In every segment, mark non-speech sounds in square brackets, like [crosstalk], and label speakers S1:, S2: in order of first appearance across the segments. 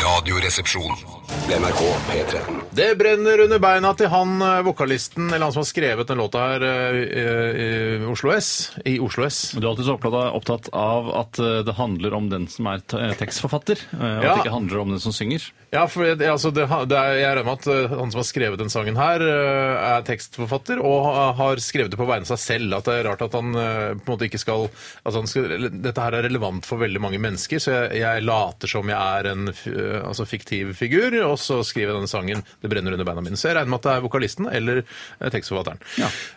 S1: Radioresepsjon.
S2: NRK P13.
S3: Det brenner under beina til han eh, vokalisten, eller han som har skrevet den låta her eh, i, i Oslo S. I Oslo S.
S4: Men Du er alltid så opptatt av, opptatt av at eh, det handler om den som er te- eh, tekstforfatter, eh, og
S3: Ja.
S4: at det ikke handler om den som synger.
S3: Ja, for det, altså det, ha- det er, jeg regner med at eh, han som har skrevet den sangen her, eh, er tekstforfatter og ha- har skrevet det på vegne av seg selv. At det er rart at han eh, på en måte ikke skal, altså han skal eller, Dette her er relevant for veldig mange mennesker, så jeg, jeg later som jeg er en f- eh, altså fiktiv figur, og så skriver jeg denne sangen 'Det brenner under beina mine'. Så jeg regner med at det er vokalisten eller eh, tekstforfatteren.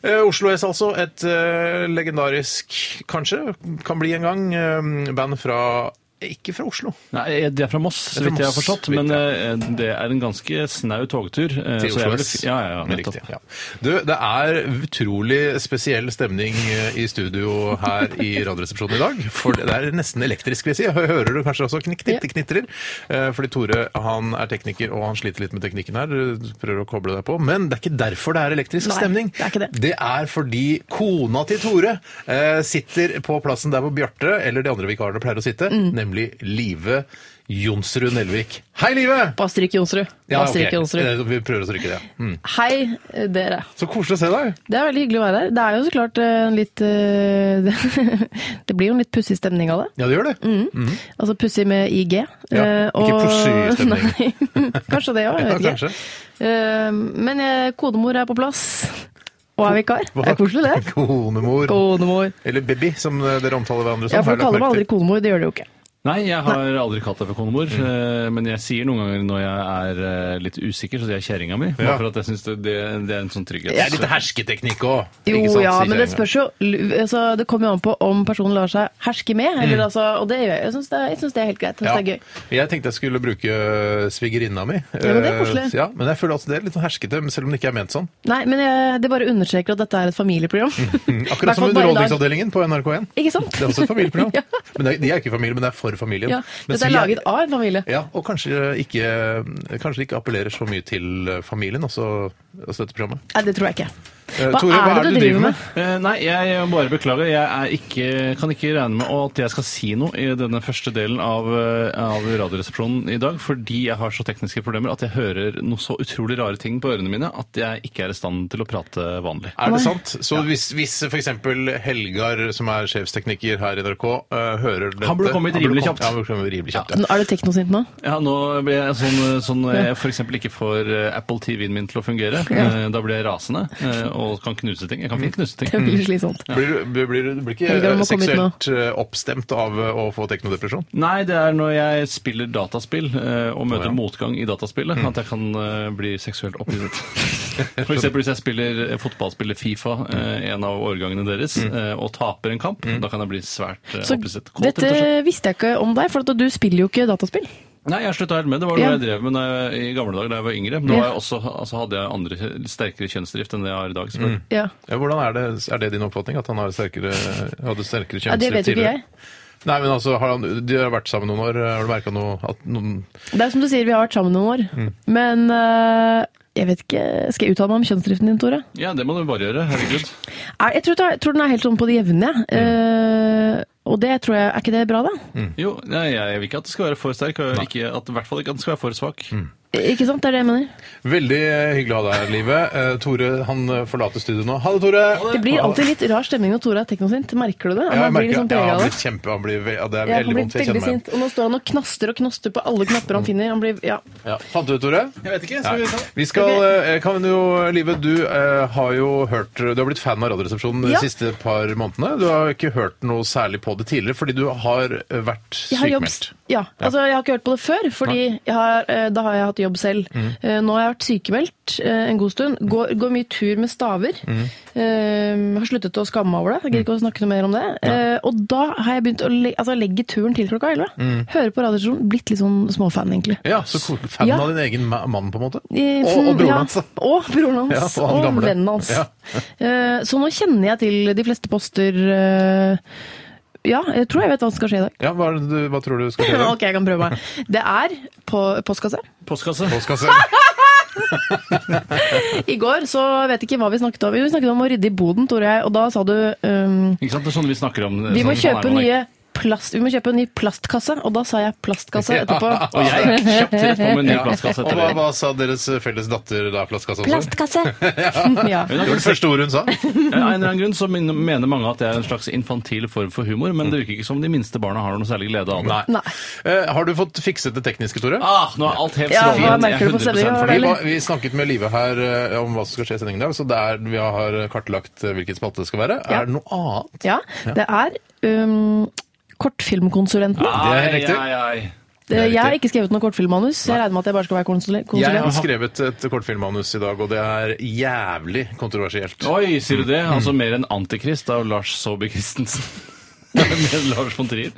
S3: Eh, Oslo S, altså. Et eh, legendarisk, kanskje, kan bli en gang, eh, band fra Ikke fra Oslo.
S4: Nei, eh, De er fra Moss, så
S3: Det er fra
S4: vidt jeg har
S3: Moss,
S4: forstått,
S3: vidt
S4: men eh, det er en ganske snau togtur. eh,
S3: til
S4: så jeg
S3: Oslo
S4: vil-
S3: S.
S4: Ja, ja, ja,
S3: Riktig,
S4: nettopp.
S3: ja. Du, det er utrolig spesiell stemning eh, i studio her i Radioresepsjonen i dag. For det er nesten elektrisk, vil jeg si. Hø- Hører du kanskje også knikk, knitt, knitrer? Eh, Fordi Tore han er tekniker, og han sliter litt med teknikken her. Du Prøver å koble deg på. Men det er ikke derfor det er elektrisk
S5: Nei,
S3: stemning.
S5: det er ikke det.
S3: er fordi kona til Tore eh, sitter på plassen der hvor Bjarte, eller de andre vikarene, pleier å sitte,
S5: Mm.
S3: nemlig Live Jonsrud Nelvik. Hei, Live!
S6: Bare stryk Jonsrud.
S3: Ja,
S6: Bare
S3: ok.
S6: stryk Jonsrud.
S3: Eh, Vi prøver å stryke det. Mm.
S6: Hei, eh, dere.
S3: Så koselig å se deg.
S6: Det er veldig hyggelig å være her. Det er jo så klart eh, en litt eh, [laughs] Det blir jo en litt pussig stemning av det.
S3: Ja, det gjør det.
S6: Altså pussig med IG. eh,
S3: Ja, ikke
S6: og-
S3: pussig stemning.
S6: [laughs] Nei, kanskje det òg, jeg
S3: Ja,
S6: vet ikke.
S3: kanskje.
S6: Eh, Men eh, kodemor er på plass. Og er vikar. Det er koselig,
S3: [laughs]
S6: det.
S3: Konemor.
S6: Konemor.
S3: Eller baby, som dere omtaler hverandre som.
S6: Ja, for du
S3: Sånn Har jeg
S6: kaller meg
S3: lagt
S6: aldri
S3: merke
S6: konemor, det gjør du jo ikke.
S4: Nei, jeg har aldri kalt deg for konemor,
S3: Mm.
S4: eh, men jeg sier noen ganger når jeg er eh, litt usikker, så sier jeg kjerringa mi. Bare
S3: Ja.
S4: for at jeg syns det, det, det er en sånn trygghet.
S3: til. Det er litt hersketeknikk òg.
S6: Jo, ja, men det spørs jo altså, Det kommer jo an på om personen lar seg herske med, eller,
S3: Mm.
S6: altså, og det gjør jeg. Jeg syns det, er- jeg synes det er helt greit. Jeg synes det er gøy.
S3: Jeg tenkte jeg skulle bruke eh, svigerinna mi.
S6: Ja, men det er koselig.
S3: Eh, Ja, men jeg føler at det er litt sånn herskete, men selv om det ikke er ment sånn.
S6: Nei, men jeg, det bare understreker at dette er et familieprogram.
S3: [laughs] Mm,
S6: Hvertfall
S3: Akkurat
S6: bare
S3: som
S6: i dag.
S3: Underholdningsavdelingen på NRK1.
S6: Ikke sant?
S3: Det er også et familieprogram.
S6: [laughs] Ja.
S3: Men det er, de er ikke familie, men det er for familien.
S6: Ja,
S3: Mens
S6: dette er
S3: vi
S6: laget av en familie.
S3: Ja, og kanskje ikke, kanskje det ikke appellerer så mye til familien, også, også dette programmet.
S6: Nei, det tror jeg ikke.
S3: Eh,
S6: Hva
S3: Tore, hva er det du driver med?
S4: Eh, Nei, jeg må bare beklager. Jeg er ikke, kan ikke regne med at jeg skal si noe i denne første delen av, eh, av Radioresepsjonen i dag, fordi jeg har så tekniske problemer at jeg hører noe så utrolig rare ting på ørene mine at jeg ikke er i stand til å prate vanlig.
S3: Er det sant? Så hvis, hvis f.eks. Helgar, som er sjefstekniker her i NRK, eh, hører dette
S4: burde kommet rimelig kjapt.
S3: Ja, han burde kommet rimelig kjapt, ja.
S6: Nå- Er du teknosint nå?
S4: Ja, nå blir jeg sånn, eh, sånn når jeg f.eks. ikke får eh, Apple TV-en min til å fungere. eh, Da blir jeg rasende eh, og kan knuse ting. Jeg kan fint knuse ting.
S6: Det
S3: Mm.
S6: blir slitsomt.
S3: Blir, du- blir, blir, du- blir ikke
S6: Helgar, du må
S3: eh,
S6: komme hit nå.
S3: seksuelt eh, oppstemt av eh, å få teknodepresjon?
S4: Nei, det er når jeg spiller dataspill eh, og møter
S3: Å, ja. Mm.
S4: motgang i dataspillet, at jeg kan eh, bli seksuelt
S3: [laughs]
S4: opphisset. For eksempel hvis jeg spiller eh, fotballspiller Fifa, eh, en av årgangene deres,
S3: Mm.
S4: eh, og taper en kamp, da kan jeg bli svært eh,
S6: Så
S4: opphisset. Kåt,
S6: dette
S4: rett og slett.
S6: visste jeg ikke om deg, for at du spiller jo ikke dataspill.
S4: Nei, jeg slutta helt med det. Det var noe
S6: Ja.
S4: jeg drev med da jeg, i gamle dager da jeg var yngre. Men da
S6: Ja.
S4: var jeg også, altså, hadde jeg andre sterkere kjønnsdrift enn det jeg har i dag.
S3: Mm.
S4: selvfølgelig.
S6: Ja,
S3: Ja, hvordan Er det Er det din oppfatning at han har sterkere, hadde sterkere
S6: ja Det
S3: kjønnsliv
S6: vet jo ikke jeg.
S3: Nei, men altså, har han, De har vært sammen noen år. eh, Har du merka noe at noen
S6: Det er som du sier, vi har vært sammen noen år.
S3: Mm.
S6: Men øh, jeg vet ikke Skal jeg uttale meg om kjønnsdriften din, Tore?
S4: Ja, det må du bare gjøre. Herregud.
S6: Er- Jeg tror, jeg tror den er helt sånn på det jevne, jeg.
S3: Mm.
S6: Eh, og det tror jeg Er ikke det bra, da?
S4: Jo, nei, jeg vil ikke at det skal være for sterk, og ikke at, i hvert fall ikke at det skal være for svak.
S3: Mm.
S6: Ikke sant? Det er det jeg mener.
S3: Veldig eh, hyggelig å ha deg her, Live. Eh, Tore han eh, forlater studio nå. Ha det, Tore!
S6: Det blir alltid litt rar stemning når Tore er teknosint. Merker du det?
S3: Ja, jeg
S6: Han blir
S3: merker,
S6: liksom
S3: ja,
S6: preget
S3: han
S6: av det.
S3: blir kjempe, han blir, ve- ja, det er
S6: Ja,
S3: veldig
S6: han blir
S3: vondt. Jeg kjenner
S6: veldig
S3: meg Mm. igjen.
S6: sint. Og nå står han og knaster og knaster på alle knapper han finner. Han blir, ja.
S3: Ja. Fant du ut ordet? Jeg
S4: vet ikke, skal vi ta det?
S3: Vi skal, eh, kan jo, Live, du eh, har jo hørt Du har blitt fan av Radioresepsjonen de
S6: Ja.
S3: siste par månedene. Du har ikke hørt noe særlig på det tidligere, fordi du har eh, vært
S6: Jeg har jobb
S3: sykemeldt.
S6: ja. altså, jeg har ikke hørt på det før, fordi jeg har, eh, da har jeg hatt jobb selv.
S3: Mm.
S6: Eh, Nå har jeg vært sykemeldt eh, en god stund. Går, går mye tur med staver.
S3: Mm.
S6: Eh, har sluttet å skamme meg over det. Jeg gidder ikke å snakke noe mer om det. Eh, og da har jeg begynt å le altså, legge turen til klokka 11.
S3: Mm.
S6: Høre på Radioresepsjonen. Blitt litt sånn småfan, egentlig.
S3: Ja, så ko- fan
S6: Ja.
S3: av din egen ma- mann, på en måte?
S6: I-
S3: Og, og broren
S6: ja,
S3: hans. da.
S6: Og broren hans.
S3: Ja, og
S6: og
S3: han gamle.
S6: vennen hans.
S3: Ja.
S6: Eh, Så nå kjenner jeg til de fleste poster eh, Ja, jeg tror jeg vet hva som skal skje i dag.
S3: Ja, hva, er det du, hva tror du skal skje? i dag?
S6: [laughs] Ok, jeg kan prøve meg. Det er på postkasse.
S4: Postkasse.
S3: Postkasse.
S6: I går så vet jeg ikke hva vi snakket om. Jo, vi snakket om å rydde i boden, tror jeg. Og da sa du um,
S4: Ikke sant? Det er sånn vi snakker om
S6: vi, må
S4: sånn,
S6: kjøpe
S4: man er-
S6: nye plast, vi må kjøpe en ny plastkasse. Og da sa jeg plastkasse
S3: [laughs]
S6: etterpå.
S3: Ja.
S4: Og jeg gikk kjapt rett på med en ny plastkasse
S3: Og
S4: etter
S3: hva,
S4: det.
S3: hva sa deres eh, felles datter da? Plastkasse også?
S6: Plastkasse! ja.
S4: Hun
S3: Det
S4: har
S3: var
S4: ikke
S3: det første ordet hun sa.
S4: Eh, Av en eller annen grunn så min- mener mange at det er en slags infantil form for humor, men det virker ikke som de minste barna har noe særlig glede av det.
S3: Nei.
S6: Nei.
S3: Eh, har du fått fikset det tekniske, Tore?
S4: Ah, nå er alt helt
S6: Ja, hva
S4: strålende.
S6: merker du på
S4: Jeg er 100%
S6: stemningen?
S4: fornøyd.
S3: Vi,
S6: Eller?
S3: var, vi snakket med Live her eh, om hva som skal skje i sendingen i dag, så der vi har kartlagt eh, hvilken spalte det skal være.
S6: Ja.
S3: Er det noe annet?
S6: ja, det er um, Kortfilmkonsulenten.
S3: Det er riktig.
S4: Ai, ai, ai.
S3: det er
S6: jeg har
S3: riktig.
S6: ikke skrevet noe kortfilmmanus. Jeg regner med at jeg bare skal være konsulent.
S3: Jeg har
S6: konsulent.
S3: skrevet et kortfilmmanus i dag, og det er jævlig kontroversielt.
S4: Oi, sier du det?
S3: Mm.
S4: Altså mer enn Antikrist av Lars Saabye
S3: [laughs]
S4: Christensen. Mer enn Lars von Trier.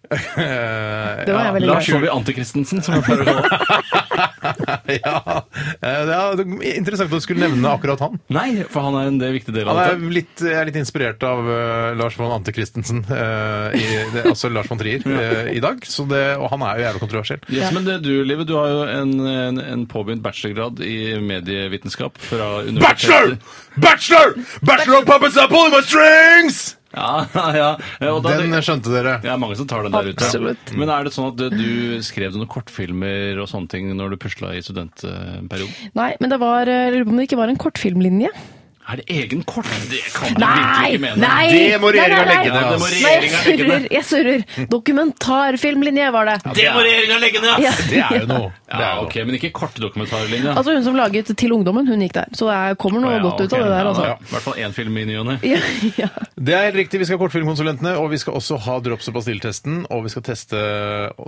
S3: [laughs] Eh,
S6: Det var jeg veldig glad
S4: Lars
S6: for.
S4: Saabye Antikristensen, som jeg pleier å kalle det.
S3: ja. Eh, det er interessant at du skulle nevne akkurat han.
S4: Nei, for han er en del viktig del
S3: Han
S4: av
S3: er
S4: dette.
S3: litt, jeg er litt inspirert av eh, Lars von Ante Christensen, eh, i, det, altså Lars von Trier, eh, i dag. Så det, og han er jo jævlig kontroversiell.
S4: Yes, men det, du, Live, du har jo en, en, en påbegynt bachelorgrad i medievitenskap fra universitetet.
S3: Bachelor! Bachelor of puppets are pulling my strings!
S4: Ja, [laughs] ja. Og da,
S3: Den
S4: det,
S3: skjønte dere.
S4: det er mange som tar den der ute.
S6: Absolutt.
S4: Men er det sånn at du skrev noen kortfilmer og sånne ting når du pusla i studentperioden?
S6: Nei, men det var, eh, jeg lurer på om det ikke var en kortfilmlinje.
S4: Er det egen kort? Det kan du virkelig ikke mene.
S3: Det må regjeringen
S6: Nei, nei,
S3: legge
S6: nei.
S3: ned,
S4: Ja, det må
S3: ass.
S6: Nei, jeg
S4: regjeringen legge ned.
S6: surrer, jeg surrer. Dokumentarfilmlinje var det.
S4: Det må regjeringa legge ned!
S6: Ja.
S4: ass!
S3: Det er jo noe. Det er
S4: Ja,
S3: jo
S4: ok, men ikke kortdokumentarlinja.
S6: Altså hun som laget Til ungdommen, hun gikk der. Så det kommer noe
S4: Ja,
S6: godt ut
S4: ok.
S6: av det der,
S4: Ja,
S6: altså.
S4: ja. I hvert fall én film i ny og ne.
S6: Ja, ja.
S3: noe. Det er helt riktig. Vi skal ha Kortfilmkonsulentene, og vi skal også ha drops- og pastilltesten. Og vi skal teste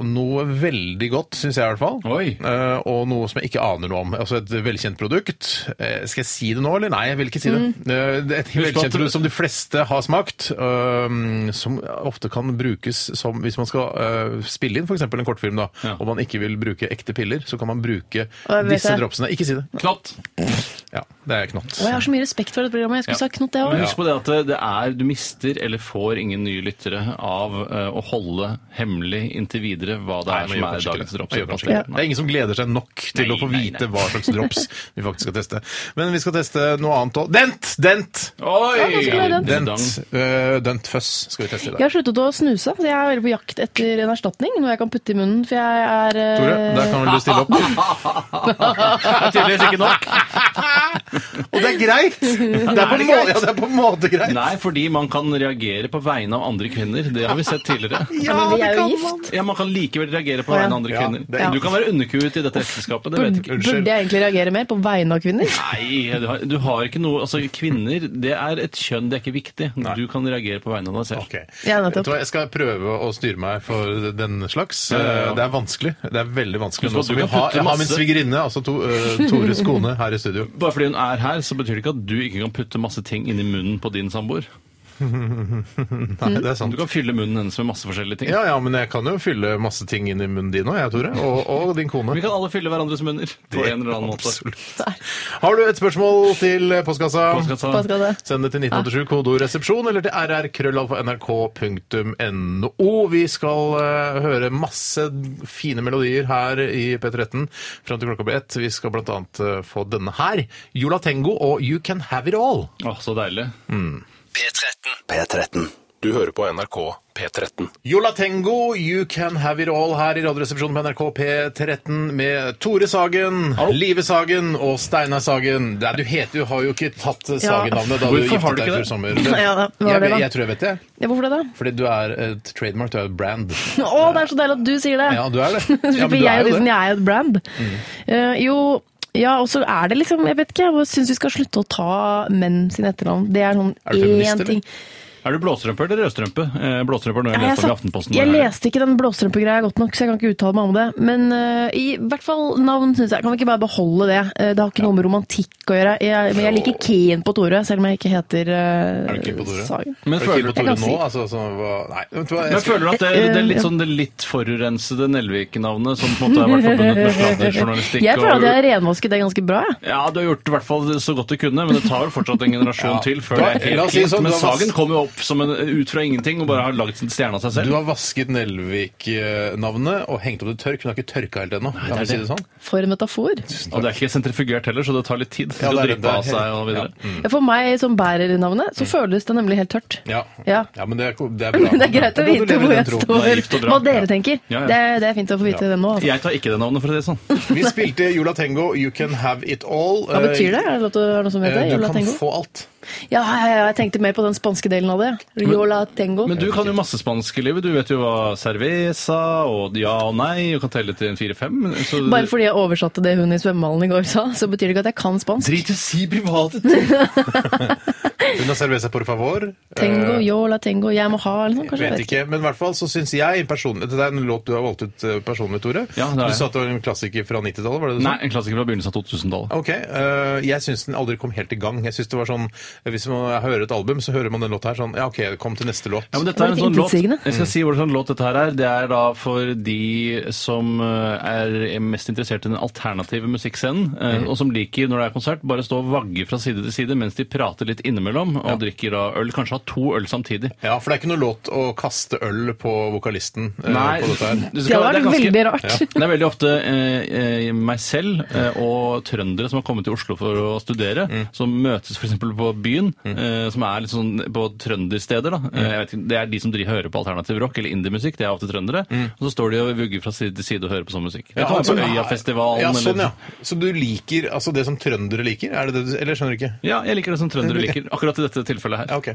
S3: noe veldig godt, syns jeg i hvert fall.
S4: Oi.
S3: Eh, og noe som jeg ikke aner noe om. Altså et velkjent produkt. Eh, skal jeg si det nå, eller? Nei, jeg vil ikke si det.
S6: Mm.
S3: Eh, det er
S4: Husk
S3: et
S4: at-
S3: velkjent produkt som de fleste har smakt, eh, som ofte kan brukes som Hvis man skal eh, spille inn f.eks. en kortfilm, da,
S4: Ja.
S3: og man ikke vil bruke ekte piller, så kan man bruke
S6: jeg vet
S3: disse
S6: det.
S3: dropsene. Ikke si det.
S4: Knott.
S3: Ja, det er knott.
S6: Og jeg har så mye respekt for dette programmet. Jeg skulle
S4: Ja.
S6: sagt knott, jeg
S4: Men
S6: òg.
S4: husk på det at det er, du mister eller får ingen nye lyttere av eh, å holde hemmelig inntil videre hva det er
S3: Nei,
S4: som er
S3: man gjør kanskje
S4: dagens
S3: ikke
S4: drops.
S3: Man gjør kanskje ikke Det Det er ingen som gleder seg nok til
S4: Nei,
S3: å få
S4: nei,
S3: vite
S4: nei.
S3: hva slags
S4: [laughs]
S3: drops vi faktisk skal teste. Men vi skal teste noe annet òg. Dent! Dent!
S6: det skulle være
S4: Oi!
S6: den.
S3: Dent, øh, dent fuzz skal vi teste i
S6: Jeg
S3: dag.
S6: har sluttet å snuse, så jeg er veldig på jakt etter en erstatning. Noe jeg kan putte i munnen, for jeg er eh,
S3: Tore, der kan vel du stille opp?
S4: Det er tydeligvis ikke
S3: [laughs]
S4: nok.
S3: Og det er greit!
S4: [laughs]
S3: Det er på, må, ja, det er på en måte greit.
S4: Nei, fordi man kan reagere på vegne av andre kvinner. Det har vi sett tidligere.
S6: Ja, men vi er jo gift.
S4: Ja, Man kan likevel reagere på
S6: Å, ja.
S4: vegne av andre
S3: Ja,
S4: kvinner.
S3: det er-
S4: Du kan være underkuet i dette ekteskapet, det vet jeg ikke.
S3: Unnskyld.
S6: Burde jeg egentlig reagere mer på vegne av kvinner?
S4: Nei, du har, du har ikke noe Altså, kvinner, det er et kjønn, det er ikke viktig. Du kan reagere på vegne av deg selv.
S3: Ok.
S6: Ja,
S3: Vet
S6: nettopp.
S3: du hva, jeg skal prøve å styre meg for den slags. Eh,
S4: ja, ja.
S3: Det er vanskelig. Det er veldig vanskelig.
S4: Husk på
S3: Nå
S4: at
S3: som
S4: du
S3: vi
S4: kan
S3: har,
S4: putte
S3: jeg har min
S4: masse-
S3: svigerinne, altså to, øh,
S4: [laughs]
S3: Tores kone, her i studio.
S4: Bare fordi hun er her, så betyr det ikke at du ikke kan putte masse ting inni munnen på din samboer.
S3: Nei, det er sant.
S4: Du kan fylle munnen hennes med masse forskjellige ting.
S3: Ja, ja, men jeg kan jo fylle masse ting inn i munnen din òg, jeg, Tore. Og, og din kone.
S4: Vi kan alle fylle hverandres munner på en eller annen måte.
S3: Har du et spørsmål til postkassa?
S4: Postkassa.
S6: Hva skal det?
S3: Send det til 1987, kodeord resepsjon, eller til rrkrøllalfa.nrk.no. Vi skal eh, høre masse fine melodier her i P13 fram til klokka blir ett. Vi skal bl.a. Uh, få denne her. Yola Tengo og You Can Have It All.
S4: Å, så deilig.
S7: P13.
S2: P13. Du hører på NRK P13.
S3: Yola Tengo, You Can Have It All her i Radioresepsjonen på NRK P13 med Tore Sagen,
S4: Hallo.
S3: Live Sagen og Steinar Sagen. Nei, du heter jo, har jo ikke tatt Sagen-navnet da du
S4: Hvorfor har
S3: giftet
S4: du
S3: deg
S4: ikke
S3: i
S4: det?
S3: fjor sommer.
S6: Ja, hva er
S3: jeg,
S6: det da?
S3: jeg tror jeg vet det.
S6: Ja, hvorfor det, da?
S3: Fordi du er et trademark, du er et brand.
S6: Å, det er så deilig at du sier det!
S3: Ja,
S6: [laughs]
S3: du er det. Ja,
S6: Ja,
S3: men
S6: jeg,
S3: du er
S6: er
S3: jo
S6: liksom,
S3: det. Mm.
S6: jeg er jo et brand. Eh, jo, ja, og så er det liksom Jeg vet ikke, jeg syns vi skal slutte å ta menn sine etternavn. Det er sånn
S3: Er du feminist,
S6: én ting.
S4: Er du blåstrømpe eller rødstrømpe? Eh, blåstrømpe når jeg
S6: Nei,
S4: leste om i
S6: satt-
S4: Aftenposten.
S6: jeg leste ikke den blåstrømpegreia godt nok, så jeg kan ikke uttale meg om det. Men eh, i hvert fall navn syns jeg. Kan vi ikke bare beholde det? Eh, det har ikke noe med romantikk å gjøre. Jeg, men jeg liker Keen på Tore, selv om jeg ikke heter
S3: Er du
S6: uh,
S3: keen på Tore?
S6: Sagen.
S4: Men
S3: Er du keen
S4: føler,
S3: på
S6: Jeg
S3: Tore
S6: kan
S3: nå?
S6: si-
S3: Altså, sånn, hva- nei, vet du
S4: men
S3: hva? Jeg skal...
S4: føler du at det, det er litt sånn det litt forurensede Nelvik-navnet som på en måte har vært forbundet med sladderjournalistikk?
S6: Jeg føler at jeg
S4: og-
S6: har renvasket det ganske bra. jeg.
S4: Ja, du har gjort i hvert fall så godt du kunne, men det tar jo fortsatt en generasjon til før
S3: Da-
S4: det er
S3: la
S4: helt
S3: oss si
S4: fint.
S3: sånn,
S4: men
S3: da var-
S4: Sagen kom jo opp opp som en, ut fra ingenting og bare har lagd en stjerne av seg
S3: Du
S4: selv.
S3: har vasket Nelvik-navnet og hengt opp det tørk, men du har ikke tørka helt ennå. Kan vi si det sånn?
S6: For en metafor.
S4: Og det er ikke sentrifugert heller, så det tar litt tid.
S3: Ja,
S4: til å
S3: det er- det
S4: dryppe
S3: er
S4: av seg og videre.
S6: Ja, For meg som bærer navnet, så føles det nemlig helt tørt.
S3: Ja.
S6: Ja.
S3: men det er,
S6: [laughs]
S3: det er bra.
S6: Men det er greit å
S3: Da kan du
S6: vite
S3: leve i
S6: hvor
S3: den
S6: jeg
S3: tro.
S4: Naivt og
S6: står.
S4: bra.
S6: Hva
S4: Ja.
S6: dere tenker.
S4: Ja, ja.
S6: Det, er- det er fint å få vite det nå. Altså.
S4: Jeg tar ikke det navnet, for å si det sånn.
S3: Vi spilte Yola Tengo, You Can Have It All.
S6: Hva betyr det? Er det lov til å høre noe som
S3: Eh,
S6: heter
S3: Du
S6: Yola
S3: kan
S6: Tengo?
S3: få alt.
S6: Ja, ja, ja, jeg tenkte mer på den spanske delen av det. ja. Yola Tengo.
S4: Men du kan jo masse spansk i livet. Du vet jo hva cerveza og ja og nei og kan telle til en fire-fem. så-
S6: Bare fordi jeg oversatte det hun i svømmehallen i går sa, så betyr det ikke at jeg kan spansk.
S4: Drit i å si privatet!
S6: [laughs]
S4: Jeg
S3: Una cerveza por favor.
S6: Tengo,
S3: Eh,
S6: yola, tengo, jeg må ha, eller noe, kanskje.
S3: Vet ikke, men i hvert fall så syns jeg personlig Dette er en låt du har valgt ut eh, personlig, Tore.
S4: Ja, det er
S3: du
S4: jeg.
S3: sa at det var en klassiker fra 90-tallet, var det det du sa?
S4: Nei, en klassiker fra begynnelsen av 2000-tallet.
S3: Ok, eh, Jeg syns den aldri kom helt i gang. Jeg synes det var sånn, Hvis man hører et album, så hører man den låta her sånn Ja, OK, kom til neste låt.
S4: Ja, men dette
S6: Det
S4: er en
S6: var litt
S4: sånn låt,
S6: intetsigende. Mm.
S4: jeg skal si hvordan låt dette her er. Det er da for de som eh, er mest interessert i den alternative musikkscenen, eh,
S3: Mhm.
S4: og som liker når det er konsert, bare stå og vagge fra side til side mens de prater litt innimellom, og drikker da øl. Kanskje ha to øl samtidig.
S3: Ja, For det er ikke noe låt å kaste øl på vokalisten eh, på
S4: det,
S3: dette her.
S4: skal,
S6: Det hadde
S4: det er
S6: vært
S4: ganske
S6: veldig rart.
S4: [laughs] Det er veldig ofte eh, eh, meg selv eh, og trøndere som har kommet til Oslo for å studere,
S3: Mm.
S4: som møtes f.eks. på byen, eh, som er litt sånn på trøndersteder. da.
S3: Mm.
S4: Eh, jeg vet ikke, det er de som driver, hører på alternativ rock eller indiemusikk, det er ofte trøndere. Og så står de og vugger fra side til side og hører på sånn musikk. Jeg
S3: Mm. Ja,
S4: kan være
S3: altså,
S4: på
S3: nei.
S4: Øyafestivalen
S3: ja, sånn,
S4: eller
S3: ja. Så du liker altså det som trøndere liker? Er det det du, eller skjønner du ikke?
S4: ja, jeg liker det som trøndere
S3: [laughs]
S4: liker. Akkurat i dette tilfellet her.
S3: Ja, ok.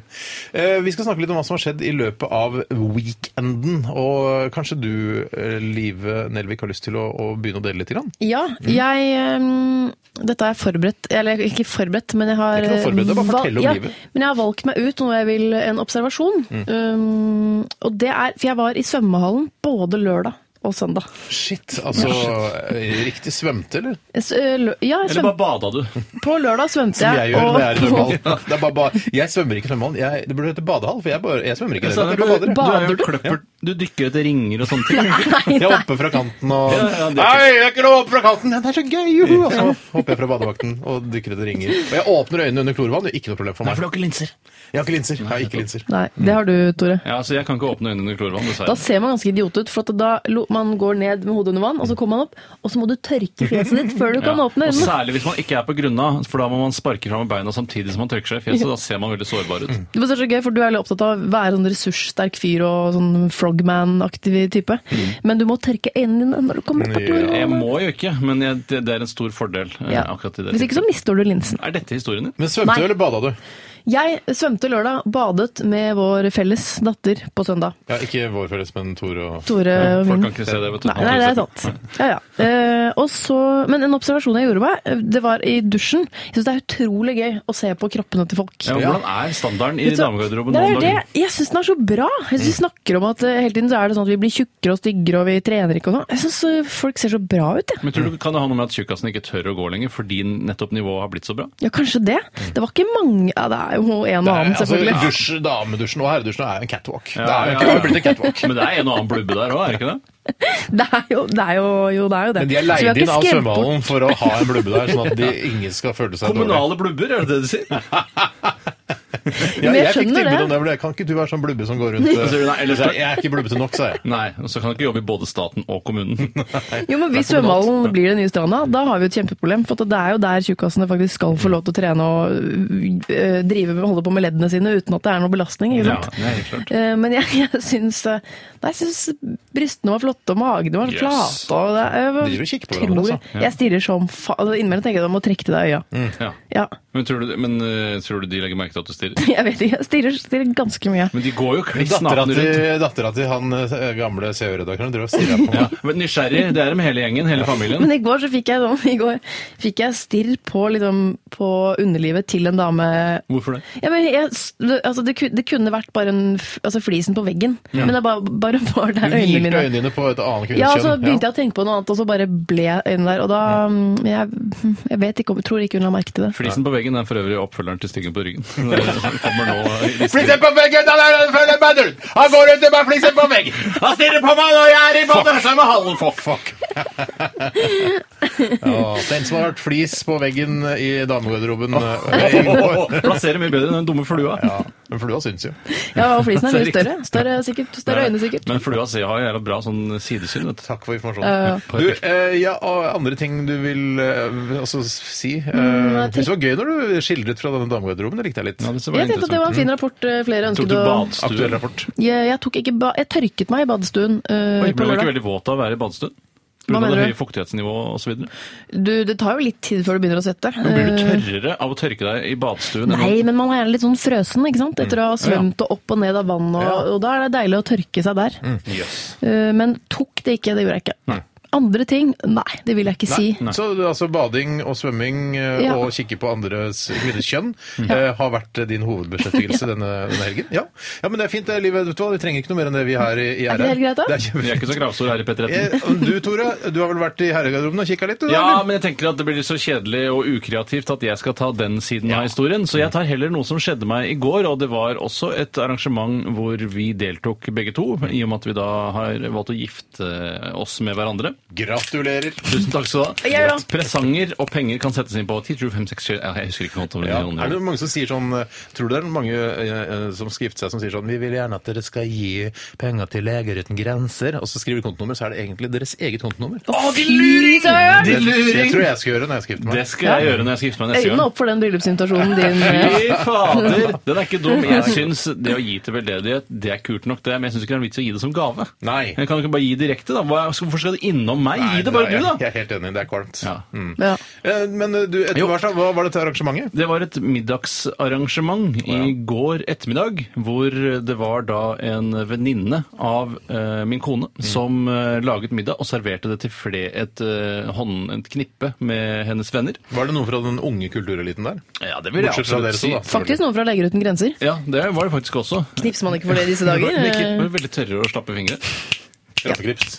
S3: Eh, vi skal snakke litt om hva som har skjedd i løpet av weekenden. Og kanskje du, eh, Live Nelvik, har lyst til å, å begynne å dele litt? Grann?
S6: Ja, jeg ehm, Dette har jeg forberedt Eller ikke forberedt, men jeg har eh,
S3: Det er ikke noe forberedt, det er bare å
S6: val-
S3: fortelle om
S6: ja,
S3: livet. Mm.
S6: Men jeg har valgt meg ut noe jeg vil En observasjon. Um, og det er For jeg var i svømmehallen både lørdag og søndag.
S3: Shit, altså eh, Riktig svømte, eller?
S6: Jeg s- øh, lø- Ja, jeg
S4: Eller
S6: svøm,
S4: bare bada du?
S6: på lørdag svømte
S3: Som
S6: jeg.
S3: jeg gjør når jeg er i
S6: og-
S3: svømmehall. Det er bare, bare, jeg svømmer ikke i svømmehall. Jeg- Det burde hete badehall, for jeg, bare, jeg svømmer ikke i
S4: Jeg sa
S3: svømmehall.
S4: det,
S3: Jeg bare
S4: du,
S3: bader.
S4: du, er jo
S6: Bader
S3: jeg.
S6: du?
S4: kløpper, du dykker etter ringer og
S3: [laughs]
S4: sånne ting.
S6: Nei,
S3: Jeg er
S6: nei.
S3: oppe fra kanten og
S4: Ja, ja, det er
S3: Hei, det er ikke lov opp fra kanten! Ja, det er så gøy! Juhu! Og så hopper jeg fra badevakten og dykker etter ringer. Og jeg åpner øynene under klorvann, det er ikke noe problem for meg.
S4: har ikke linser.
S3: Jeg har ikke linser. Jeg har ikke linser.
S6: [laughs] nei, det har du, Tore.
S4: Ja, så jeg kan ikke åpne øynene under klorvann,
S6: Da
S4: dessverre.
S6: ser man ganske idiot ut, for at da lo- man går ned med hodet under vann, og så kommer man opp, og så må du tørke fjeset ditt
S3: [laughs]
S6: før du kan
S4: Ja,
S6: åpne
S4: Og
S6: øynene.
S4: særlig hvis man ikke er på grunna, for da må man sparke fram med beina samtidig som man tørker seg i fjeset. Da ser man veldig sårbar ut.
S6: Det var så gøy, for Du er veldig opptatt av å være sånn ressurssterk fyr og sånn frogman-aktiv type. Men du må tørke øynene dine når du kommer opp på
S4: Mm. Jeg
S6: klorvann.
S4: må jo ikke, men jeg, det, det er en stor fordel eh,
S6: Ja.
S4: akkurat i det.
S6: Hvis ikke så mister du linsen.
S4: Er dette historien din?
S3: Men svømte
S6: Nei.
S3: du, eller bada du?
S6: Jeg svømte lørdag, badet med vår felles datter på søndag.
S3: Ja, ikke vår felles, men Tor og
S6: Tore og
S4: Folk
S6: min.
S4: kan ikke se det, vet du.
S6: Nei, nei, det er sant. Ja, ja. Eh, og så- men en observasjon jeg gjorde meg, det var i dusjen. Jeg syns det er utrolig gøy å se på kroppene til folk.
S4: Ja, hvordan er standarden i
S6: Vet du,
S4: damegarderoben
S6: det
S4: nå
S6: er
S4: om
S6: det.
S4: dagen?
S6: Jeg syns den er så bra. Jeg synes
S3: Mm.
S6: Vi snakker om at eh, hele tiden så er det sånn at vi blir tjukkere og styggere og vi trener ikke og sånn. Jeg syns folk ser så bra ut, jeg.
S4: Men tror du kan det ha noe med at tjukkasen ikke tør å gå lenger fordi nettopp nivået har blitt så bra?
S6: Ja, kanskje det. Det var ikke mange Ja, det er jo en og
S3: Mm. Nei,
S6: annen,
S3: altså,
S6: selvfølgelig.
S3: dusj, Damedusjen og herredusjen er en catwalk.
S4: Ja,
S3: det er jo
S4: ja,
S3: det
S4: ja.
S3: er blitt
S4: [laughs]
S3: en catwalk.
S4: Men det er en og annen blubbe der òg, er det ikke det?
S6: [laughs] Det er jo det. Er jo, jo, det, er jo det.
S3: Men
S6: Så vi
S3: de er
S6: har
S3: leid
S6: ikke
S3: inn av
S6: skremt bort-
S3: svømmehallen for å ha en blubbe der, sånn at de, ingen skal føle seg dårlig.
S4: Kommunale blubber, er det det du sier?
S3: Ja,
S6: Men jeg
S3: jeg fikk
S6: skjønner
S3: tilbud
S6: det.
S3: om det, men jeg kan ikke du være sånn blubbe som
S4: [laughs]
S3: går rundt eh,
S4: Så sier du, nei, ellers-
S3: så Jeg er ikke blubbete nok, sa jeg.
S4: [laughs] Nei, og så kan du ikke jobbe i både staten og kommunen.
S6: Jo, men Hvis svømmehallen blir den nye stranda, da har vi jo et kjempeproblem. For at det er jo der tjukkasene faktisk skal
S3: Mm.
S6: få lov til å trene og øh, drive med, holde på med leddene sine uten at det er noe belastning. ikke
S4: Ja,
S6: sant?
S4: det er helt klart.
S6: Eh, Men jeg, [laughs] jeg syns eh, Nei, jeg syns brystene var flotte, og magene var
S4: Yes.
S6: flate. og det er- jeg var
S3: Driver og kikker på hverandre,
S6: utrolig.
S3: altså. Mm.
S6: Jeg stirrer som faen. Innimellom tenker jeg at jeg må trekke til deg øya.
S4: Ja.
S6: Ja, [laughs]
S4: Men, tror du, men eh, tror du de legger merke til at du stirrer?
S6: jeg vet ikke. Jeg stirrer, stirrer ganske mye.
S4: Men de går jo kliss
S3: Dattera
S4: nakne
S3: til,
S4: rundt.
S3: dattera til han eh, gamle CEO-redaktøren driver og stirrer på
S4: Ja,
S3: meg.
S4: men nysgjerrig, det er dem hele gjengen, hele familien.
S6: Men i går så fikk jeg, sånn- [laughs] i går fikk jeg stirr på, liksom, på underlivet til en dame
S4: Hvorfor det?
S6: Ja, men jeg, altså det, ku- det kunne vært bare en, f- altså flisen på veggen, men det bare, bare [laughs] var der
S3: Du
S6: [laughs] øynene
S3: hvilte
S6: mine.
S3: øynene dine på et annet kvinnes
S6: Ja, og så
S3: kjønn.
S6: begynte jeg å tenke på noe annet, og så bare ble øynene der. Og da mm, Jeg, [laughs] jeg vet ikke om, tror ikke hun la merke til det.
S4: Flisen på veggen er for øvrig oppfølgeren til Styggen på
S3: [laughs]
S4: ryggen. Det kommer nå i listen.
S3: Flisen på veggen! Han, er, følger meg rundt! han går rundt med flisen på veggen! Han stirrer på meg når jeg er i badevekk! Fuck, fuck. [laughs] Ja, den som har vært flis på veggen i damegarderoben eh, i går.
S4: Plasserer mye bedre enn den dumme flua.
S3: Ja, men flua syns jo.
S6: Ja, og flisen
S4: [laughs]
S6: er
S4: Så
S6: mye
S4: riktig.
S6: større. Større, sikkert, større øyne, sikkert.
S4: Men flua ser har jo jævla bra sånn sidesyn. Vet du.
S3: Takk for
S6: Ja, ja.
S3: informasjonen. Du, eh, ja, og andre ting du vil eh, altså, si? Eh,
S6: jeg
S3: det var gøy når du skildret fra denne damegarderoben, det likte jeg litt.
S4: Ja, det ser bare
S6: Jeg tenkte at det var en fin rapport eh, flere
S4: Tok
S6: ønsket
S4: du
S6: å
S3: Aktuell
S4: badstue?
S3: rapport.
S6: jeg, jeg, tok ikke ba jeg tørket meg i badstuen eh,
S4: Oi, Ble du
S6: på
S4: ikke
S6: lørdag.
S4: veldig våt av å være i badstue? På grunn
S6: Hva
S4: av det
S6: mener du?
S4: høye fuktighetsnivået osv.?
S6: Du, det tar jo litt tid før du begynner å svette.
S4: Blir du
S6: Eh,
S4: tørrere av å tørke deg i badstuen? enn
S6: Nei, men man er gjerne litt sånn frøsen ikke sant? etter
S4: Mm.
S6: å ha svømt og opp og ned av vann, og, og da er det deilig å tørke seg der.
S4: å- Jøss.
S6: Eh, Men tok det ikke, det gjorde jeg ikke. Andre ting? Nei, det vil jeg ikke si.
S3: Så det er altså bading og svømming eh,
S6: Ja.
S3: og kikke på andres kvinners kjønn eh, har vært eh, din
S6: [laughs]
S3: hovedbeskjeftigelse denne, denne helgen. Ja. ja, men det er fint det, Livet. Vet du hva? Vi trenger ikke noe mer enn det vi har i, i
S6: Er det helt greit, da?
S3: Det er
S4: Vi er ikke så kravstore her i P13.
S3: kjempe- Eh, Du, Tore, du har vel vært i herregarderoben og kikka litt? Du,
S4: Ja,
S3: eller?
S4: men jeg tenker at det blir så kjedelig og ukreativt at jeg skal ta den siden av historien. Så jeg tar heller noe som skjedde meg i går, og det var også et arrangement hvor vi deltok begge to, i og med at vi da har valgt å gifte eh, oss med hverandre.
S3: Gratulerer.
S4: Tusen takk skal du
S6: Ja,
S4: ha.
S6: ja.
S4: Presanger og penger kan settes inn på 10, 20, 5, 6, 7 Jeg husker ikke noe om det.
S3: Ja. Er det mange som sier sånn eh, Tror du det er mange eh, eh, som skal gifte seg som sier sånn Vi vil gjerne at dere skal gi penger til Leger uten grenser, og så skriver de kontonummer, så er det egentlig deres eget kontonummer.
S6: Å, de luring! Søren!
S3: Det, det
S4: luring!
S3: tror jeg skal gjøre når jeg skal gifte meg.
S4: Det skal jeg gjøre når jeg skal gifte meg neste
S6: Øynene
S4: gang.
S6: opp for den bryllupsinvitasjonen
S4: [laughs]
S6: din. eh.
S4: Fy fader! Den er ikke dum. Jeg syns det å gi til veldedighet, det er kult nok, det. Men jeg syns ikke det er en vits å gi det som gave.
S3: Nei.
S4: Jeg kan ikke bare gi direkte, da. Hva- Hvorfor skal det innom meg? Gi det bare
S3: Nei,
S4: du,
S3: jeg-
S4: da!
S3: Jeg er helt enig, det er kvalmt.
S4: Ja.
S3: Mm.
S6: Ja.
S3: Eh, Men eh, du, etter
S4: Jo.
S3: hvert, da, hva var dette arrangementet?
S4: Det var et middagsarrangement i går ettermiddag, hvor det var da en venninne av eh, min kone som eh, laget middag og serverte det til fle- et, eh, hånd, et knippe med hennes venner.
S3: Var det noen fra den unge kultureliten der?
S4: Ja, det vil jeg
S3: Bortsett fra
S4: absolutt
S3: dere to,
S4: si.
S3: da.
S6: Faktisk noen fra Leger uten grenser.
S4: Ja, det var det faktisk også.
S6: Knipser man ikke for det i disse
S4: Det var,
S6: dager?
S4: det
S6: eh.
S4: var veldig tørre og slappe fingre.
S3: Rattekrips.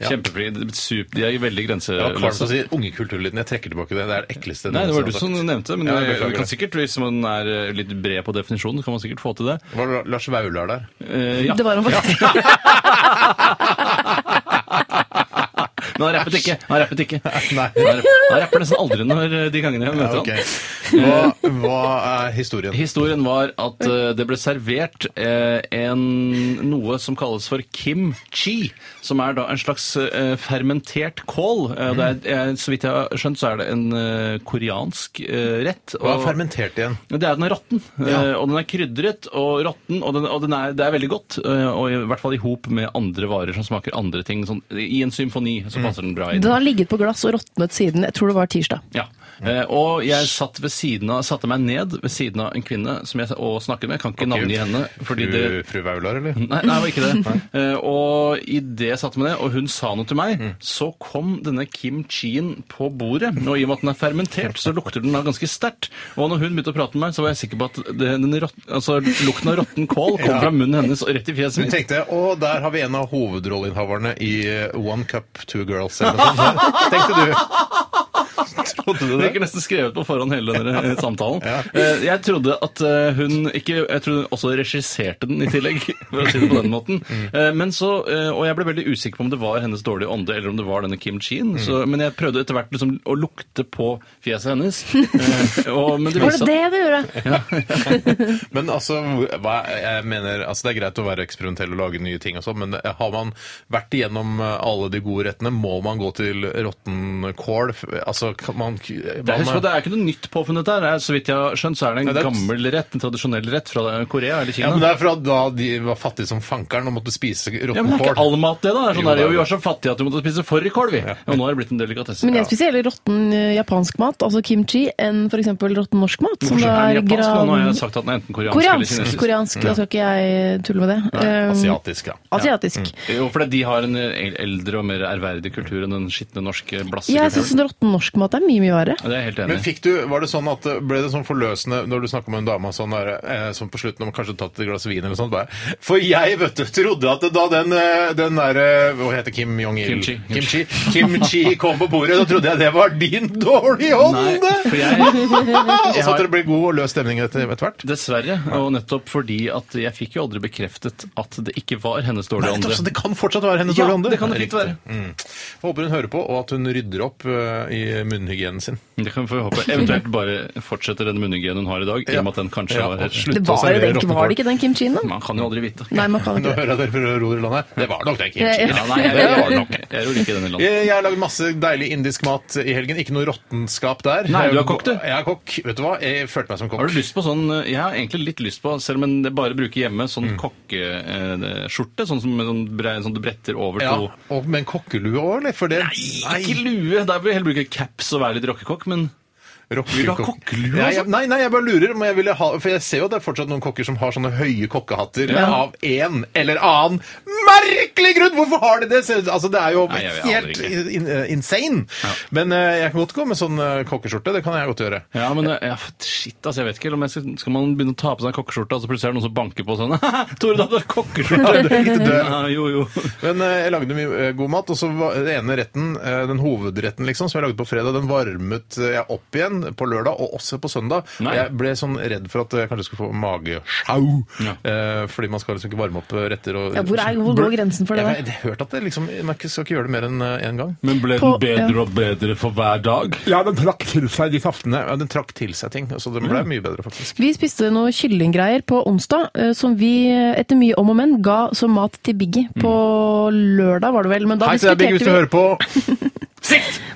S3: Ja.
S4: Kjempefri. sup- De er veldig
S3: Det var kvalmt å
S4: grenseløse.
S3: si unge kultureliten. Jeg trekker tilbake det. Det er det ekleste.
S4: Eh, Nei, det var
S3: noen
S4: du som
S3: har sagt.
S4: nevnte, men
S3: Ja, jeg
S4: jeg,
S3: beklager
S4: kan
S3: det.
S4: sikkert, hvis man er eh, litt bred på definisjonen, kan man sikkert få til det.
S3: Var det Lars
S4: [laughs]
S3: Vaular der?
S4: Eh, ja.
S6: Det var han faktisk.
S4: Men han rappet ikke. Han rappet
S3: [laughs]
S4: ikke.
S3: Nei.
S4: Han rapp- han rapper nesten aldri når eh, de gangene jeg møter
S3: ok.
S4: han.
S3: Hva, hva er historien?
S4: Historien var at eh, det ble servert eh, en, noe som kalles for kimchi, som er da en slags eh, fermentert kål. Eh, det er,
S3: Mm.
S4: eh, så vidt jeg har skjønt, så er det en eh, koreansk eh, rett.
S3: Hva er
S4: og-
S3: fermentert igjen?
S4: Det er den er råtten, eh, og den er krydret og råtten, og, den, og den er, det er veldig godt. eh, Og i hvert fall i hop med andre varer som smaker andre ting. Sånn, I en symfoni så passer den bra inn.
S6: Den har ligget på glass og råtnet siden. Jeg tror det var tirsdag.
S4: Ja. Eh, og jeg satt ved siden av, satte meg ned ved siden av en kvinne som jeg og snakket med. Jeg kan ikke navngi henne. fordi det... Mm.
S3: Fru, fru Vaular, eller?
S4: Nei, nei, det var ikke det. Eh, og idet jeg satte meg ned, og hun sa noe til meg, så kom denne kimchien på bordet. Og i og med at den er fermentert, så lukter den da ganske sterkt. Og når hun begynte å prate med meg, så var jeg sikker på at det, den rått, altså, lukten av råtten kål kom fra munnen hennes og rett i fjeset
S3: Du
S4: mitt.
S3: tenkte å, der har vi en av hovedrolleinnehaverne i eh, One Cup Two Girls. Eller noe
S4: [laughs]
S3: sånt. Tenkte du. Trodde du
S4: Det
S3: det?
S4: virker nesten skrevet på forhånd hele denne eh, samtalen. Eh, Jeg trodde at eh, hun ikke Jeg trodde hun også regisserte den i tillegg, [laughs] for å si det på den måten. Eh, Men så, eh, Og jeg ble veldig usikker på om det var hennes dårlige ånde eller om det var denne Kim Cheen.
S3: Mm.
S4: Så, men jeg prøvde etter hvert liksom å lukte på fjeset
S3: [laughs]
S4: hennes. Eh, Og, men det
S6: Var det
S4: viste
S6: det det gjorde?
S3: Men altså, hva, jeg mener, altså, det er greit å være eksperimentell og lage nye ting og sånn, men har man vært igjennom eh, alle de gode rettene, må man gå til råtten kål? Altså, kan man
S4: det, husk at det er ikke noe nytt påfunnet der. Det er, Så vidt jeg har skjønt, så er det en
S3: Nei, det er-
S4: gammel rett, en tradisjonell rett fra Korea eller Kina.
S3: ja, men det er fra da de var fattige som fankeren og måtte spise
S4: Ja,
S3: råtten
S4: men det er ikke all
S3: kål.
S4: mat, det, da. Det er sånn
S3: Jo,
S4: der,
S3: det er
S4: jo, vi
S3: det.
S4: var så fattige at vi måtte spise fårikål, vi. Og nå har det blitt en delikatesse.
S6: Men jeg spiser heller råtten eh, japansk mat, altså kimchi, enn f.eks. råtten norsk mat. Som
S4: Hvorfor
S6: da
S4: er
S6: er
S4: den japansk? da? Nå har
S6: gran...
S4: jeg sagt at den er enten koreansk, eller
S6: Koreansk,
S4: kinesisk.
S6: koreansk, da skal ikke jeg tulle med det. Um,
S3: Asiatisk, da.
S4: Mm.
S6: Asiatisk.
S4: Jo, fordi de har en eh, eldre og mer ærverdig kultur enn den skitne norske
S6: Jeg syns
S4: blassekulturen.
S6: råtten norsk norsk mat er mye, mye verre.
S4: Ja, Det er jeg helt enig
S3: Men
S4: i.
S3: fikk du, var det sånn at det- ble det sånn forløsende når du snakka med en dame sånn der, eh, som på slutten om kanskje tatt et glass vin eller sånt? Bare, for jeg vet du, trodde at da den, eh, den derre Hva heter Kim Jong-il?
S4: Kimchi.
S3: Kimchi. Kimchi kom på bordet, da trodde jeg det var din dårlige ånde!
S4: Nei, for jeg,
S3: Og så at det ble god og løs stemning etter etter hvert.
S4: dessverre, og nettopp fordi at jeg fikk jo aldri bekreftet at det ikke var hennes
S3: Nei,
S4: dårlige ånde.
S3: altså, det kan fortsatt være hennes
S4: Ja,
S3: dårlige ånde.
S4: det kan det fint
S3: Riktig. Mm. Håper hun hører på, og at hun rydder opp eh, i munnhygienen sin.
S4: Det kan vi få håpe. Eventuelt bare fortsetter den munnhygienen hun har i dag, i og med at den kanskje
S3: Ja,
S4: var
S3: og
S4: helt slutt.
S3: slutt
S6: Det
S3: å
S6: var, jo
S3: servere
S6: den, var det
S3: råtne
S6: ikke den kimchien, da?
S4: Man kan jo aldri vite.
S6: Nei, man kan
S3: Nå
S6: ikke
S4: [laughs]
S6: det.
S3: hører jeg dere fra Rogaland her. Det var nok det, Kim.
S6: Ja, ja.
S4: Ja, nei, jeg,
S3: Det var
S4: jeg,
S3: det nok.
S4: jeg, jeg ror ikke i denne landet.
S3: Jeg jeg har lagd masse deilig indisk mat i helgen. Ikke noe råttenskap der.
S4: Nei, du er kokk, du.
S3: Jeg er kokk. Vet du hva? Jeg følte meg som kokk.
S4: Har du lyst på sånn Jeg har egentlig litt lyst på, selv om jeg bare bruker hjemme, sånn kokkeskjorte. Sånn som med sånn, bre, sånn du bretter over
S3: Ja,
S4: to
S3: og med en kokkelue òg, eller? For det
S4: Nei, ikke lue! Der vil jeg heller bruke caps og være litt rockekokk, men
S3: Vil
S4: du ha kokkelue,
S3: Nei,
S4: altså?
S3: jeg- nei, nei, jeg bare lurer. Men jeg ville ha, for jeg ser jo at det er fortsatt noen kokker som har sånne høye kokkehatter
S4: Ja.
S3: av en eller annen merkelig grunn! Hvorfor har de det? Så- Altså, det er jo
S4: Nei, jeg vet
S3: helt
S4: aldri
S3: in, eh, insane. Men eh, jeg kan godt gå med sånn eh, kokkeskjorte. Det kan jeg godt gjøre.
S4: Ja, men eh, ja, shit, altså, jeg vet ikke. om jeg Skal, skal man begynne å ta på seg en kokkeskjorte, og så plutselig er det noen som banker på sånn [laughs] Tore, da, du har kokkeskjorte! [laughs]
S3: Det er ikke død.
S4: Ja, jo, jo.
S3: Men eh, jeg lagde mye eh, god mat, og så var den ene retten, eh, den hovedretten liksom, som jeg lagde på fredag, den varmet eh, jeg opp igjen på lørdag, og også på søndag.
S4: Nei.
S3: Og Jeg ble sånn redd for at jeg kanskje skulle få magesjau,
S4: Ja.
S3: eh, fordi man skal liksom ikke varme opp retter. Og,
S6: Ja, hvor er- hvor går grensen for det
S3: Jeg, jeg, har hørt at det liksom, man ikke- skal ikke gjøre det mer enn én en gang.
S4: Men ble
S6: På- bedre
S4: og bedre for hver dag?
S3: Ja, den trakk til seg de saftene. Mm. Ja, den trakk til seg ting, så den ble mye bedre faktisk.
S6: Vi spiste noe kyllinggreier på onsdag, eh, som vi eh, etter mye om og men ga som mat til Biggie. På lørdag var det vel, men da
S3: Hei til deg, Bigg, hvis du hører på.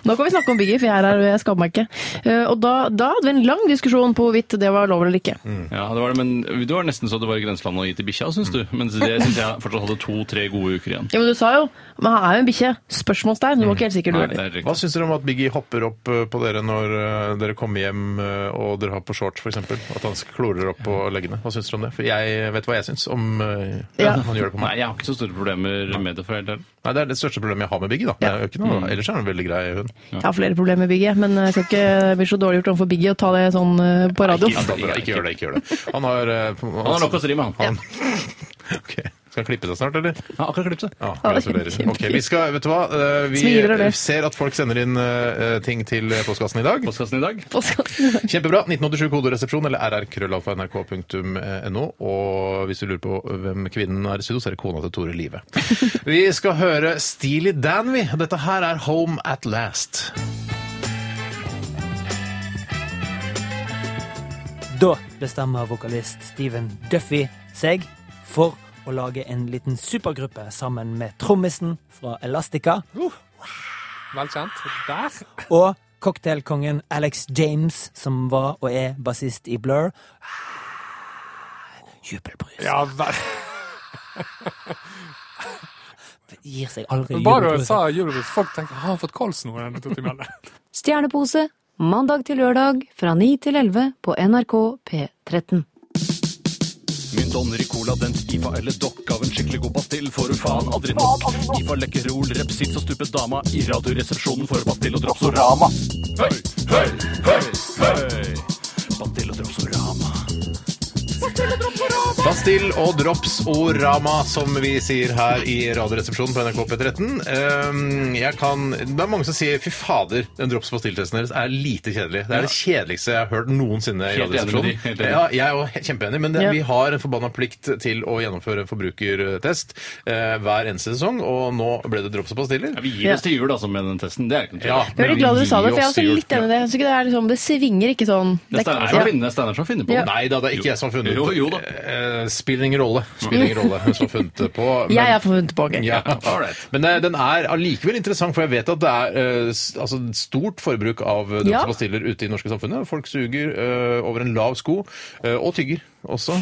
S6: Nå kan vi snakke om Biggie, for jeg er her, og jeg skammer meg ikke. Eh, Og da, da hadde vi en lang diskusjon på hvorvidt det var lov eller ikke.
S4: Ja, det var det, men det var nesten så det var i grenselandet å gi til bikkja, syns du. Mens det syns jeg fortsatt hadde to-tre gode uker igjen.
S6: Ja, men du sa jo Men han er jo en bikkje. Spørsmålstegn. Du var ikke helt sikker, du
S4: Nei, det
S6: heller.
S4: er riktig.
S3: Hva syns dere om at Biggie hopper opp eh, på dere når eh, dere kommer hjem eh, og dere har på shorts, f.eks.? At han klorer opp på leggene. Hva syns dere om det? For jeg vet hva jeg syns om eh,
S6: Ja.
S3: at [laughs] han gjør det på
S4: Nei,
S3: meg.
S4: jeg har ikke så store problemer med det. for helt ærlig.
S3: Nei, Det er det største problemet jeg har med Biggie. da. Det er jo ikke
S4: Mm.
S3: noe, Ellers er han en veldig grei hund.
S6: Jeg har flere problemer med Biggie, men eh, jeg skal ikke [laughs] bli så dårlig gjort overfor Biggie å ta det sånn eh, på radio.
S4: Nei,
S6: [laughs]
S3: Ja, da, bra. Ikke gjør det, ikke gjør det. Han har eh,
S4: Han har nok å stri med, han.
S3: han- [laughs] Ok. Skal han klippe seg snart, eller?
S4: Han har akkurat klippet seg.
S3: Ja,
S6: Ja,
S3: gratulerer.
S6: kjempefint.
S3: Ok, vi skal, vet du hva? Eh, Vi
S6: Smiler og ler.
S3: ser at folk sender inn eh, ting til postkassen i dag.
S4: Postkassen i dag.
S6: Postkassen.
S3: Kjempebra. 1987 koderesepsjon eller rrkrøllalfa.nrk.no. Og hvis du lurer på hvem kvinnen er i studio, så er det kona til Tore Live. Vi skal høre Steely Dan, vi. Dette her er Home At Last.
S8: Da bestemmer vokalist Steven Duffy seg for å lage en liten supergruppe sammen med trommisen fra Elastica
S5: Uh, Vel kjent. Der.
S8: og cocktailkongen Alex James, som var og er bassist i Blur. Jubelbrus.
S5: Ja, vel.
S8: Gir seg aldri
S5: Bare du
S8: jubelbrus.
S5: sa julebrus, folk tenkte har han fått kols nå? denne to timene?
S9: Stjernepose mandag til lørdag fra 9 til 11 på NRK P13.
S4: Mynt, donner i cola, dent, IFA eller dokk av en skikkelig god pastill får du faen aldri nok. IFA lekkerol, repsits og stupet dama i radioresepsjonen for pastill og dropsorama. Høy, høy, høy, høy! Pastill og dropsorama.
S3: Bastill og drops orama, som vi sier her i Radioresepsjonen på NRK P13. Ehm, Jeg kan, det er mange som sier 'fy fader, den drops pastilltesten deres er lite kjedelig'. Det er det kjedeligste jeg har hørt noensinne i
S4: Helt enig med de, helt
S3: Radioresepsjonen.
S4: enig.
S3: Ja, jeg er jo he- kjempeenig, men det,
S6: Ja.
S3: vi har en forbanna plikt til å gjennomføre en forbrukertest eh, hver eneste sesong, og nå ble det drops og pastiller.
S4: Ja, vi gir oss til jul, altså, med den testen. Det er ikke noe tvil.
S3: Ja,
S6: Jeg er veldig glad dere sa det, for jeg er også
S3: Gi oss
S6: litt enig i det. Jeg synes ikke det, er liksom, det svinger ikke sånn.
S4: Det er
S6: Det-
S4: Steinar
S6: ja.
S4: som finner- det er Steinar som finner på det.
S3: Nei da, det er ikke jeg som har funnet
S4: Jo, jo da.
S3: Eh, Spiller ingen rolle. Spiller ingen rolle hvem som har funnet det på. men-
S6: Jeg er forfunnet på, ok.
S3: Ja,
S4: [laughs] all right.
S3: Men eh, den er allikevel interessant, for jeg vet at det er eh, s- altså, stort forbruk av eh, drops
S6: Ja.
S3: og pastiller ute i det norske samfunnet. Folk suger eh, over en lav sko eh, og tygger. også.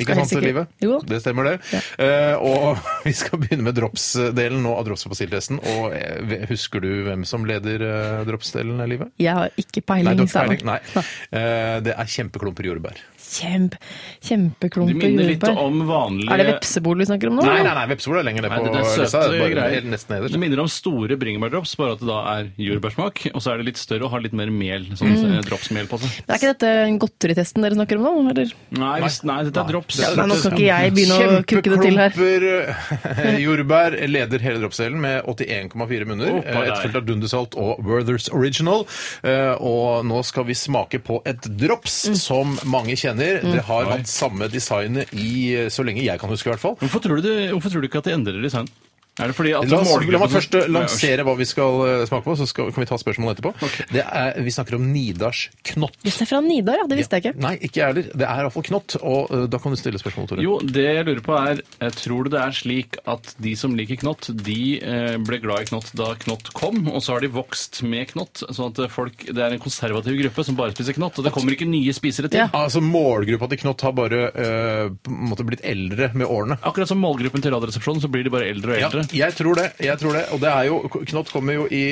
S3: Ikke
S6: Skal helt
S3: sant,
S6: sikkert.
S3: Live?
S6: Jo.
S3: Det stemmer, det. Eh, og [laughs] vi skal begynne med drops-delen nå av drops- og basiltesten. Og eh, husker du hvem som leder eh, drops-delen, Live?
S6: Jeg har ikke
S3: Nei,
S6: peiling.
S3: dr.
S6: Steinar.
S3: Peiling, nei. Eh, det er kjempeklumper jordbær.
S6: Kjempe,
S4: De
S6: kjempeklumper
S4: minner litt
S6: jordbær.
S4: om vanlige
S6: Er det vepsebol vi snakker om nå?
S3: Nei,
S6: eller?
S3: nei, nei vepsebol er lenger ned
S4: Nei,
S3: på
S4: det, det er søte
S3: lista. Det er bare
S4: greier.
S3: helt Nesten nederst.
S4: Det minner om store bringebærdrops, bare at det da er jordbærsmak. Og så er det litt større og har litt mer mel. Sånn
S6: Mm.
S4: eh, dropsmel på seg.
S6: Er ikke dette godteritesten dere snakker om nå? Eller?
S4: Nei, hvis, nei dette er drops.
S6: Ja, nei, nå skal ikke jeg begynne å kukke det til her.
S3: Kjempeklumper [laughs] jordbær leder hele droppsdelen med 81,4 munner.
S4: Oppa der.
S3: Etterfulgt av Dundersalt og Werthers Original. Eh, Og nå skal vi smake på et drops
S6: Mm.
S3: som mange kjenner. Det har hatt samme designet i eh, så lenge jeg kan huske, i hvert fall.
S4: Hvorfor tror, du det, hvorfor tror du ikke at det endrer design? Er det fordi at
S3: La, oss, la meg
S4: målgruppen-
S3: først eh, lansere hva vi skal eh, smake på, så skal, kan vi ta spørsmålet etterpå. Det er, vi snakker om Nidars knott.
S6: Jøss, det er fra Nidar, ja. Det visste jeg ikke.
S3: Nei, ikke jeg heller. Det er iallfall knott, og eh, da kan du stille spørsmål, Tore.
S4: Jo, det jeg lurer på er, eh, tror du det er slik at de som liker knott, de eh, ble glad i knott da knott kom, og så har de vokst med knott, sånn at eh, folk, det er en konservativ gruppe som bare spiser knott, og det kommer ikke nye spisere til.
S6: Ja.
S3: Altså Målgruppa til Knott har bare eh, på en måte blitt eldre med årene.
S4: Akkurat som målgruppen til radioresepsjonen, så blir de bare eldre og
S3: Ja,
S4: eldre.
S3: jeg tror det. jeg tror det, og det er jo, Knott kommer jo i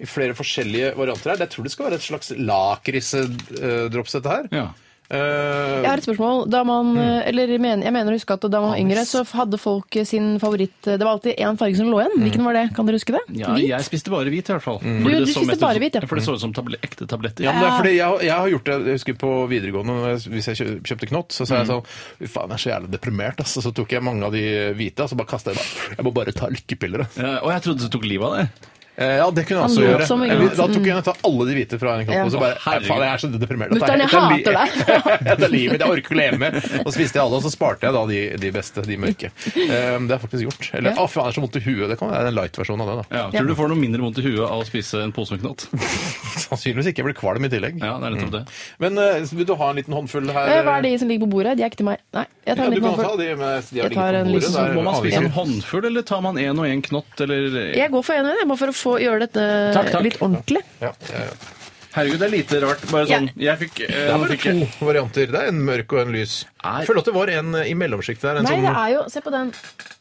S3: i flere forskjellige varianter her. Jeg tror det skal være et slags lakrisdrops, dette her.
S4: Ja.
S3: Eh,
S6: Jeg har et spørsmål. Da man, eller jeg mener, jeg mener å huske at da man var yngre, så hadde folk sin favoritt Det var alltid én farge som lå igjen. Hvilken var det? Kan dere huske det?
S4: Ja,
S6: Hvit?
S4: jeg spiste bare hvit i hvert fall.
S6: Du-
S4: det
S6: du
S4: så
S6: spiste
S4: mest
S6: bare
S4: ut-
S6: hvit, ja.
S4: For det så ut som table ekte tabletter.
S3: ja, men det er fordi jeg, jeg har gjort det jeg husker på videregående. når jeg- Hvis jeg kjø- kjøpte Knott, så sa jeg sånn Fy faen, jeg er så jævlig deprimert. Altså. Så tok jeg mange av de hvite, og så bare kasta jeg bare Jeg må bare ta lykkepiller. da.
S4: Eh, Og jeg trodde du tok livet av det.
S3: Eh, Ja, det kunne jeg
S6: Han
S3: også
S6: lot
S3: gjøre.
S6: som
S3: Jeg,
S6: ingenting.
S3: da tok jeg nesten alle de hvite fra en knopp,
S6: Ja.
S3: og så bare
S4: Å,
S3: Nei,
S4: herregud.
S3: faen, jeg er så deprimert. Dette er-
S6: Mutter'n, jeg
S3: dette er li-
S6: hater
S3: dette er livet mitt, jeg orker ikke å leve med. Og så spiste jeg alle, og så sparte jeg da de, de beste, de mørke. Eh, det er faktisk gjort. Eller, å faen, jeg er så vondt i huet. Det kan være en light-versjon av det, da.
S4: Ja, tror du du får noe mindre vondt i huet av å spise en pose med knott?
S3: Sannsynligvis ikke. Jeg blir kvalm i tillegg.
S4: Ja, det er nettopp det.
S3: Men eh, vil du ha en liten håndfull her?
S6: Eh, Hva er de som ligger på bordet? De er ikke til meg. Nei, jeg
S3: Ja,
S6: tar en
S3: du
S6: liten
S3: kan ta
S6: håndfull.
S3: de med de
S6: Jeg
S3: har
S6: tar en
S3: ligget på bordet.
S6: liten
S3: der
S6: sånn.
S4: Må man
S3: aner vi
S4: spise en
S3: ikke.
S4: håndfull, eller tar man en og en knott, eller
S6: Jeg går for en og en, jeg, bare for å få gjøre dette
S4: Takk, takk.
S6: litt ordentlig.
S3: Ja, ja, ja.
S4: Herregud, det er lite rart. Bare sånn, jeg fikk, eh,
S3: Det er
S4: nå
S3: bare
S4: fikk jeg-
S3: to varianter. Det er en mørk og en lys.
S4: Er-
S3: Jeg føler at det var en eh, i mellomsjiktet der. En
S6: Nei, det
S3: som
S6: er jo Se på den.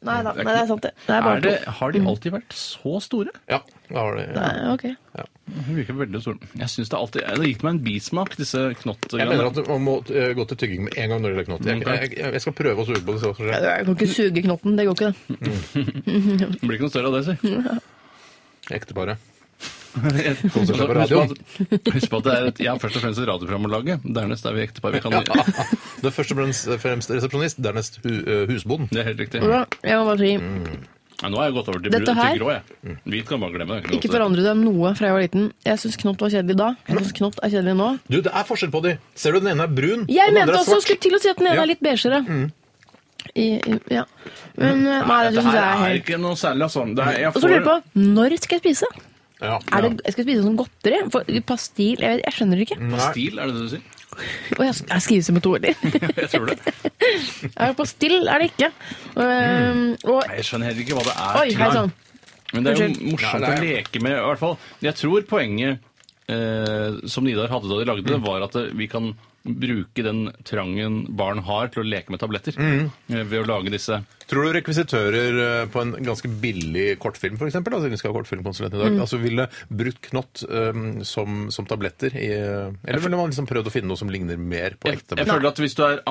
S6: Nei da. Nei, det er sant, det. Det er
S4: er
S6: bare Mm.
S4: det, har de alltid vært så store?
S3: Ja, da var det.
S6: to. Nei, ok.
S4: De virker veldig store. Jeg synes det alltid, det gitt meg en bismak, disse
S3: Jeg mener
S4: knottgreiene.
S3: at man må eh, gå til tygging med en gang når det gjelder knott.
S6: Mm,
S3: Jeg, jeg, jeg- jeg skal prøve å suge på det. Så, så.
S6: Jeg kan ikke suge knotten. Det går ikke, det.
S4: Det blir ikke noe større av det,
S6: [laughs]
S4: si.
S3: Ekteparet.
S4: Husk
S3: seg på
S4: på at, husk på at det er et, jeg er først og fremst et radioprogram å lage. Dernest er vi ektepar. Vi kan
S3: Det er først og fremst, eh, fremst resepsjonist, dernest hu, eh, husbond.
S4: Det er helt riktig.
S6: Ja, Jeg må bare si
S4: Ja, nå har jeg gått over til,
S6: Dette
S4: brun, til
S6: her-
S4: grå, jeg. Mm. Hvit kan man glemme. det er
S6: Ikke
S4: noe å-
S6: forandre dem noe fra jeg var liten. Jeg syns knott var kjedelig da. Jeg syns knott er kjedelig nå.
S3: Du, det er forskjell på de. Ser du, den ene er brun,
S6: Jeg
S3: og den
S6: mente
S3: andre er
S6: også
S3: svart.
S6: skulle til å si at den ene
S3: Ja.
S6: er litt beigere. I- i- Ja. Men eh, nei, det
S4: Dette
S6: syns jeg er
S4: her er
S6: helt
S4: ikke noe særlig, altså. Det er, jeg
S6: Og
S4: får,
S6: så lurer jeg på når skal jeg spise?
S3: Ja.
S6: Er det, jeg skal spise som godteri? For Pastil? Jeg, vet, jeg skjønner det
S4: Mm.
S6: ikke.
S4: Pastil, er det det du sier? [laughs]
S6: Og jeg, jeg skrives med to ord. [laughs]
S4: Jeg tror det.
S6: Er det Pastill er det ikke. Um, og
S4: Nei, Jeg skjønner heller ikke hva det er.
S6: Oi,
S4: til
S6: hei
S4: her.
S6: sann.
S4: Men det er jo
S6: Unnskyld.
S4: morsomt
S3: Ja, det er-
S4: å leke med, i hvert fall. Jeg tror poenget eh, som Nidar hadde da de lagde
S3: Mm.
S4: det, var at eh, vi kan bruke den trangen barn har til å leke med tabletter.
S3: Mm.
S4: eh, Ved å lage disse.
S3: Tror du rekvisitører eh, på en ganske billig kortfilm, for eksempel, da, siden vi skal ha kortfilmkonsulent i dag,
S6: Mm.
S3: altså ville brukt knott eh, som, som tabletter i Eller ville man liksom prøvd å finne noe som ligner mer på
S4: Jeg,
S3: ekte?
S4: jeg føler at hvis du er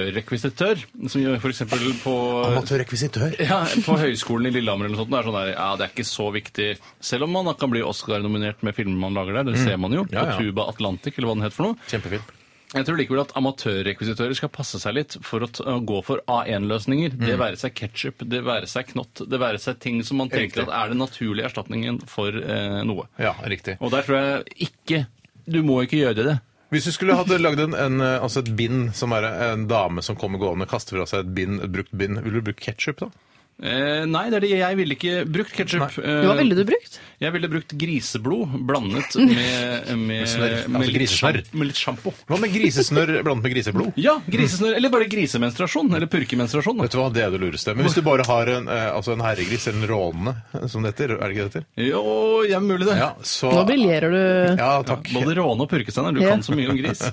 S4: amatørrekvisitør, som gjør f.eks. på
S3: Amatørrekvisitør.
S4: ja, på høyskolen i Lillehammer eller noe sånt, det er sånn der, ja, det er ikke så viktig. Selv om man da kan bli Oscar-nominert med filmer man lager der, det ser man jo.
S3: Mm. Ja, ja.
S4: På Tuba Atlantic, eller hva den het for noe.
S3: Kjempefint.
S4: Jeg tror likevel at amatørrekvisitører skal passe seg litt for å t å gå for A1-løsninger.
S3: Mm.
S4: Det være seg ketsjup, det være seg knott, det være seg ting som man tenker
S3: Riktig.
S4: at er den naturlige erstatningen for eh, noe.
S3: Ja, riktig.
S4: Og der tror jeg ikke Du må ikke gjøre det.
S3: Hvis du skulle hatt lagd en, en, eh, altså eh, et bind som er en dame som kommer gående og kaster fra seg et bind, et brukt bind, ville du brukt ketsjup da?
S4: Eh, nei, det er det jeg ville ikke brukt ketsjup.
S6: Hva ville du brukt?
S4: Jeg ville brukt griseblod
S6: [laughs]
S4: blandet med, med,
S3: snørr.
S4: med,
S3: Altså
S4: litt,
S3: grisesnørr.
S4: sjamp- med litt sjampo.
S3: Hva med grisesnørr blandet med griseblod?
S4: Ja, grisesnørr. Eller bare grisemenstruasjon. Eller purkemenstruasjon. Da.
S3: Vet du hva, Det er det lureste. Men hvis du bare har en, eh, altså en herregris, eller en råne, eh, som det heter, er det ikke det heter?
S4: Jo, ja, mulig det.
S3: Ja, så,
S6: Nå briljerer du.
S3: ja takk.
S4: Både råne og purkesteiner. Du
S6: Ja.
S4: kan så mye om
S3: [laughs]
S4: gris.
S3: Hvis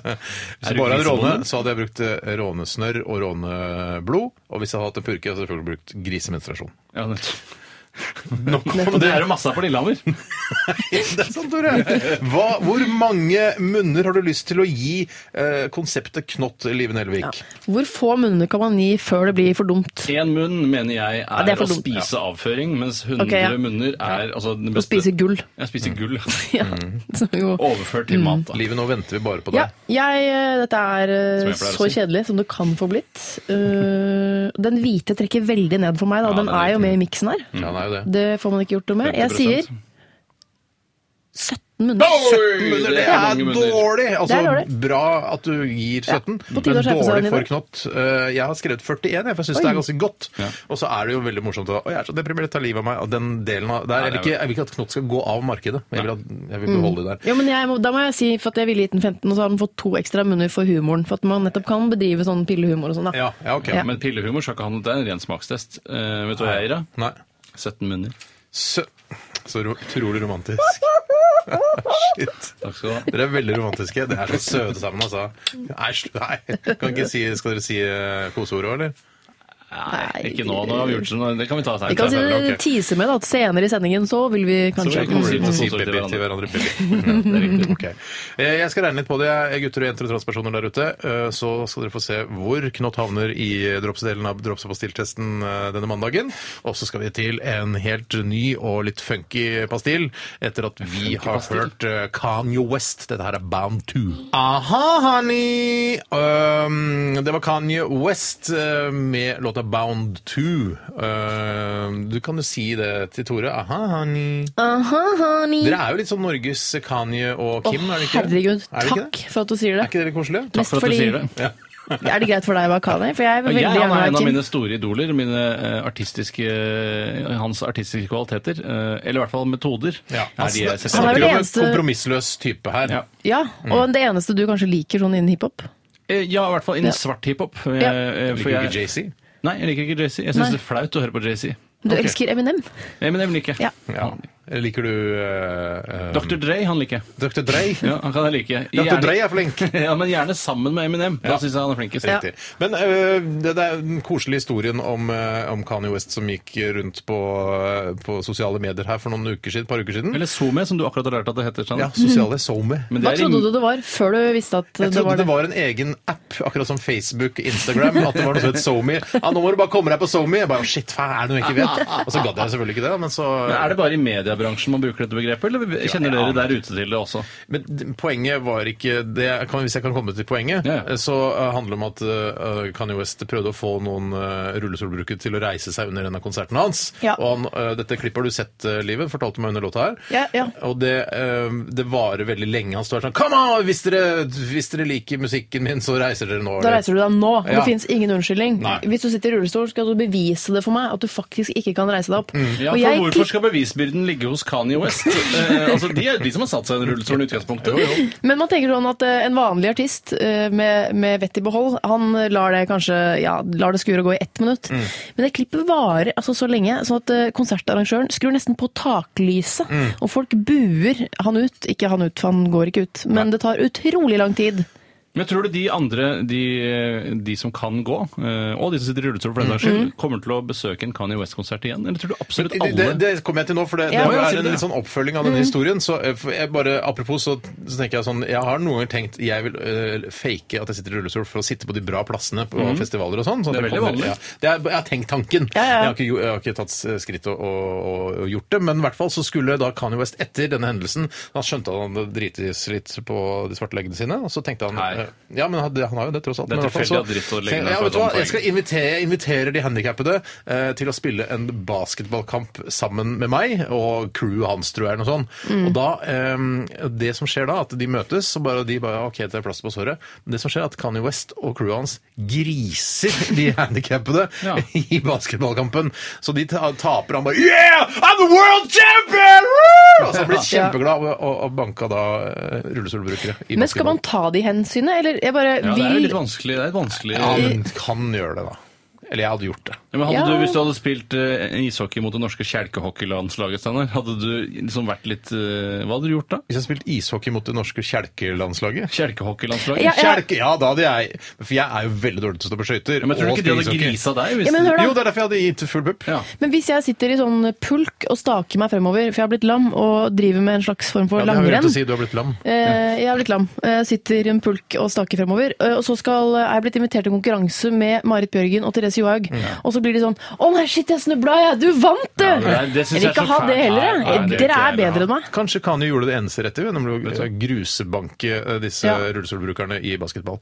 S3: det bare er en råne, så hadde jeg brukt eh, rånesnørr og råneblod. Og hvis jeg hadde hatt en purke, hadde jeg selvfølgelig brukt grisemenstruasjon.
S4: Ja,
S6: [laughs]
S4: nettopp. Og det er det masse av på Lillehammer.
S3: [laughs] Det er sant, Tore. Hva, hvor mange munner har du lyst til å gi eh, konseptet Knott Live Nelvik?
S6: Hvor få munner kan man gi før det blir for dumt?
S4: Én munn mener jeg er,
S6: det er for
S4: å
S6: dumt.
S4: spise avføring, mens 100
S6: Ok, ja.
S4: munner er altså, den
S6: Å
S4: beste.
S6: spise gull. [laughs]
S4: Jeg spiser gull. ja.
S6: Ja, som jo...
S4: Overført
S6: Mm.
S4: til mat. Da.
S3: Livet, nå venter vi bare på
S6: Ja,
S3: deg.
S6: jeg, eh, dette er eh,
S4: Som jeg pleier å
S6: så
S4: si.
S6: kjedelig som det kan få blitt. Eh, den hvite trekker veldig ned for meg, da.
S4: Ja,
S6: Den
S4: den
S6: er
S4: hvite.
S6: jo med i miksen her.
S3: Ja, det er jo det.
S6: Det får man ikke gjort noe med. Jeg sier
S4: 50%.
S6: 17 munner.
S3: Munner, det
S4: Det er
S3: er
S4: mange munner.
S3: dårlig! Altså,
S6: Det er dårlig.
S3: Bra at du gir 17,
S6: på tide
S3: men
S6: å skjerpe seg,
S3: dårlig
S6: Anita.
S3: for knott. Eh, Jeg har skrevet 41, jeg, for jeg syns det er ganske godt. Og så er det jo veldig morsomt. å- Å, jeg er så deprimert, ta livet av meg. Og den delen av, der, jeg, vil
S4: det er
S3: ikke, jeg vil ikke at knott skal gå av markedet. Jeg vil, at, jeg vil beholde det
S4: Mm.
S3: der.
S6: Ja, men jeg, må- da må jeg si for at jeg ville gitt den 15, og så har den fått to ekstra munner for humoren. For at man nettopp kan bedrive sånn pillehumor og sånn, da.
S3: Ja, ja ok.
S6: Ja.
S4: Men pillehumor skal ikke ha noe, det er en ren smakstest. Eh, vet du hva jeg gir, da?
S3: Nei.
S4: 17 munner.
S3: Så, så ro- utrolig
S6: [laughs]
S3: romantisk. Shit.
S4: Takk skal du ha.
S3: Dere er veldig romantiske. Dere er så søte sammen, altså. Nei, slu- nei. Kan ikke si, skal dere si eh, koseordet, eller?
S4: Nei, ikke nå. nå har vi gjort det. Det kan vi ta
S6: Vi kan si
S4: seinere.
S6: det
S3: ok.
S6: teaser med da, at senere i sendingen så vil vi kanskje
S4: vi kan si
S3: Man
S4: det.
S3: sier
S4: koseord til
S3: pepper til hverandre. pepper. Ja, [laughs] det er riktig. Ok. Eh, Jeg skal regne litt på det, jeg, gutter og jenter og transpersoner der ute. Eh, Så skal dere få se hvor Knott havner i dropsdelen av Drops og pastilltesten eh, denne mandagen. Og så skal vi til en helt ny og litt funky pastill etter at vi har hørt eh, Kanye West. Dette her er Bound 2. Aha, honey! Um, det var Kanye West eh, med låta Bound 2. Um, du kan jo si det til Tore. Aha, honey.
S6: Aha, honey.
S3: Dere er jo litt sånn Norges Kanye og Kim,
S6: Å,
S3: er det ikke?
S6: Mm.
S3: det?
S6: herregud,
S3: Er det ikke
S6: takk
S3: det?
S6: for at du sier
S3: Er
S6: det.
S3: ikke dere koselige?
S6: Mest
S4: for at du
S6: fordi-
S4: sier det.
S3: Ja.
S6: Er det greit for deg å være Kanye? For jeg vil veldig
S4: Ja, han
S6: gjerne
S4: er en
S6: være
S4: av
S6: Kim.
S4: mine store idoler. Mine eh, artistiske, eh, hans artistiske kvaliteter. eh, Eller i hvert fall metoder. Er de jeg
S6: han
S4: setter
S6: er
S4: opp
S6: vel
S4: i.
S6: det
S3: en
S6: eneste-
S3: kompromissløs type her.
S4: Ja.
S6: Ja,
S3: Mm.
S6: og det eneste du kanskje liker sånn innen hiphop.
S4: Eh, Ja, i hvert fall
S6: Ja.
S4: innen svart hiphop. Jeg-
S6: Ja.
S4: eh, for
S3: Liker du
S4: jeg-
S3: ikke Jay-Z?
S4: Nei, jeg liker ikke Jay-Z. Jeg
S6: Nei.
S4: syns det er flaut å høre på Jay-Z.
S6: Du
S3: Ok.
S6: elsker Eminem.
S4: Eh, Men jeg vil ikke.
S6: Ja.
S3: Ja. Liker du eh, eh,
S4: Dr. Dre, han liker jeg.
S3: Dr. Dre?
S4: [laughs] Ja, han kan jeg like.
S3: Dr. Dre
S4: Gjerne,
S3: er flink.
S4: [laughs] ja, men gjerne sammen med Eminem. Da
S3: Ja.
S4: syns jeg han er flinkest.
S3: Riktig. Men eh, det, det er den koselige historien om, eh, om Kanye West som gikk rundt på, eh, på sosiale medier her for noen uker siden, par uker siden.
S4: Eller SoMe, som du akkurat har lært at det heter. Sånn.
S3: Ja, sosiale SoMe.
S4: Men
S6: Hva
S4: det er
S6: trodde
S4: i-
S6: du det var før du visste at
S3: Jeg
S6: det
S3: trodde
S6: var det?
S3: det var en egen app, akkurat som Facebook og Instagram. At det var noe som het SoMe. Ja, nå må du bare komme deg på SoMe! Jeg bare, Shit, faen, er det noe jeg ikke vet? Og så gadd jeg selvfølgelig ikke det. Men, så,
S4: Men Er det bare i mediebransjen man bruker dette begrepet, eller kjenner
S3: Ja,
S4: dere
S3: ja.
S4: der ute til det også?
S3: men d- poenget var ikke det kan, Hvis jeg kan komme til poenget,
S4: Ja, ja.
S3: så eh, handler det om at eh, Kanye West prøvde å få noen eh, rullestolbrukere til å reise seg under en av konsertene hans.
S6: Ja.
S3: Og han, eh, dette klippet har du sett, eh, Liven, fortalte meg under låta her.
S6: Ja, ja.
S3: Og det, eh, det varer veldig lenge. Han står her sånn Come on! Hvis dere, hvis dere liker musikken min, så reiser dere nå.
S6: Da reiser du deg nå, og
S3: Ja.
S6: det finnes ingen unnskyldning.
S3: Nei.
S6: Hvis du sitter i rullestol, skal du bevise det for meg at du faktisk ikke kan reise deg opp.
S3: Mm.
S4: Ja, for
S6: og jeg
S4: Hvorfor skal bevisbyrden ligge hos Kanye [laughs] West? eh, altså, De er de som har satt seg i en rullestol i utgangspunktet.
S6: Men man tenker sånn at eh, en vanlig artist eh, med, med vett i behold, han lar det kanskje, ja, lar det skure og gå i ett minutt.
S3: Mm.
S6: Men det klippet varer altså så lenge, sånn at eh, konsertarrangøren skrur nesten på taklyset,
S3: Mm.
S6: og folk buer han ut. Ikke han ut, for han går ikke ut. Men det tar utrolig lang tid.
S4: Men tror du de andre, de, de som kan gå, eh, og de som sitter i rullestol, for den saks
S6: Mm.
S4: skyld, kommer til å besøke en Kanye West-konsert igjen? Eller tror du absolutt
S3: Det,
S4: alle
S3: det, det kommer jeg til nå, for det, det
S6: Ja.
S3: var-
S4: Ja, Mm. si
S3: er
S4: det, ja.
S3: en litt sånn oppfølging av denne historien. Så eh, for jeg bare, apropos, så, så tenker jeg sånn Jeg har noen ganger tenkt jeg vil eh, fake at jeg sitter i rullestol for å sitte på de bra plassene på festivaler og sånn. sånn at
S4: Mm. Det er
S3: jeg
S4: veldig
S3: kommer-
S4: vanlig.
S3: Ja, det er, jeg har tenkt tanken.
S6: Ja, ja.
S3: Jeg, har ikke, gjo- jeg har ikke tatt s- skritt og, og, og gjort det. Men i hvert fall så skulle da Kanye West etter denne hendelsen Han skjønte at han hadde drites litt på de svarte leggene sine, og så tenkte han
S4: Nei.
S3: eh, Ja, men han, han har jo det, tross alt.
S4: Det er
S3: men i hvert fall
S4: tilfeldig
S3: så-
S4: at dritt å legge ned
S3: ja,
S4: for
S3: vet du hva?
S4: et annet
S3: Jeg, skal invitere, jeg inviterer de handikappede eh, til å spille en basketballkamp sammen med meg og crewet hans, tror jeg. eller Noe sånt.
S6: Mm.
S3: Og da, eh, det som skjer da, at de møtes, og bare, de bare OK, det er plass på såret. Men det som skjer, er at Kanye West og crewet hans griser
S6: [laughs]
S3: de handikappede
S4: Ja.
S3: [laughs] i basketballkampen. Så de ta- taper. Han bare Yeah! I'm the world champion! Woo! Altså, han blir kjempeglad og, og, og banka da eh, rullestolbrukere i
S6: Men skal man ta
S3: basketball.
S6: de hensynene, eller jeg bare
S4: Ja, det er jo
S6: vil
S4: litt vanskelig. Det er et vanskelig
S3: Ja, men kan gjøre det, da. Eller jeg hadde gjort det.
S4: Ja, men hadde
S6: Ja.
S4: du, Hvis du hadde spilt eh, ishockey mot det norske kjelkehockeylandslaget, Steinar, hadde du liksom vært litt eh, Hva hadde du gjort da?
S3: Hvis jeg spilte ishockey mot det norske kjelkelandslaget
S4: Kjelkehockeylandslaget?
S6: Ja, ja.
S3: Kjelke, ja, da hadde jeg For jeg er jo veldig dårlig til å stå på skøyter.
S4: Ja, men tror du
S3: og
S4: ikke de hadde
S3: spille ishockey.
S4: grisa deg? Hvis
S6: Ja, men hør da.
S3: Jo, det er derfor jeg hadde gitt full pupp.
S4: Ja.
S6: Men hvis jeg sitter i sånn pulk og staker meg fremover, for jeg har blitt lam og driver med en slags form for
S3: Ja, det har jeg
S6: langrenn
S3: glemt å si, du har blitt lam.
S6: Eh, Jeg har blitt lam. Eh, sitter i en pulk og staker fremover. Eh, Og så skal, er jeg blitt invitert til en konkurranse med Marit Bjørgen og Therese Johaug. Og så blir de sånn Å nei, shit, jeg snubla, jeg! Du vant, du!
S4: Ja, det er- det synes
S6: jeg vil
S4: jeg er så
S6: ikke ha
S4: fælt.
S6: det heller, jeg.
S4: Nei, nei, det vil
S6: Dere
S4: ikke
S6: er
S4: jeg heller
S6: bedre enn meg.
S3: Kanskje Kanye gjorde det eneste rette, nemlig å grusebanke eh, disse
S6: Ja.
S3: rullestolbrukerne i basketball.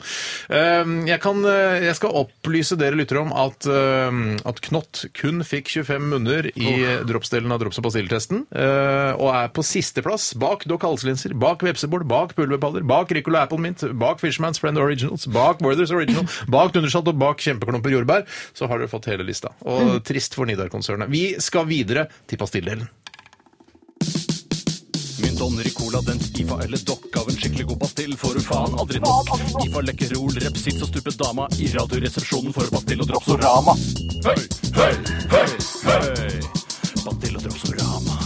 S3: Ehm, Jeg, kan, eh, jeg skal opplyse dere lyttere om at, ehm, at Knott kun fikk 25 munner i eh, dropsdelen av drops- og pastilletesten, eh, og er på sisteplass bak Doc Halslinser, bak Vepsebol, bak Pulverpadder, bak Ricola Apple Mint, bak Fishman's Friend Originals, bak Worthers Original, bak Dundershot og bak Kjempeklumper jordbær. Så har dere fått hele lista. Og trist for Nidar-konsernet. Vi skal videre til pastilldelen.
S4: Mynt og Ricola, den Ifa eller Dokk av en skikkelig god pastill får du faen aldri nok. Ifa lekkerol, repsits og stupet dama i Radioresepsjonen for pastill og dropsorama. Høy, høy, høy, høy! Pastill og dropsorama.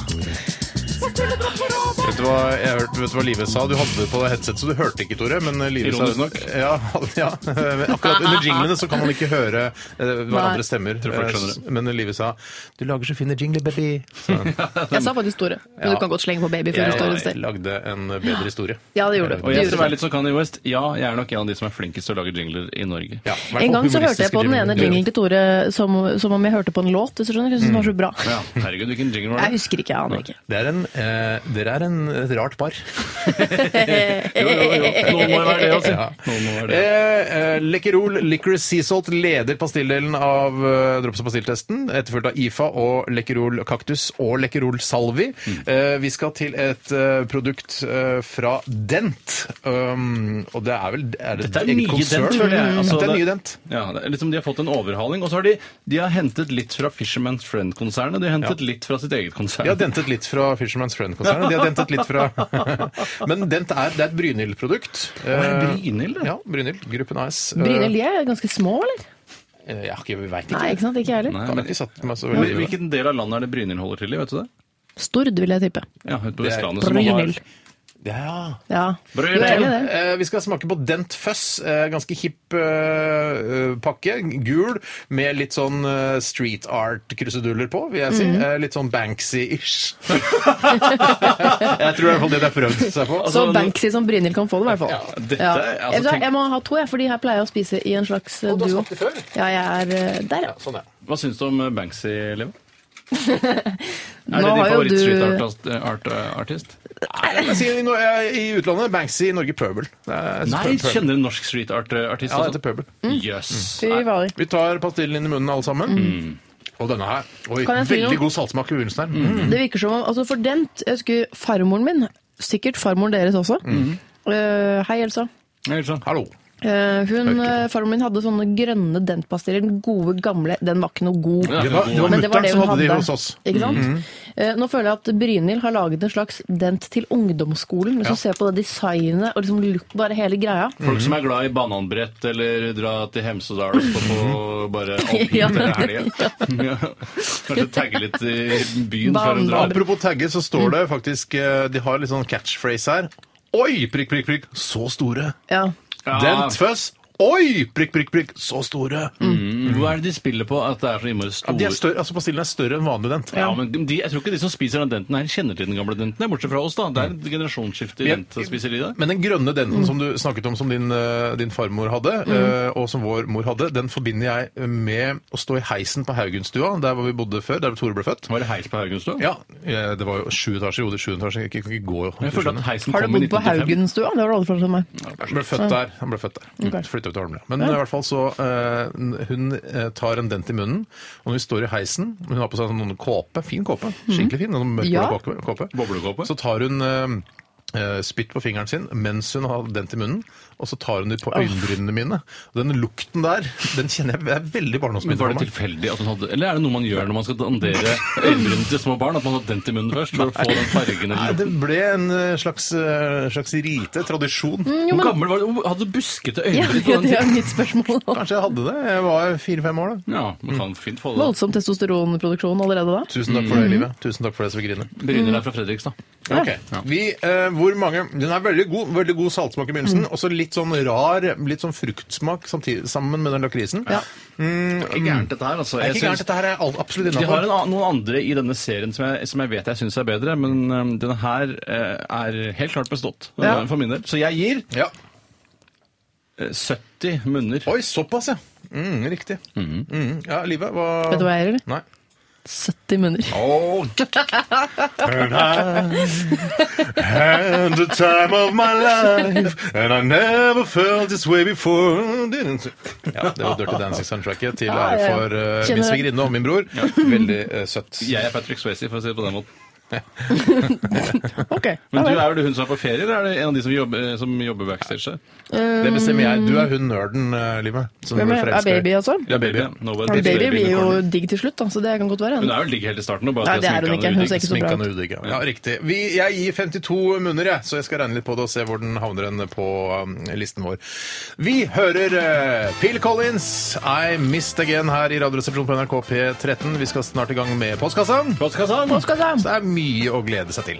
S3: Vet du hva, jeg hørte, vet du hva Live sa? Du hadde det på headset, så du hørte ikke, Tore. Men Live sa
S4: Ironisk nok.
S3: Ja, [laughs] ja, men akkurat under jinglene så kan man ikke høre eh,
S6: Nei.
S3: hverandres stemmer.
S4: Tror folk skjønner det.
S3: Eh, Men Live sa 'Du lager så fine jingler, baby'. Så,
S6: Jeg sa faktisk store. Men
S3: Ja.
S6: du kan godt slenge på baby før du står et
S3: jeg
S6: sted.
S3: lagde en bedre historie.
S6: Ja, det gjorde du.
S4: Og jeg
S6: Det
S4: skal
S6: gjorde du.
S4: være litt som Kanye West. Ja, jeg er nok en av de som er flinkest til å lage jingler i Norge.
S3: Ja, i hvert fall
S6: En gang så hørte jeg
S3: humoristiske
S6: på den ene
S3: jingler.
S6: jinglen til Tore som, som om jeg hørte på en låt. Hvis du skjønner, jeg synes den var så bra.
S4: Ja, herregud, hvilken jingle var
S6: Jeg [laughs]
S4: det?
S6: husker ikke, jeg aner ikke.
S3: Det er en, eh, dere er en et rart par.
S4: Jo,
S6: Eh,
S4: jo, jo. Noen må jo være det, altså.
S3: [laughs] Ja.
S4: Noen må være det.
S3: Eh, eh, Lekkerol Licorice Sea Salt leder pastilldelen av eh, drops- og pastilltesten, etterfulgt av IFA og Lekkerol Kaktus og Lekkerol Salvi.
S4: Mm.
S3: Eh, vi skal til et eh, produkt eh, fra Dent. Um, og det er vel er det
S4: Dette er
S3: et eget
S4: nye
S3: konsern? Mm,
S4: Dent, føler jeg. Altså,
S3: det er
S4: det-
S3: nye Dent.
S4: Ja, det er liksom De har fått en overhaling, og så har de, de har hentet litt fra Fisherman's Friend-konsernet. De har hentet litt fra sitt eget konsern.
S3: De har dentet litt fra Fisherman's Friend-konsernet. De har dentet litt fra [laughs] Men Dent er, det er et Brynhild-produkt.
S4: er det
S3: Eh,
S4: Brynhild, det?
S3: Ja, Brynhild. Gruppen AS. Eh,
S6: Bryne, de er ganske små, eller?
S3: eh, Jeg, har ikke- jeg vet ikke.
S6: Nei, ikke sant? Ikke jeg heller.
S4: Nei,
S3: Kan
S4: men,
S3: ikke satt meg så veldig
S4: Hvil- hvilken del av landet er det Brynhild holder til i? vet du det?
S6: Stord, vil jeg tippe.
S4: Ja, ute på
S3: Det er-
S4: Vestlandet. som
S6: Brynhild.
S4: har-
S3: Ja,
S6: Ja. Du
S4: Brynhild.
S6: er enig i det?
S3: Eh, vi skal smake på Dent Fuzz. Eh, ganske hipp eh, eh, pakke. Gul med litt sånn eh, street art-kruseduller på, vil jeg si.
S6: Mm.
S3: Eh, litt sånn
S6: [laughs]
S3: Banksy-ish. jeg tror i hvert fall det de har prøvd seg på.
S6: Så
S4: Altså,
S6: Banksy som Brynhild kan få det, i hvert fall. Ja,
S4: dette- altså,
S6: Vet du hva,
S4: tenk-
S6: jeg må ha to, jeg, fordi her pleier jeg å spise i en slags eh,
S3: du har
S6: duo.
S3: smakt det før?
S6: Ja, jeg er eh, Der, ja.
S3: Ja, sånn er det.
S4: Hva syns du om eh, Banksy,
S6: [laughs]
S4: Leo? Er
S6: Nå
S4: det din
S6: har jo du-
S4: favoritt-street art, art, eh, artist?
S3: Nei, jeg sier i, Nor- eh, I utlandet Banksy, i Norge Pøbel. Det er-
S4: Nei,
S3: Pøbel.
S4: kjenner du norsk street eh, art-artist?
S3: Ja, det heter Pøbel.
S4: Jøss.
S6: Mm. Fy fader.
S3: Vi tar pastillen inn i munnen, alle sammen. Og denne her. Oi,
S6: Mm. Kan jeg si noe?
S3: veldig god saltsmak i begynnelsen her. Mm.
S6: Det virker som om altså For den Jeg husker farmoren min. Sikkert farmoren deres også.
S4: Mm.
S6: Eh, hei, Elsa.
S4: Helt sånn.
S3: Hallo.
S6: Eh, hun,
S3: Hørte
S6: eh, farmoren min hadde sånne grønne dentpastiller. Den gode, gamle. Den var ikke noe god.
S4: Ja,
S3: Det var, det var
S6: Men det var
S3: mutter'n
S6: det
S3: som
S6: hun
S3: hadde de
S6: hadde.
S3: hos oss. Mhm.
S6: Ikke sant? Eh, Nå føler jeg at Brynhild har laget en slags dent til ungdomsskolen. Hvis
S3: Ja.
S6: du ser på det designet og liksom look, bare hele greia.
S4: Folk som er glad i bananbrett eller dra til Hemsedal og stå på
S6: [laughs]
S4: bare
S6: Ja.
S4: alpint hele
S6: [laughs]
S4: helgen. Ja. Kanskje tagge litt i byen før de
S6: Banan-
S4: drar.
S3: Apropos tagge, så står det faktisk eh, De har litt sånn catchphrase her. Oi! prikk, prikk, prikk, Så store!
S6: Ja.
S4: Ja.
S3: Dent fuzz. Oi! Prikk, prikk, prikk. Så store!
S4: Mm. Hva er det de spiller på at det er så innmari
S3: Ja,
S4: store
S3: de er større, altså Pastillen er større enn vanlig dent.
S4: Ja, men de, jeg tror ikke de som spiser den denten her, kjenner til den gamle denten. Bortsett fra oss, da. Det er et generasjonsskifte i
S3: Men-
S4: dentespiseri der.
S3: Men den grønne
S4: Mm.
S3: denten som du snakket om, som din, eh, din farmor hadde, eh, og som vår mor hadde, den forbinder jeg med å stå i heisen på Haugenstua, der hvor vi bodde før, der hvor Tore ble født.
S4: Var det heis på Haugenstua?
S3: Ja, eh, Det var jo sju etasjer. Jo, det er sju etasjer. Jeg kan ikke gå.
S4: Men Jeg følte at heisen
S6: Har du
S4: kom i
S6: bodd på
S4: 1995.
S6: Haugenstua? Det var det alle som meg.
S3: Han ble født der. Han ble født der. Mm.
S6: Ok.
S3: Flyttet til Holmlia. Men i hvert fall så eh, Hun eh, tar en dent i munnen, og når vi står i heisen Hun har på seg sånn kåpe. Fin kåpe. Skikkelig fin. Sånn mørkblå
S6: Mhm. Ja.
S3: kåpe- kåpe.
S4: Boblekåpe.
S3: Så tar hun eh, eh, spytt på fingeren sin mens hun har dent i munnen, og så tar hun det på øyenbrynene mine. Og den lukten der, den kjenner jeg er veldig
S4: Men
S3: barndomsminne
S4: Var
S3: for
S4: det
S3: meg.
S4: tilfeldig at hun hadde Eller er det noe man gjør når man skal
S6: [laughs]
S4: dandere øyenbrynene til små barn? At man har dent i munnen først for å få den fargen
S3: Nei,
S4: eller
S3: det
S4: noe?
S3: ble en eh, slags, eh, slags rite, tradisjon.
S6: Mm.
S4: Hvor gammel var du? Hvor- Hadde du buskete
S6: Ja,
S4: øyenbryn på den
S6: [laughs] det er
S4: tiden?
S6: mitt spørsmål.
S3: [laughs]
S6: nå.
S3: Kanskje jeg hadde det. Jeg var fire-fem år da.
S4: Ja, man kan fint få det.
S6: Voldsom testosteronproduksjon allerede da.
S3: Tusen takk for
S4: Mhm.
S3: det, Livet. Tusen takk for det, Severine.
S6: Mm.
S4: Bryner er fra Fredrikstad.
S3: Ok. Vi, eh, hvor mange, den er veldig god, veldig god saltsmak i begynnelsen,
S6: Mm.
S3: og så litt sånn rar, litt sånn fruktsmak samtidig, sammen med den lakrisen.
S6: Ja.
S4: Ikke gærent dette her, altså.
S3: Det er
S4: Jeg
S3: ikke gærent,
S4: syns-
S3: dette her er all- absolutt
S4: De har
S3: innafor.
S4: en, an- noen andre i denne serien som jeg, som jeg vet jeg syns er bedre, men øhm, denne her eh, er helt klart bestått øh,
S6: Ja.
S4: for min del. Så jeg gir
S3: Ja.
S4: eh, 70 munner.
S3: Oi, såpass, ja. Mm, riktig. Mm. Ja, Livet, hva
S6: Vet du hva jeg gjør, eller?
S3: Nei.
S6: 70 munner.
S3: And the time of my life, and I never felt this way before. Ja, det var Dirty Dancing-soundtracket til
S6: Ja,
S3: ære
S6: ja.
S3: for eh,
S6: Kjenner
S3: min
S6: det.
S3: svigerinne og min bror. Veldig eh, søtt.
S4: Jeg er Patrick Swayze, for å si det på den måten.
S6: [laughs] Ok, ja
S4: Men du
S6: vel.
S4: er vel hun som er på ferie, eller er det en av de som jobber, eh, som jobber backstage der?
S3: Det bestemmer jeg. Du er hun nerden, eh, Livet. som
S6: Mm. Hvem
S3: ble
S6: er, er
S3: forelsket i.
S6: baby, altså?
S4: Ja, baby. ja. Nobody
S6: Men
S4: takes
S6: baby
S4: in
S6: blir
S4: the
S6: jo
S4: corner.
S6: digg til slutt, da, så det kan godt være.
S4: Hun
S6: da.
S4: er vel digg helt i starten. og Bare
S6: Nei,
S4: at
S6: det
S4: jeg
S6: er hun
S4: sminker
S6: ikke.
S4: henne
S6: Hun ser
S4: udigg.
S6: ikke så bra
S3: Sminkende
S6: ut.
S3: udigg, ja. Ja, riktig. Vi, jeg gir 52 munner, jeg, så jeg skal regne litt på det og se hvor den havner den på um, listen vår. Vi hører eh, Phil Collins, I Missed Again her i Radioresepsjonen på NRK P13. Vi skal snart i gang med postkassa. Så det er mye å glede seg til.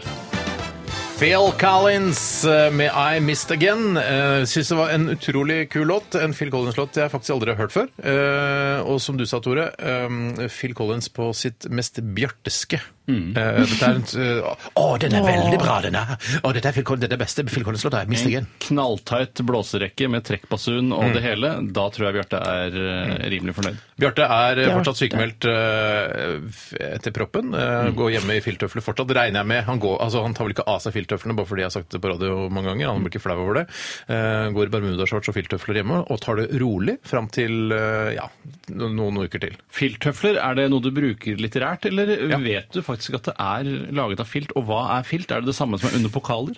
S3: Phil Collins eh, med I Missed Again. Jeg synes det var en utrolig kul låt. En Phil Collins-låt jeg faktisk aldri har hørt før. Eh, Og som du sa, Tore, eh, Phil Collins på sitt mest bjarteske. Eh, Dette er en eh, Å, den er veldig bra, den her! Å, dette er Phil Collins, det er beste Phil Collins-låta. I Missed
S4: En
S3: Again.
S4: knalltight blåserekke med trekkbasun
S6: Mm.
S4: og det hele. Da tror jeg Bjarte er eh, rimelig fornøyd.
S3: Bjarte er eh,
S6: Bjarte.
S3: fortsatt sykemeldt eh, f- etter proppen.
S6: Mm.
S3: eh, Går hjemme i filttøfler fortsatt, regner jeg med. Han, går, altså, han tar vel ikke av seg filttøflene bare fordi jeg har sagt det på radio mange ganger. Han blir ikke flau over det. Eh, Går i bermudashorts og filttøfler hjemme og tar det rolig fram til eh, ja, no- noen uker til.
S4: Filttøfler, er det noe du bruker litterært, eller vet du faktisk at det er laget av filt? Og hva er filt? Er det det samme som er under pokaler?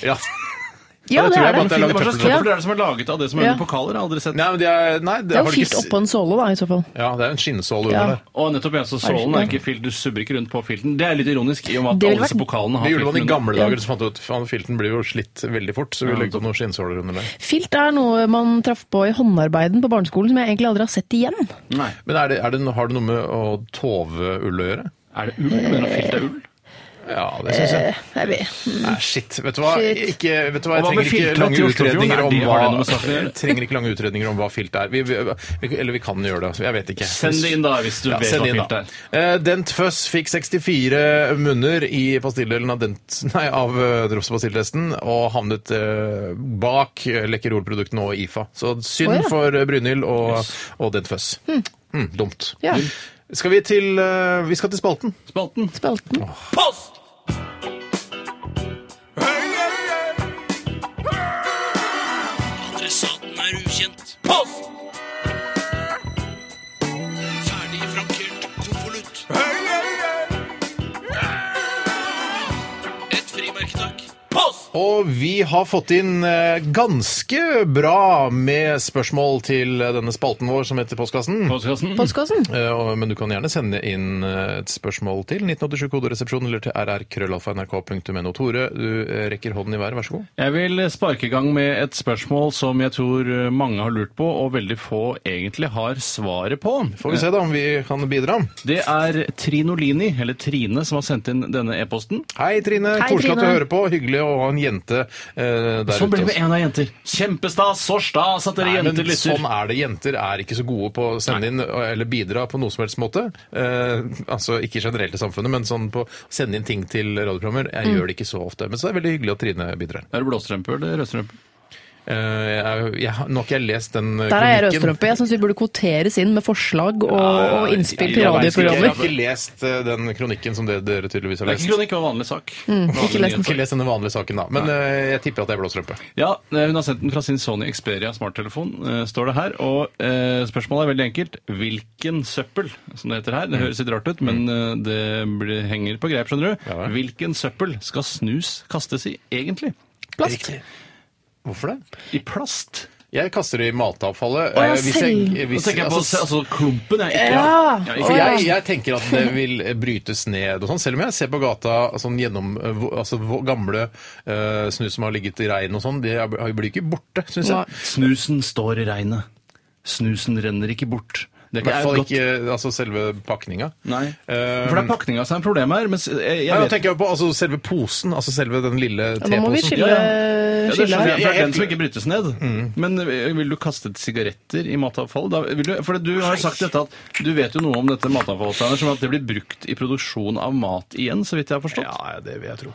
S3: Ja.
S6: Ja, det
S3: det tror jeg
S6: er
S3: bare at det
S6: det.
S3: er laget
S4: Hva slags
S3: tøfler.
S4: tøfler er det som er laget av det som er
S6: Ja.
S4: under pokaler? Jeg har aldri sett.
S3: Nei, men det er, nei, det
S6: Det er
S3: har
S6: jo
S3: du ikke
S6: filt
S3: s-
S6: oppå en såle, da, i så fall.
S3: Ja, det er en
S6: Ja.
S3: skinnsåle under der.
S4: Og nettopp, ja, så sålen er ikke filt, du subber ikke rundt på filten. Det er litt ironisk, i og med at
S6: Det ville
S4: alle disse
S6: vært-
S4: pokalene
S3: Det
S4: har
S3: gjorde man i
S4: filten.
S3: gamle dager, så fant du ut at filten blir jo slitt veldig fort, så vi
S4: Ja,
S3: legger på noen skinnsåler under der.
S6: Filt er noe man traff på i håndarbeiden på barneskolen som jeg egentlig aldri har sett igjen.
S4: Nei.
S3: Men er det, er det, har det noe med å tove ull å gjøre?
S4: Er det ull? Du mener at filt er ull?
S3: Ja, det
S6: Eh,
S3: syns jeg.
S6: Jeg vet.
S3: Nei, shit. Vet du hva?
S6: Shit.
S3: Ikke, vet du hva? Jeg
S4: Og hva med
S3: trenger ikke
S4: filter
S3: lange
S4: til Oslofjorden?
S3: utredninger
S4: Er
S3: om
S4: de- har det noe med
S3: hva,
S4: saken å gjøre?
S3: [laughs] Jeg trenger ikke lange utredninger om hva filt er. Vi, vi, vi, eller vi kan gjøre det. Jeg vet ikke.
S4: Send det inn da, hvis du
S3: Ja,
S4: vet
S3: send
S4: hva
S3: inn
S4: filt
S3: da.
S4: er.
S3: Eh, Dent Føss fikk 64 munner i pastilldelen av, dent, [laughs] nei, av eh, drops- og pastilltesten og havnet eh, bak eh, Lekkerol-produktene og IFA. Så synd
S6: Å, ja. Hm.
S3: for eh, Brynhild og, og Dent Føss. Mm, dumt.
S6: Ja.
S3: Skal vi, til, eh, vi skal til spalten.
S4: Spalten.
S6: Spalten.
S7: Adressaten er ukjent. Post! Ferdig frankert konvolutt. Et frimerke, takk. Post!
S3: Og vi har fått inn eh, ganske bra med spørsmål til eh, denne spalten vår som heter Postkassen.
S4: Postkassen.
S6: Postkassen.
S3: Eh, og- Men du kan gjerne sende inn eh, et spørsmål til 1987koderesepsjon eller til rrkrøllalfa.nrk.no. Tore, du eh, rekker hånden i været, vær så god.
S4: Jeg vil sparke i gang med et spørsmål som jeg tror mange har lurt på, og veldig få egentlig har svaret på.
S3: Får vi se da om vi kan bidra.
S4: Det er Trinolini, eller Trine, som har sendt inn denne e-posten.
S3: Hei, Trine.
S6: Hei,
S3: Koselig at du
S6: Trine.
S3: hører på. Hyggelig å å ha en jente eh, der
S4: Så ble
S3: ute.
S4: vi en av jenter. Kjempestas! Så stas at dere
S3: Nei, men
S4: jenter lytter.
S3: sånn er det. Jenter er ikke så gode på å sende inn eller bidra på noe som helst måte. Eh, altså ikke generelt i samfunnet, men sånn på å sende inn ting til radioprogrammer. Jeg
S4: Mm.
S3: gjør det ikke så ofte. Men så er det veldig hyggelig at Trine bidrar.
S4: Er det blåstrømpe eller rødstrømpe?
S3: Eh, jeg, jeg, har- nå har ikke jeg lest den eh,
S6: Der er jeg
S3: kronikken.
S6: rødstrømpe. Jeg syns vi burde kvoteres inn med forslag og, og innspill til
S4: Ja, ja, ja, ja,
S3: Jeg har
S6: radioprogrammer.
S3: ikke lest eh, den kronikken som det dere tydeligvis har
S4: Det er
S3: lest.
S4: ikke kronikk, det var vanlig sak.
S6: Mm, Ikke les den.
S3: Ikke lest denne vanlige saken, da. Men eh, jeg tipper at det er blåstrømpe.
S4: Ja, eh, Hun har sendt den fra sin Sony Xperia smarttelefon, eh, står det her. Og eh, spørsmålet er veldig enkelt. Hvilken søppel, som det heter her.
S3: Mm.
S4: Det høres litt rart ut, men eh, det blir, henger på greip, skjønner du.
S3: Ja.
S4: Hvilken søppel skal snus kastes i, egentlig?
S3: Plast. Hvorfor det?
S4: I plast?
S3: Jeg kaster det i matavfallet.
S6: Å, ja,
S3: eh, hvis jeg-
S6: selv.
S4: Nå
S3: hvis-
S4: tenker jeg på
S3: altså,
S4: altså, klumpen. Jeg, ikke,
S6: Ja.
S4: Ja,
S3: For
S4: ikke,
S3: jeg, jeg tenker at det vil brytes ned og sånn, selv om jeg ser på gata sånn gjennom eh, hvor- altså, hvor gamle eh, snus som har ligget i regn og sånn, det er- blir ikke borte, syns jeg.
S6: Nei.
S4: Snusen står i regnet. Snusen renner ikke bort. Det
S3: I
S4: er
S3: hvert fall
S4: godt-
S3: ikke altså, selve pakninga.
S4: Nei.
S3: Eh,
S4: For det er pakninga som er problemet her. Mens eh, jeg, jeg,
S3: Nei, nå
S4: vet-
S3: tenker jeg på altså, selve posen, altså selve den lille
S6: Ja, Nå må vi
S3: teposen.
S6: skille,
S4: Ja, det
S6: skille
S4: skjønner jeg,
S6: her.
S4: for det er den som ikke brytes ned.
S3: Mm.
S4: Men eh, vil du kaste sigaretter i matavfall? Da vil du, for du har jo sagt dette at du vet jo noe om dette matavfallet, Steiner, som at det blir brukt i produksjon av mat igjen, så vidt jeg har forstått. Ja,
S3: Ja, det vil jeg tro.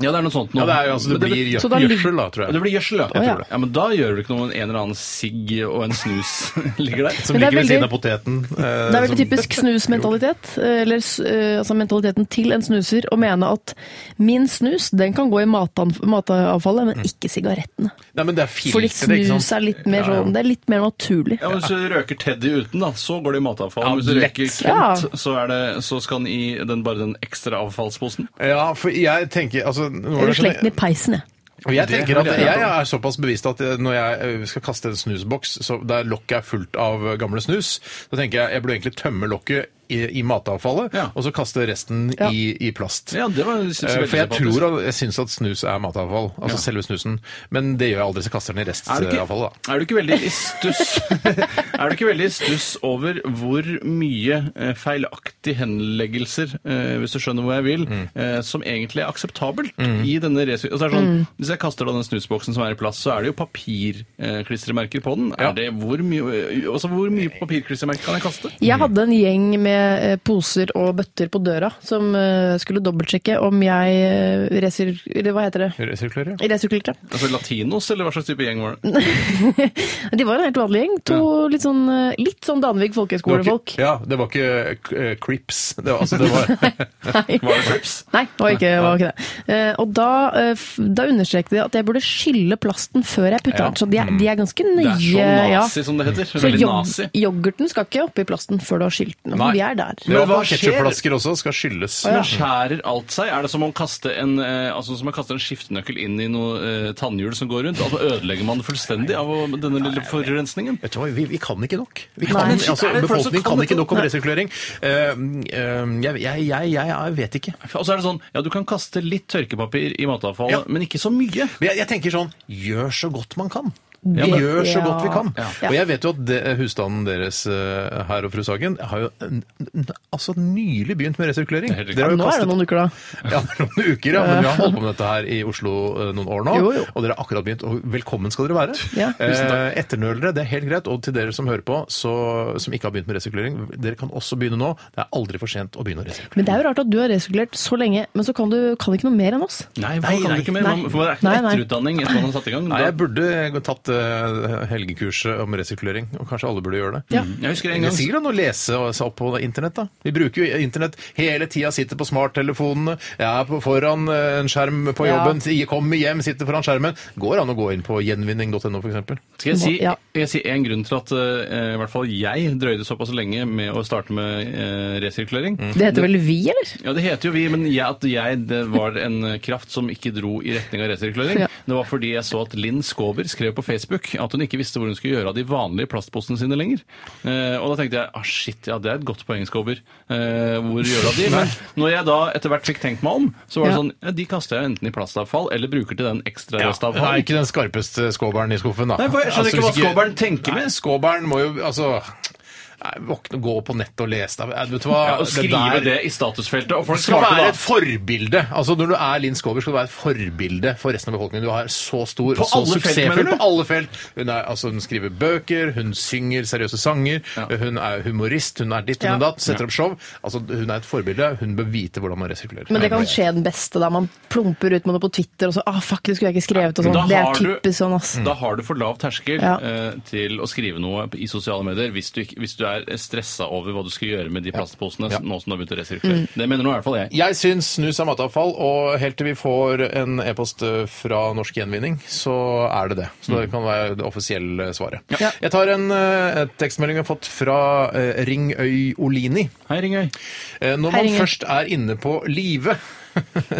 S4: det er noe sånt
S3: Ja,
S4: nå.
S3: det, er, jo, altså, det
S4: Men
S3: blir
S6: Så da
S3: gjø-
S6: ligger-
S3: gjødsel, da, tror
S4: det
S3: jeg.
S4: blir gjødsel, ja.
S6: Å,
S4: Jeg
S6: ja.
S4: tror det. ja. Men da gjør det ikke noe om en eller annen sigg og en snus [laughs] ligger der.
S6: Men det er
S3: Som ligger ved
S6: veldig-
S3: siden av poteten. eh,
S6: Det er veldig
S3: som-
S6: typisk snusmentalitet, eller s- eh, altså mentaliteten til en snuser, å mene at min snus den kan gå i matan- matavfallet, men ikke sigarettene.
S3: Nei, men det er
S6: Fordi
S3: filteret, ikke
S6: snus
S3: sant.
S6: er litt mer
S3: Ja, ja.
S6: sånn, det er litt mer naturlig.
S4: Ja, men Hvis du røker Teddy uten, da, så går det i matavfall.
S3: Ja,
S4: hvis du
S3: lett.
S4: røker
S6: Ja.
S4: Kent, så, er det, så skal den i den, bare den ekstra avfallsposen.
S3: Ja, for jeg tenker altså, nå er
S6: Eller
S3: det sånn-
S6: sleng den i peisen, jeg.
S3: Og jeg tenker at
S4: har jeg
S3: jeg
S4: hørt
S3: er såpass bevisst at eh, når jeg eh, skal kaste en snusboks så der lokket er fullt av eh, gamle snus, så tenker jeg jeg burde egentlig tømme lokket i, i matavfallet,
S4: Ja.
S3: og så kaste resten i, i plast.
S4: Ja, det var, synes jeg,
S3: Eh,
S4: veldig
S3: For jeg
S4: sympatisk.
S3: tror at, jeg syns at snus er matavfall, altså selve snusen. Men det gjør jeg aldri, så jeg kaster den i
S4: Er du, ikke,
S3: restavfallet, da.
S4: er du ikke veldig i [laughs] stuss Er du ikke veldig i stuss over hvor mye eh, feilaktige henleggelser, eh, hvis du skjønner hvor jeg vil, eh, som egentlig er akseptabelt i denne res- altså, det er sånn, Hvis jeg kaster da den snusboksen som er i plass, så er det jo papirklistremerker på den.
S3: Ja.
S4: Er det hvor mye, eh, altså, hvor mye papirklistremerker kan jeg kaste?
S6: Jeg hadde en gjeng med eh, poser og bøtter på døra som eh, skulle dobbeltsjekke om jeg eh, resir... eller Hva heter det?
S3: Resirkulerer.
S6: Resirkulerte.
S4: Altså Latinos, eller hva slags type gjeng var det?
S6: De var en helt vanlig gjeng. To litt sånn, eh, litt sånn Danvik
S3: Det var
S6: folkehøgskolefolk.
S3: ikke, ja, det var ikke eh, crips. Det var, altså, det
S4: [laughs]
S3: var,
S6: Nei.
S4: Var det chips?
S6: Nei, det var ikke, det var ikke det. Eh, og da, eh, f- da understreket de at jeg burde skylle plasten før jeg putter
S3: Ja.
S6: den. Så de er, de er ganske
S4: Det
S6: nøye.
S4: er så
S6: ja.
S4: nazi, som det heter.
S6: Så
S4: Veldig
S6: yog-
S4: nazi.
S6: yoghurten skal ikke oppi plasten før du har skylt den.
S3: Nei.
S6: Vi er der.
S3: det var
S4: hva skjer?
S3: Ketsjupflasker også skal skyldes.
S4: Men skjærer alt seg? Er det som om kaste en, eh, altså som å kaste en skiftenøkkel inn i noe eh, tannhjul som går rundt? Altså Ødelegger man det fullstendig av å- denne lille forurensningen?
S3: Vet du hva, vi, vi kan ikke nok. Vi
S6: Nei,
S3: kan,
S6: men shit,
S3: altså,
S4: er det folk som
S3: befolkningen
S4: kan
S3: kan
S4: dette?
S3: ikke nok om
S4: Nei.
S3: resirkulering. Eh, eh, jeg, jeg, jeg, jeg vet ikke.
S4: Og så er det sånn, ja Du kan kaste litt tørkepapir i matavfallet,
S3: Ja.
S4: men ikke så mye.
S3: Men jeg, jeg tenker sånn gjør så godt man kan.
S4: Ja,
S3: Vi
S4: men-
S3: gjør så
S6: Ja.
S3: godt vi kan.
S4: Ja.
S3: Og jeg vet jo at det, husstanden deres eh, her og fru Sagen har jo n- n- altså nylig begynt med resirkulering.
S4: Det er helt riktig.
S3: Dere har jo
S6: Nå er det
S3: kastet
S6: noen uker, da.
S3: ja, noen uker, ja, men vi har holdt på med dette her i Oslo eh, noen år nå.
S6: Jo, jo.
S3: Og dere har akkurat begynt. Og velkommen skal dere være.
S6: Ja.
S3: Eh, etternølere, det er helt greit. Og til dere som hører på, så, som ikke har begynt med resirkulering, dere kan også begynne nå. Det er aldri for sent å begynne å resirkulere.
S6: Men det er jo rart at du har resirkulert så lenge, men så kan du kan ikke noe mer enn oss.
S4: Nei, hva kan du ikke mer?
S6: nei.
S4: Man, for det er ikke noe
S6: Nei, nei.
S4: etterutdanning etter man har satt i gang.
S3: Nei,
S4: Da-
S3: jeg burde tatt eh, helgekurset om resirkulering, og kanskje alle burde gjøre det.
S6: Ja.
S4: jeg husker en
S3: Det
S4: gang
S3: er sikkert an å lese seg opp på internett, da. Vi bruker jo internett hele tida, sitter på smarttelefonene, jeg er på- foran eh, en skjerm på
S6: Ja.
S3: jobben, sier, kommer hjem, sitter foran skjermen. Går an å gå inn på gjenvinning.no, f.eks.?
S4: Skal jeg si,
S6: Ja.
S4: jeg si en grunn til at eh, i hvert fall jeg drøyde såpass lenge med å starte med eh, resirkulering?
S6: Det heter vel vi, eller?
S4: Ja, det heter jo vi, men jeg, at jeg det var en kraft som ikke dro i retning av resirkulering.
S6: Ja.
S4: Det var fordi jeg så at Linn Skåber skrev på Facebook at hun ikke visste hvor hun skulle gjøre av de vanlige plastposene sine lenger. Eh, og da tenkte jeg ah shit, ja det er et godt poeng, Skåber. Eh, hvor gjør du av de? Men når jeg da etter hvert fikk tenkt meg om, så var det
S6: Ja.
S4: sånn ja, de kaster jeg enten i plastavfall eller bruker til den ekstra restavfall.
S3: Nei, ikke den skarpeste skåberen i skuffen, da.
S4: Nei, for jeg skjønner Altså, ikke
S3: hvis
S4: hva skåberen tenker med.
S3: Nei, skåberen må jo Altså Nei, våkne, gå på nettet og lese det. Nei, Vet du hva?
S4: Ja, og skrive
S3: der-
S4: det, i statusfeltet, og
S3: Det
S4: folk
S3: skal
S4: svarte
S3: være
S4: da.
S3: et forbilde. Altså Når du er Linn Skåber, skal du være et forbilde for resten av befolkningen. Du er så stor
S4: På
S3: og så
S4: alle felt, mener du?
S3: suksessfull på alle felt. Hun, er, altså, hun skriver bøker, hun synger seriøse sanger,
S4: Ja.
S3: hun er humorist, hun er ditt, hun
S6: Ja.
S3: er datt, setter opp show. Altså Hun er et forbilde. Hun bør vite hvordan man resirkulerer.
S6: Men det kan skje den beste, da. Man plumper ut med noe på Twitter, og så ah, fuck, det skulle jeg ikke skrevet, og
S4: Men
S6: sånn.
S4: da
S6: Det
S4: har
S6: er
S4: du- Mm.
S6: typisk sånn, ass.
S4: Da har du for lav terskel
S6: Ja.
S4: eh, til å skrive noe i sosiale medier hvis du, ikke- hvis du er stressa over hva du skal gjøre med de plastposene
S3: Ja.
S4: nå som du har begynt å resirkulere. Det mener nå i hvert fall jeg.
S3: Jeg syns snus er matavfall, og helt til vi får en e-post eh, fra Norsk Gjenvinning, så er det det. Så det kan være det offisielle svaret. Jeg tar en eh, tekstmelding jeg har fått fra eh, Ringøy Olini.
S4: Hei, Ringøy.
S3: Eh, Når
S6: Hei,
S3: man
S6: Ringøy.
S3: først er inne på live [laughs]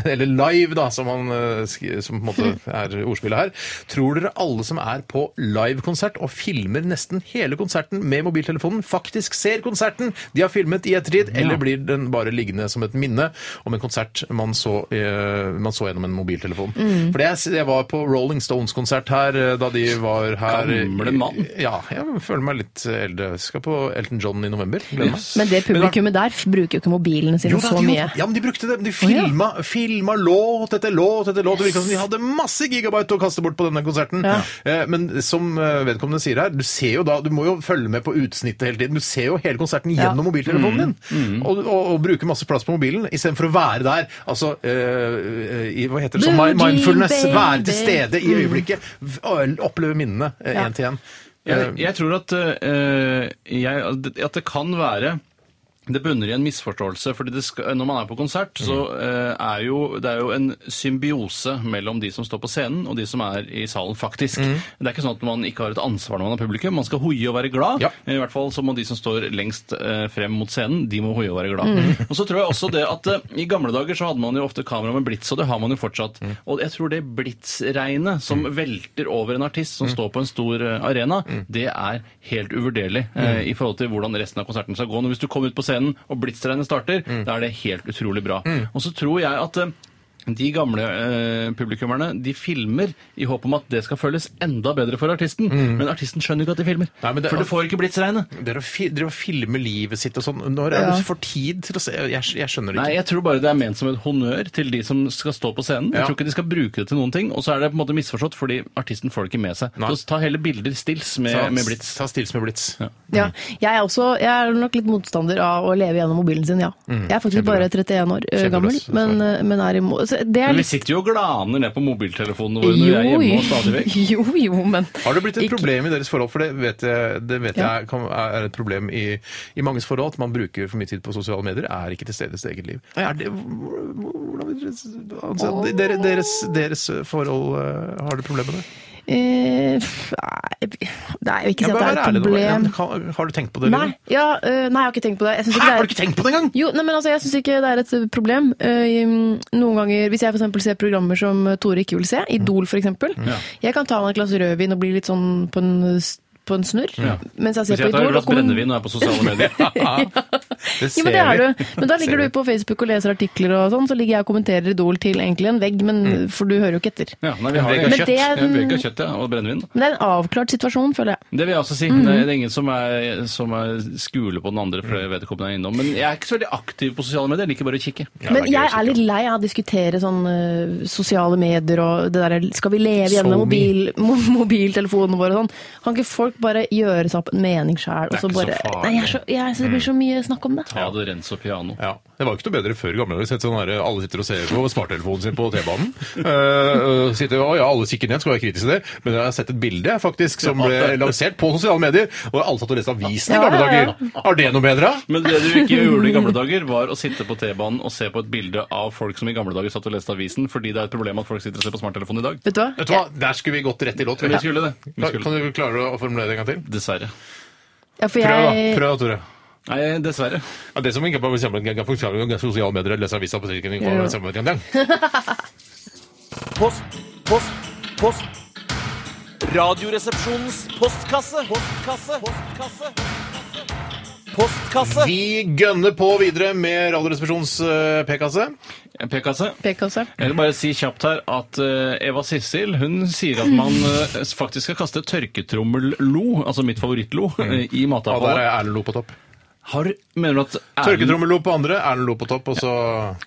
S3: eller live, da, som, man, eh, sk- som på en måte er ordspillet her. Tror dere alle som er på livekonsert og filmer nesten hele konserten med mobiltelefonen, faktisk ser konserten de har filmet i ettertid, eller blir den bare liggende som et minne om en konsert man så, eh, man så gjennom en mobiltelefon? For jeg, jeg var på Rolling Stones-konsert her eh, da de var her
S4: Gamle mann.
S3: Ja, jeg føler meg litt eldre. Skal på Elton John i november. Gleder meg.
S6: Men det publikummet der f- bruker jo ikke mobilene sine
S3: Jo, da,
S6: så
S3: de,
S6: mye.
S3: Ja, men de brukte det. De filma, filma låt etter låt etter låt. Det virka som de hadde masse gigabyte å kaste bort på denne konserten. Eh, Men som eh, vedkommende sier her, du ser jo da Du må jo følge med på utsnittet hele tiden. Du ser jo hele konserten gjennom mobiltelefonen din. Og, og, og bruker masse plass på mobilen istedenfor å være der. Altså eh, i, Hva heter det? Som
S6: Blue
S3: mindfulness.
S6: Jean,
S3: Være
S6: baby.
S3: til
S6: Mm.
S3: stede i øyeblikket. v- Oppleve minnene én
S6: Ja.
S3: til én.
S4: Jeg, jeg tror at, eh, jeg, at det kan være det bunner i en misforståelse. fordi det skal, Når man er på konsert, så eh, er jo, det er jo en symbiose mellom de som står på scenen og de som er i salen, faktisk. Det er ikke sånn at man ikke har et ansvar når man er publikum. Man skal hoie og være glad.
S3: Ja.
S4: I hvert fall så må de som står lengst eh, frem mot scenen, de må hoie og være glad. Og så tror jeg også det at eh, I gamle dager så hadde man jo ofte kamera med blits, og det har man jo fortsatt. Og jeg tror det blitsregnet som
S3: Mm.
S4: velter over en artist som står på en stor eh, arena, det er helt uvurderlig
S3: Mm.
S4: eh, i forhold til hvordan resten av konserten skal gå. Når hvis du kommer ut på scenen og blitsregnet starter,
S3: Mm.
S4: da er det helt utrolig bra. Og så tror jeg at eh, de gamle eh, publikummerne de filmer i håp om at det skal føles enda bedre for artisten. Men artisten skjønner ikke at de filmer.
S3: Mm. Nei, men det-
S4: for det får ikke blitsregnet.
S3: Dere å fi- dere å filme livet sitt og sånn. Når er
S6: Ja.
S3: du for tid til å se Jeg, jeg skjønner det ikke.
S4: Nei, jeg tror bare det er ment som en honnør til de som skal stå på scenen. Jeg
S3: Ja.
S4: tror ikke de skal bruke det til noen ting, og så er det på en måte misforstått fordi artisten får det ikke med seg.
S3: Nei.
S4: Så ta heller bilder stills med,
S3: Ta-
S4: med blits.
S3: Ta stils med blits.
S6: Ja. Jeg, er også, jeg er nok litt motstander av å leve gjennom mobilen sin, ja. Jeg er faktisk bare 31 år eh, gammel,
S3: Kjempeløs,
S6: men, eh, men er imot så Det er
S4: Men vi
S6: litt
S4: sitter jo og glaner ned på mobiltelefonene våre når vi er hjemme og stadig vekk.
S6: [laughs] jo, jo, men
S3: Har det blitt et
S6: Ikke-
S3: problem i deres forhold? For det vet jeg, det vet
S6: Ja.
S3: jeg kan, er et problem i, i manges forhold. At man bruker for mye tid på sosiale medier, er ikke til stede i sitt eget liv. Er det, hvordan vil dere anse dere, deres, deres forhold eh, Har dere problemer med det?
S6: eh, f- Nei, nei, jeg vil ikke si at det
S3: Ja, bare
S6: er
S3: vær
S6: et
S3: ærlig nå, bare. Ja,
S6: problem.
S3: men kan- Har du tenkt på det?
S6: Nei,
S3: Lina?
S6: ja, eh, nei, jeg har ikke tenkt på det. Jeg synes
S3: Hæ,
S6: ikke det
S3: har
S6: er
S3: du ikke tenkt på det engang?! [laughs]
S6: Jo, nei, men altså, Jeg syns ikke det er et problem. Eh, noen ganger, Hvis jeg for eksempel ser programmer som Tore ikke vil se, Idol f.eks. eksempel Jeg kan ta meg et glass rødvin og bli litt sånn på en, på en snurr mens
S4: Hvis
S6: jeg
S4: jeg
S6: ser på
S4: tar et
S6: Idol.
S4: glass
S6: og kommen-
S4: brennevin og er på sosiale medier.
S3: [laughs]
S6: Jo, men det er
S3: vi.
S6: du. Men
S4: [laughs]
S6: da ligger
S3: Ser
S6: du på Facebook og leser artikler og sånn, så ligger jeg og kommenterer Idol til egentlig en vegg, men for du hører jo ikke etter.
S4: Ja, nei, vi Mm. har
S6: Men
S4: ikke
S6: det
S4: kjøtt.
S6: er
S4: Ja,
S6: den-
S4: vi har ikke kjøtt, ja, og brennevin.
S6: Men det er en avklart situasjon, føler jeg.
S4: Det vil jeg også si.
S6: Mm.
S4: Det er- det er ingen som er, som er skule på den andre fordi vedkommende er innom. Men jeg er ikke så veldig aktiv på sosiale medier. Jeg liker bare å kikke.
S3: det
S6: Men
S3: er gøy å
S6: jeg
S3: kikke
S6: er litt lei av å diskutere sånn eh, sosiale medier og det derre Skal vi leve gjennom mobil, [laughs] mo mobiltelefonene våre og sånn? Kan ikke folk bare gjøre seg opp en mening sjæl, og
S4: Det er
S6: så
S4: ikke så
S6: bare
S4: farlig.
S6: Nei, jeg, er så, jeg synes det
S3: Mm.
S6: blir så mye snakk om det.
S4: Ta det rens og piano.
S3: Ja, Det var jo ikke noe bedre før i gamle dager. Sett sånn der, alle sitter og ser på smarttelefonen sin på T-banen. [laughs] Uh, sitter, å ja, alle kikker ned, skal være kritiske til det. Men jeg har sett et bilde faktisk som ble lansert på sosiale medier, og alle satt og leste avisen i gamle
S6: Ja, ja, ja.
S3: dager. Er det noe bedre?
S4: Men det du ikke gjorde i
S6: [laughs]
S4: gamle dager, var å sitte på T-banen og se på et bilde av folk som i gamle dager satt og leste avisen, fordi det er et problem at folk sitter og ser på smarttelefon i dag.
S6: Vet du hva?
S3: Vet du hva, Der skulle vi gått rett i låt.
S4: Men vi skulle det. Vi
S3: Kan,
S4: skulle.
S3: kan du klare å formulere det en gang til?
S4: Dessverre.
S6: Ja, for
S3: Prøv, da.
S6: jeg,
S3: Prøv, da, Tore.
S4: Nei, dessverre.
S3: Ja, det som ikke er på sosiale- sosiale medier, lese avisa på trikken ikke bare samme gang.
S7: [laughs] Post, post, post. Radioresepsjonens postkasse. Postkasse. Postkasse. postkasse. postkasse,
S3: Vi gønner på videre med Radioresepsjons eh, p-kasse.
S4: P-kasse.
S6: P-kasse.
S4: Jeg vil bare si kjapt her at eh, Eva Sissel hun sier at man eh, faktisk skal kaste tørketrommel-lo, altså mitt favorittlo, eh, i
S3: Mm. Ja, der er
S4: matavfallet.
S3: Erlend Lo på topp.
S4: Har, mener du at Erlend
S3: Tørketrommel-Lo på andre, Erlend Lo på topp, og så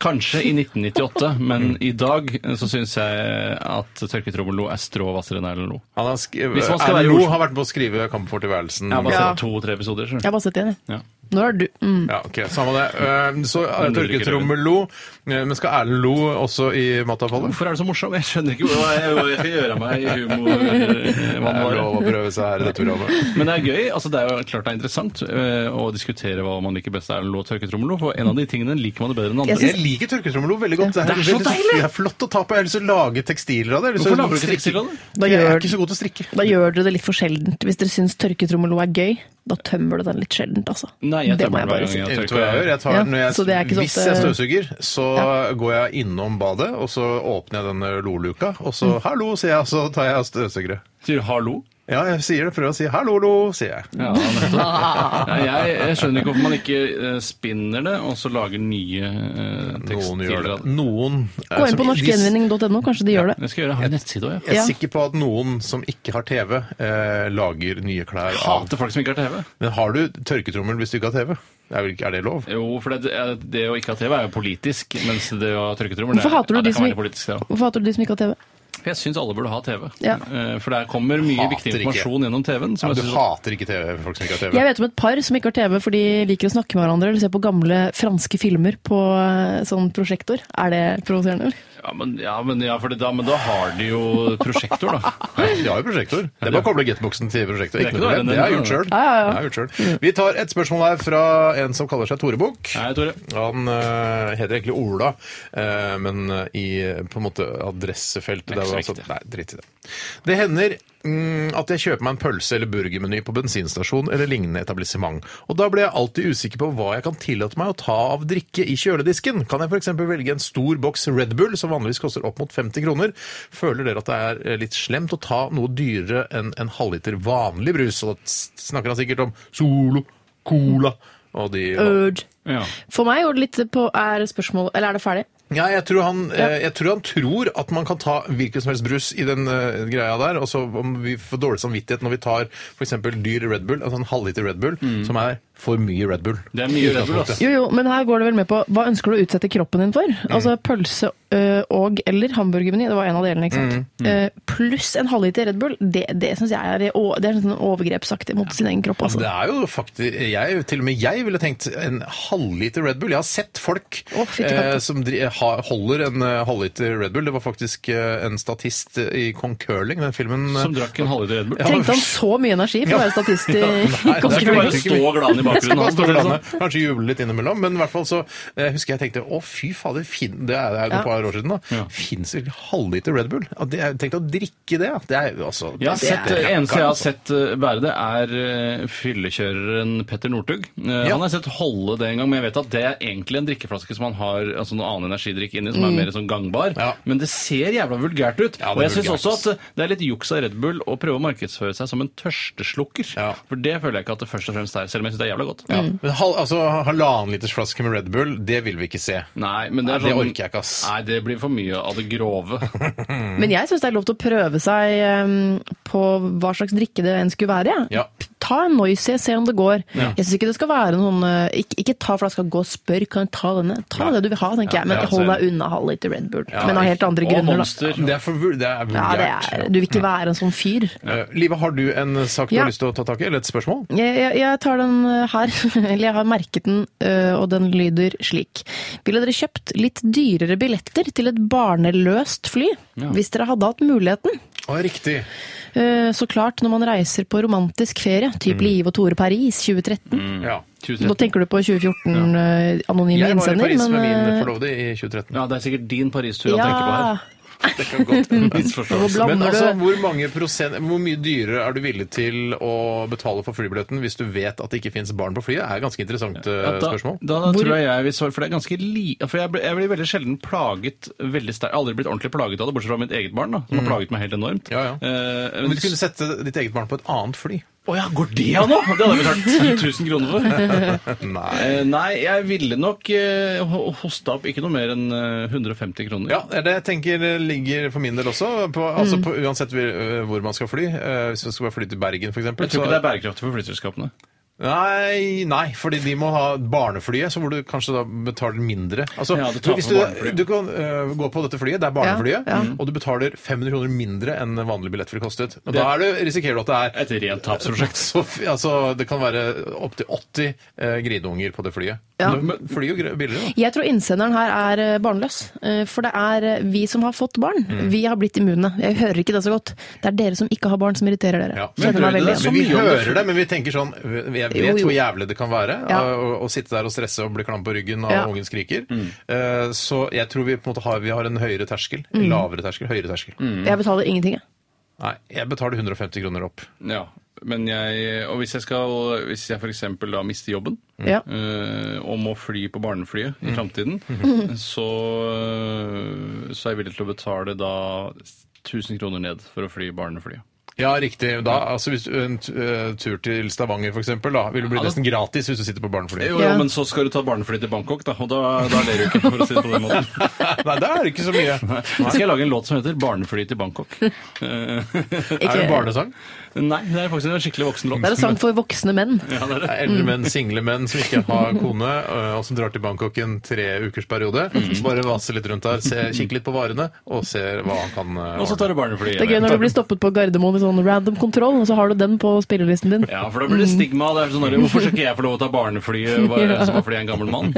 S4: Kanskje i 1998,
S3: [laughs]
S4: men
S3: Mm.
S4: i dag eh, så syns jeg at tørketrommel-lo er strå hvassere enn Erlend Lo.
S3: han har sk
S4: Hvis man skal
S3: Erlend
S4: være i
S3: Lo
S4: Oslo-
S3: har vært med å skrive 'Kamp for tilværelsen'.
S4: Jeg har bare
S6: Ja.
S4: sett to-tre episoder.
S6: Jeg
S4: Selv.
S6: har bare sett igjen,
S4: Ja.
S6: jeg. Nå er du mm.
S3: Ja, ok, samme det. Eh, Så er
S4: Men
S3: det
S4: du drikker
S3: tørketrommel-Lo. Eh, Men skal Erlend Lo også i matavfallet?
S4: Hvorfor er du så morsom? Jeg skjønner ikke hva jeg, hva jeg skal gjøre av meg i
S3: Det er
S4: humor.
S3: lov å prøve seg her i dette programmet.
S4: Men det er gøy. altså Det er jo klart det er interessant eh, å diskutere hva man liker best av Erlend Lo og tørketrommel-lo, for en av de tingene liker man det bedre enn
S6: Jeg
S4: andre.
S3: [laughs] Jeg liker tørketrommel-Lo veldig godt.
S4: Det er så
S3: veldig-
S4: deilig!
S3: Det er flott å ta på. Jeg har lyst til å lage tekstiler av det. Jeg har lyst til
S4: Hvorfor lager
S3: å
S4: du ikke
S3: strikke-
S4: tekstiler av det?
S6: Da
S3: Jeg er
S6: gjør,
S3: ikke så god til å strikke.
S6: da gjør dere det litt for sjeldent. Hvis dere syns tørketrommelo er gøy, da tømmer du den litt sjeldent, altså.
S4: Nei, jeg
S6: det må
S4: tømmer den hver
S6: jeg bare
S4: gang
S6: si.
S4: jeg
S3: Vet du
S4: tørker.
S3: hva jeg gjør? Jeg tar,
S6: Ja,
S3: når jeg,
S6: så det er ikke sånn
S3: hvis
S6: at,
S3: jeg
S6: eh,
S3: støvsuger, så går jeg innom badet, og så åpner jeg denne loluka, og
S6: Mm.
S3: så 'hallo', sier jeg, og så tar jeg støvsugere.
S4: Sier du 'hallo'?
S3: Ja, jeg sier det. Prøver å si 'hallo, lo', sier jeg.
S4: Ja, nettopp. Nei, jeg, jeg skjønner ikke hvorfor man ikke eh, spinner det, og så lager nye eh,
S3: Noen gjør
S4: tekstiler
S3: det.
S4: av det.
S3: Noen eh,
S6: Gå inn
S3: som-
S6: på norskgjenvinning.no, kanskje de gjør det.
S4: Jeg skal gjøre, jeg har en nettside òg, jeg.
S3: Jeg er
S6: Ja.
S3: sikker på at noen som ikke har TV, eh, lager nye klær av
S4: Hater folk som ikke har TV.
S3: Men har du tørketrommel hvis du ikke har TV? Er, vel ikke- er det lov?
S4: Jo, for det, det å ikke ha TV er jo politisk, mens det å ha tørketrommel
S6: Hvorfor hater du
S4: det
S6: de som
S4: kan
S6: i-
S4: være politisk, det også.
S6: Hvorfor hater du de som ikke har TV?
S4: For jeg syns alle burde ha TV.
S6: Ja.
S4: Eh, For der kommer mye
S3: Hater
S4: viktig
S3: ikke.
S4: informasjon gjennom TV-en.
S3: Ja,
S4: som jeg
S3: men du
S4: synes-
S3: hater ikke TV, folk som ikke har TV.
S6: Jeg vet om et par som ikke har TV, for de liker å snakke med hverandre eller se på gamle franske filmer på eh, sånn prosjektor. Er det provoserende? eller?
S4: Ja, men, ja, men, ja, for det, da, men da har de jo prosjektor,
S3: [laughs]
S4: da.
S3: Nei, De har jo prosjektor. Det er bare å koble getboksen til prosjektor.
S4: Det er
S3: Ikke
S4: ikke
S3: noe problem.
S4: noe
S3: Det har jeg gjort
S4: annet enn
S3: selv. Det har jeg gjort selv. Vi tar et spørsmål her fra en som kaller seg Tore Bukk.
S4: Nei, Tore.
S3: Han eh, heter egentlig Ola, eh, men i eh, på en måte
S4: Det
S3: adressefeltet
S4: er ikke
S3: der var
S4: så
S3: altså-
S4: viktig.
S3: Nei, drit i det. Det hender mm, at jeg kjøper meg en pølse eller burgermeny på bensinstasjon eller lignende etablissement. Og da blir jeg alltid usikker på hva jeg kan tillate meg å ta av drikke i kjøledisken. Kan jeg f.eks. velge en stor boks Red Bull, som vanligvis koster opp mot 50 kroner? Føler dere at det er eh, litt slemt å ta noe dyrere enn en halvliter vanlig brus? Og da s- snakker han sikkert om Solo, Cola og de
S6: Urge.
S4: Ja.
S6: For meg går det litt på Er spørsmål Eller er det ferdig?
S3: Ja, jeg tror, han, eh, jeg tror han tror at man kan ta hvilken som helst brus i den eh, greia der. Og så om vi får dårlig samvittighet når vi tar f.eks. dyr Red Bull, altså en halvliter Red Bull, som er for mye Red Bull.
S4: Mm. Det er mye Red Bull, ass.
S6: Jo, jo, men her går det vel med på hva ønsker du å utsette kroppen din for?
S3: Mm.
S6: Altså pølse ø, og eller hamburgermeny, det var en av delene, ikke
S3: Mm,
S6: sant? Eh, Pluss en halvliter Red Bull, det, det syns jeg er, å- det er sånn overgrepsaktig mot sin egen kropp.
S3: Altså,
S6: Altså.
S3: det er jo faktisk jeg, Til og med jeg ville tenkt en halvliter Red Bull. Jeg har sett folk eh,
S6: Å, fytti katta.
S3: som dri ha, holder en eh, halvliter Red Bull. Det var faktisk eh, en statist i Kong Curling, den filmen eh,
S4: Som drakk en halvliter Red Bull.
S3: Ja.
S6: Tenkte han så mye energi for å være statist
S3: [laughs]
S6: i
S3: Nei, det er ikke
S4: Bare
S6: konkurransen?
S4: stå glad i bakgrunnen.
S3: Skal
S4: hans, for å si
S3: bare stå for
S4: det sånn.
S3: landet. Kanskje juble litt innimellom, men i hvert fall så eh, husker jeg tenkte å fy fader, fin, det er det er jo
S6: Ja.
S3: et par år siden da. Fins det halvliter Red Bull? Ja, det, jeg tenkte å drikke det, ja. det er jo altså
S4: Jeg har
S3: det er- altså.
S4: sett, det eneste jeg har sett eh, være det, er eh, fyllekjøreren Petter Northug. Eh, Han har jeg sett holde det en gang, men jeg vet at det er egentlig en drikkeflaske som han har altså noe annen energidrikk inni, som er mer sånn gangbar.
S3: Mm. Ja.
S4: Men det ser jævla vulgært ut.
S3: Ja, det er
S4: og jeg syns
S3: vulgært.
S4: også at eh, det er litt juks av Red Bull å prøve å markedsføre seg som en tørsteslukker.
S3: Ja.
S4: For det føler jeg ikke at det først og fremst er, selv om jeg syns det er jævla godt.
S3: Ja. Men halv, altså, halvannen liters flaske med Red Bull, det vil vi ikke se.
S4: Nei, men det, er
S3: Nei, det
S4: sånn-
S3: orker jeg ikke, ass.
S4: Nei, det blir for mye av det
S3: [laughs]
S4: grove. Mm.
S6: Men jeg syns det er lov til å prøve seg em, på hva slags drikke det enn skulle være. jeg.
S3: Ja.
S6: P- Ta en Noisy, se om det går. Jeg syns ikke det skal være noen eh, Ikke, ikke ta flaska, gå og spør. Kan jeg ta denne? Ta det du vil ha, tenker jeg. Men
S4: ja,
S6: hold
S4: så-
S6: deg unna halv liter Red Bull. men av helt andre
S4: og
S6: grunner, da.
S4: monster.
S3: Det er, for, vul- det
S6: Ja,
S3: er
S6: det
S3: vulgært.
S6: er, du vil ikke være en sånn fyr.
S3: Eh, Live, har du en sak du
S6: Ja.
S3: har lyst til å ta tak i, eller et spørsmål?
S6: Jeg, jeg, jeg tar den eh, her, [laughs] eller jeg har merket den, eh, og den lyder slik. Ville dere kjøpt litt dyrere billetter til et barneløst fly, hvis dere hadde hatt muligheten?
S3: Å, riktig.
S4: Mm.
S6: Eh, Så klart, når man reiser på romantisk ferie,
S3: Mm.
S6: typ Liv og Tore Paris 2013
S3: Ja.
S6: Nå tenker du på 2014, eh, anonyme
S3: Mm, Jeg var i
S6: innsender,
S3: Paris med min
S6: men
S3: forlovede i 2013.
S4: Ja, det er sikkert din Paris-tur
S6: eh,
S4: han tenker på
S6: [laughs]
S4: her.
S3: Det kan godt hende.
S4: Misforståelse.
S6: Hvor blander
S3: Men altså,
S6: du-
S3: hvor, mange prosent, hvor mye dyrere er du villig til å betale for flybilletten hvis du vet at det ikke finnes barn på flyet? er et ganske interessant eh,
S4: Ja, da,
S3: spørsmål.
S4: Da, da tror jeg jeg vil svare, for det er ganske li... For jeg, ble, jeg blir veldig sjelden plaget veldig sterkt. Jeg har aldri blitt ordentlig plaget av det, bortsett fra mitt eget barn, da, som har plaget meg helt enormt.
S3: Mm. Ja, ja.
S4: Eh,
S3: Men
S4: men
S3: du kunne sette ditt eget barn på et annet fly. [laughs]
S4: Å ja, går det an, da?! Det hadde jeg betalt 10 000 kroner
S3: [laughs]
S4: for.
S3: Nei.
S4: Eh, nei, jeg ville nok eh, ho- hosta opp ikke noe mer enn eh, 150 kroner.
S3: Ja, det er det jeg tenker ligger for min del også. På,
S4: Mm.
S3: altså på, uansett hvor hvor man skal fly. eh, Hvis man skal fly til Bergen, f.eks.
S4: Jeg tror ikke det er bærekraftig for flyselskapene.
S3: Nei, nei, fordi de må ha barneflyet, så hvor du kanskje da betaler mindre. Altså,
S4: Ja, du tar
S3: hvis
S4: på
S3: du,
S4: barneflyet.
S3: du kan øh, gå på dette flyet, det er barneflyet,
S6: Ja, ja.
S3: og du betaler 500 kroner mindre enn vanlig billettfly kostet. Og da er du, risikerer du at det er
S4: Et rent tapsprosjekt.
S3: så, f- altså, Det kan være opptil 80 eh, grinunger på det flyet.
S6: Ja.
S3: Men men fly er jo gre- billigere, da.
S6: Jeg tror innsenderen her er eh, barnløs. eh, For det er eh, vi som har fått barn.
S3: Mm.
S6: Vi har blitt immune. Jeg hører ikke det så godt. Det er dere som ikke har barn, som irriterer dere.
S3: Ja.
S6: Kjenner meg
S4: Men
S6: veldig Sånn,
S4: det er så
S6: igjen.
S3: Men vi
S4: mye om det
S3: hører
S4: før.
S3: det, men vi tenker sånn Jeg vet
S6: Jo, jo.
S3: hvor jævlig det kan være
S6: Ja.
S3: å, å sitte der og stresse og bli klam på ryggen og
S6: Ja.
S3: ungen skriker. Eh, så jeg tror vi på en måte har, vi har en høyere terskel. Lavere terskel, høyere terskel.
S6: Jeg betaler ingenting, jeg.
S3: Nei, jeg betaler 150 kroner opp.
S4: Ja, men jeg, og hvis jeg skal, hvis jeg for eksempel da mister jobben,
S3: Mm.
S6: Ja.
S4: eh, og må fly på barneflyet
S6: Mm.
S4: i fremtiden,
S6: Mhm.
S4: så, eh, så er jeg villig til å betale da 1000 kroner ned for å fly barneflyet.
S3: Ja, riktig. Da, altså, hvis du, en t- eh, tur til Stavanger, for eksempel, da, vil det bli
S4: da-
S3: nesten gratis hvis du sitter på barneflyet.
S4: Eh, Jo, jo,
S6: Ja.
S4: men så skal du ta barnefly til Bangkok, da, og da, da ler du ikke, for å si det på den [laughs] måten.
S3: Nei, der er det ikke så mye.
S4: Nå skal jeg lage en låt som heter 'Barnefly til Bangkok'. Eh,
S3: Er det en barnesang?
S4: Nei, det er faktisk en skikkelig voksen låt.
S6: Det er en sang for voksne menn.
S4: [laughs] Ja, det er
S3: Det
S4: det.
S3: er eldre menn, single menn som ikke har kone, eh, og som drar til Bangkok en tre ukers periode.
S4: Mm.
S3: Bare vaser litt rundt der, se, kikke litt på varene, og ser hva han kan eh,
S4: Og så tar du barneflyet.
S6: Det er gøy når du blir stoppet på Gardermoen i sånn random kontroll, og så har du den på spillelisten din.
S4: Ja, for da blir det stigma. Det er sånn, der, Hvorfor skal ikke jeg få lov å ta barneflyet
S6: [laughs]
S4: bare som fordi jeg er en gammel mann?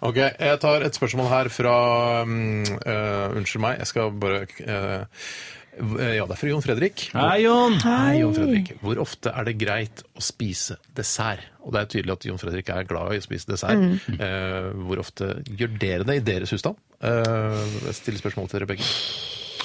S3: Ok, jeg tar et spørsmål her fra mm, eh, Unnskyld meg, jeg skal bare eh, eh, Ja, det er fra Jon Fredrik.
S4: Hei, Jon!
S3: Hei, Jon Fredrik. Hvor ofte er det greit å spise dessert? Og det er tydelig at Jon Fredrik er glad i å spise dessert.
S6: Mm.
S3: Eh, hvor ofte gjør dere det i deres husstand? Eh, jeg stiller spørsmål til dere begge.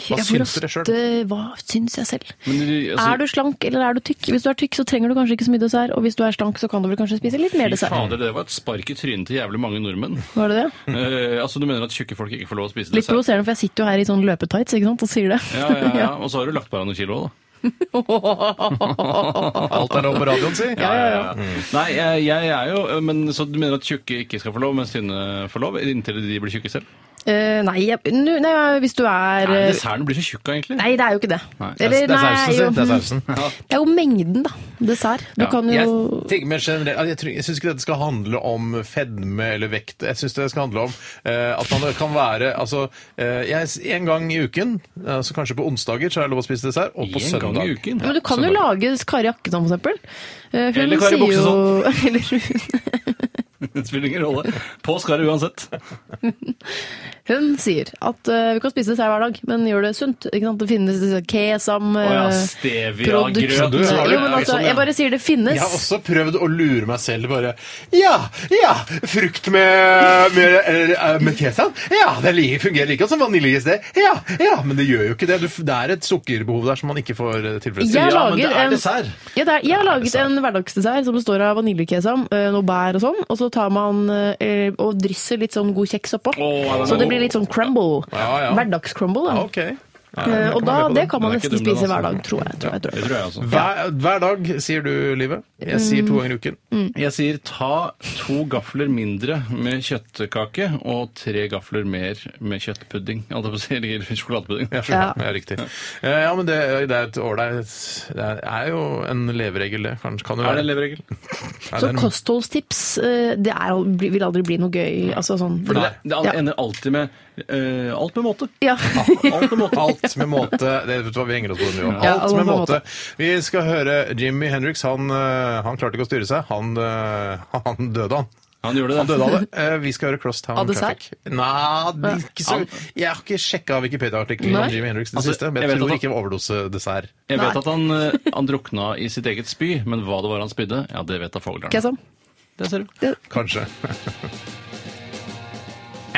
S3: Hva
S6: Ja, hvor
S3: syns dere sjøl?
S6: ofte- Hva syns jeg selv?
S4: Men du, altså,
S6: Er du slank eller er du tykk? Hvis du er tykk, så trenger du kanskje ikke så mye dessert. Og hvis du er slank, så kan du vel kanskje spise litt
S4: Fy
S6: mer dessert.
S4: fader, det var et spark i trynet til jævlig mange nordmenn.
S6: Var det det?
S4: Eh, altså, Du mener at tjukke folk ikke får lov å spise
S6: Litt
S4: dessert?
S6: provoserende, for jeg sitter jo her i sånn løpetights ikke sant, og sier det.
S4: Ja,
S6: [laughs]
S4: ja, ja. Og så har du lagt på deg noen kilo, da.
S3: Alt er lov på radioen, si!
S4: Ja, ja, ja. Nei, jeg, jeg er jo eh, men, Så du mener at tjukke ikke skal få lov, mens tynne får lov? Inntil de blir tjukke selv?
S6: Eh, nei, jeg, nu- nei, hvis du er
S4: Nei,
S6: eh,
S4: desserten blir så tjukk, egentlig.
S6: Nei, det er jo ikke det.
S4: Nei, det
S3: Det er, det er
S6: nei,
S3: sausen, si.
S6: jo,
S3: Det er [laughs] sausen.
S6: det er jo mengden, da. Dessert. Du
S4: Ja,
S6: kan jo
S3: Jeg, tenker mer generelt, Altså, jeg, tror- jeg syns ikke dette skal handle om fedme eller vekt. Jeg syns det skal handle om eh, at man kan være Altså, eh, jeg, en gang i uken, eh, så kanskje på onsdager, så er det lov å spise dessert. Og på
S4: En gang
S3: søndag.
S4: i uken.
S6: Men du kan jo
S4: Søndag.
S6: lage Kari Akkesand, for eksempel. Eh, hun
S4: Eller Kari
S6: sier jo- [laughs] Eller hun,
S4: [laughs] Det spiller ingen rolle. På skal det uansett.
S6: [laughs] Eh, hun sier at eh, vi kan spise dessert hver dag, men gjør det sunt. Ikke sant? Det finnes disse kesam
S4: Å ja,
S6: eh,
S4: stevia-grøt.
S3: Du har
S6: Jo, men
S3: ja,
S6: altså,
S3: sånn, ja.
S6: jeg bare sier det finnes.
S3: Jeg har også prøvd å lure meg selv bare Ja, ja, frukt med, med, eller, eh, med kesam. Ja, det li- fungerer like godt som vaniljeis, det. Ja, ja, men det gjør jo ikke det. Du, f- det er et sukkerbehov der som man ikke får eh,
S6: Jeg
S3: tilfredsstilt.
S6: lager en-
S4: dessert.
S6: Ja, det er, jeg har laget en hverdagsdessert som består av vaniljekesam, eh, noe bær og sånn, og så tar man eh, og drysser litt sånn god kjeks oppå.
S4: Å,
S6: Så det blir litt sånn crumble.
S3: Ja, ja.
S6: Hverdagscrumble, da.
S3: Ja, ok. Ja,
S6: Eh,
S3: men
S6: og da,
S3: jeg være med på
S6: det kan man
S4: Den er ikke
S6: nesten
S4: dum, den,
S6: spise
S4: altså.
S6: hver dag, tror jeg. Tror jeg, tror
S4: Det
S6: jeg.
S4: tror jeg også.
S3: Hver, hver dag, sier du, Live. Jeg sier to ganger i uken.
S4: Mm. Jeg sier ta to gafler mindre med kjøttkake og tre gafler mer med kjøttpudding. Jeg holdt på å si eller [laughs] sjokoladepudding.
S3: Jeg skjønner. Ja. riktig. Eh, Ja, men det, det er et ålreit Det er jo en leveregel, det. Kanskje kan det
S4: Er det
S3: være.
S4: en leveregel?
S3: Ja,
S6: Så
S3: det er en-
S6: kostholdstips eh, det er, al- bli- vil aldri bli noe gøy. Altså sånn
S4: For det, det
S6: Ja.
S4: ender alltid med eh, alt med
S6: [laughs]
S4: måte.
S6: Ja.
S4: Alt med måte.
S3: Alt med måte. Det vet du hva vi henger oss på den jo.
S6: Ja,
S3: Alt med måte. Vi skal høre Jimmy Hendrix. Han, eh, han klarte ikke å styre seg. Han, eh, [laughs] han døde, han.
S4: Han gjorde
S3: Han
S4: det.
S3: døde av det. Eh, Vi skal høre Cross Town
S6: Av dessert?
S3: Traffic. Nei, det er ikke så Jeg har ikke sjekka Wikipedia-artikkelen om
S6: Nei.
S3: Jimmy Hendrix i det
S4: Altså,
S3: siste, men
S4: jeg
S3: jeg
S4: vet
S3: tror
S4: at
S3: ikke det var overdosedessert.
S4: Jeg vet at han, eh, han drukna i sitt eget spy, men hva det var han spydde, ja, det vet da Foglarn.
S6: Kesam.
S4: Det ser du.
S3: Kanskje. [laughs]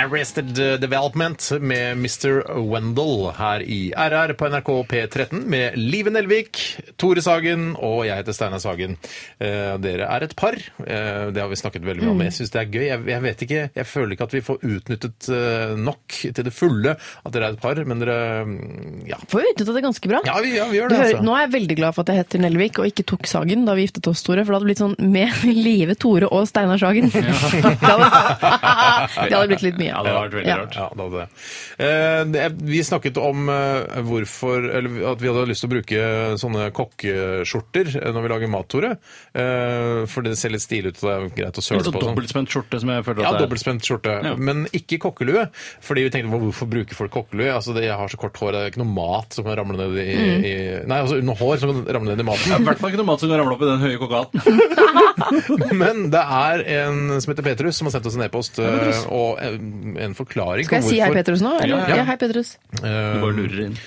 S3: Arrested Development med Mr. Wendell her i RR på NRK P13 med Live Nelvik, Tore Sagen og jeg heter Steinar Sagen. Eh, Dere er et par. Eh, Det har vi snakket veldig
S6: Mm.
S3: mye om. Jeg syns det er gøy. Jeg, jeg vet ikke, jeg føler ikke at vi får utnyttet eh, nok til det fulle at dere er et par, men dere mm, Ja,
S6: Får jo utnytta det ganske bra.
S3: ja vi, ja, vi gjør
S6: Du
S3: det,
S6: hører, nå
S3: altså.
S6: er jeg veldig glad for at jeg heter Nelvik og ikke tok Sagen da vi giftet oss, Tore. For det hadde blitt sånn med [laughs] Live, Tore og
S4: [laughs]
S6: Steinar Sagen. det, hadde, det hadde blitt litt mye.
S4: Ja, det hadde vært veldig
S6: Ja.
S4: rart.
S3: Ja, det hadde det. Eh, det- Vi snakket om eh, hvorfor Eller at vi hadde lyst til å bruke eh, sånne kokkeskjorter eh, når vi lager mat, Tore. Eh, For det ser litt stilig ut, og det er greit å
S4: Litt
S3: søle
S4: sånn
S3: på. og Sånn.
S4: dobbeltspent skjorte som jeg føler
S3: Ja,
S4: at det er.
S3: dobbeltspent skjorte,
S4: Ja.
S3: men ikke kokkelue. Fordi vi tenkte, hvorfor bruker folk kokkelue? Altså, det, jeg har så kort hår, det er ikke noe mat som kan ramle ned i,
S6: Mm.
S3: i Nei, altså under hår som kan ramle ned i maten.
S4: Det
S6: [laughs]
S4: er I hvert fall ikke noe mat som kan ramle opp i den høye [laughs] kokaten.
S3: Men det er en som heter Petrus, som har sendt oss en e-post, eh, og en en forklaring
S6: Skal jeg si hei, Petrus, nå? Eller?
S4: Ja,
S6: Ja,
S4: ja.
S6: hei, Petrus.
S4: Du bare
S3: eh,
S4: lurer inn.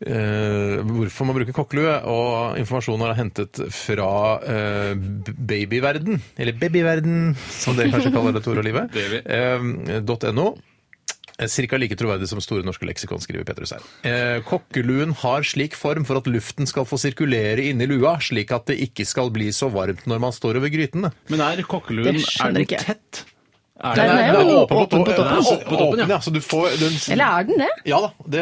S3: eh, hvorfor man bruker kokkelue, og informasjonen er hentet fra eh, b- babyverden, eller babyverden, som dere kanskje kaller det, Tore og Live,
S4: Baby.
S3: eh, .no. Eh, Cirka like troverdig som Store norske leksikon, skriver Petrus her. Eh, kokkeluen har slik form for at luften skal få sirkulere inni lua, slik at det ikke skal bli så varmt når man står over grytene.
S4: Men er kokkeluen
S6: Det skjønner
S4: er den
S6: ikke jeg.
S4: tett? Er
S6: Nei, den er jo
S3: åpen på toppen.
S4: Den er åpen på toppen, ja.
S3: Åpen, ja. Så du får den
S6: Eller er den det?
S3: Ja da. Det,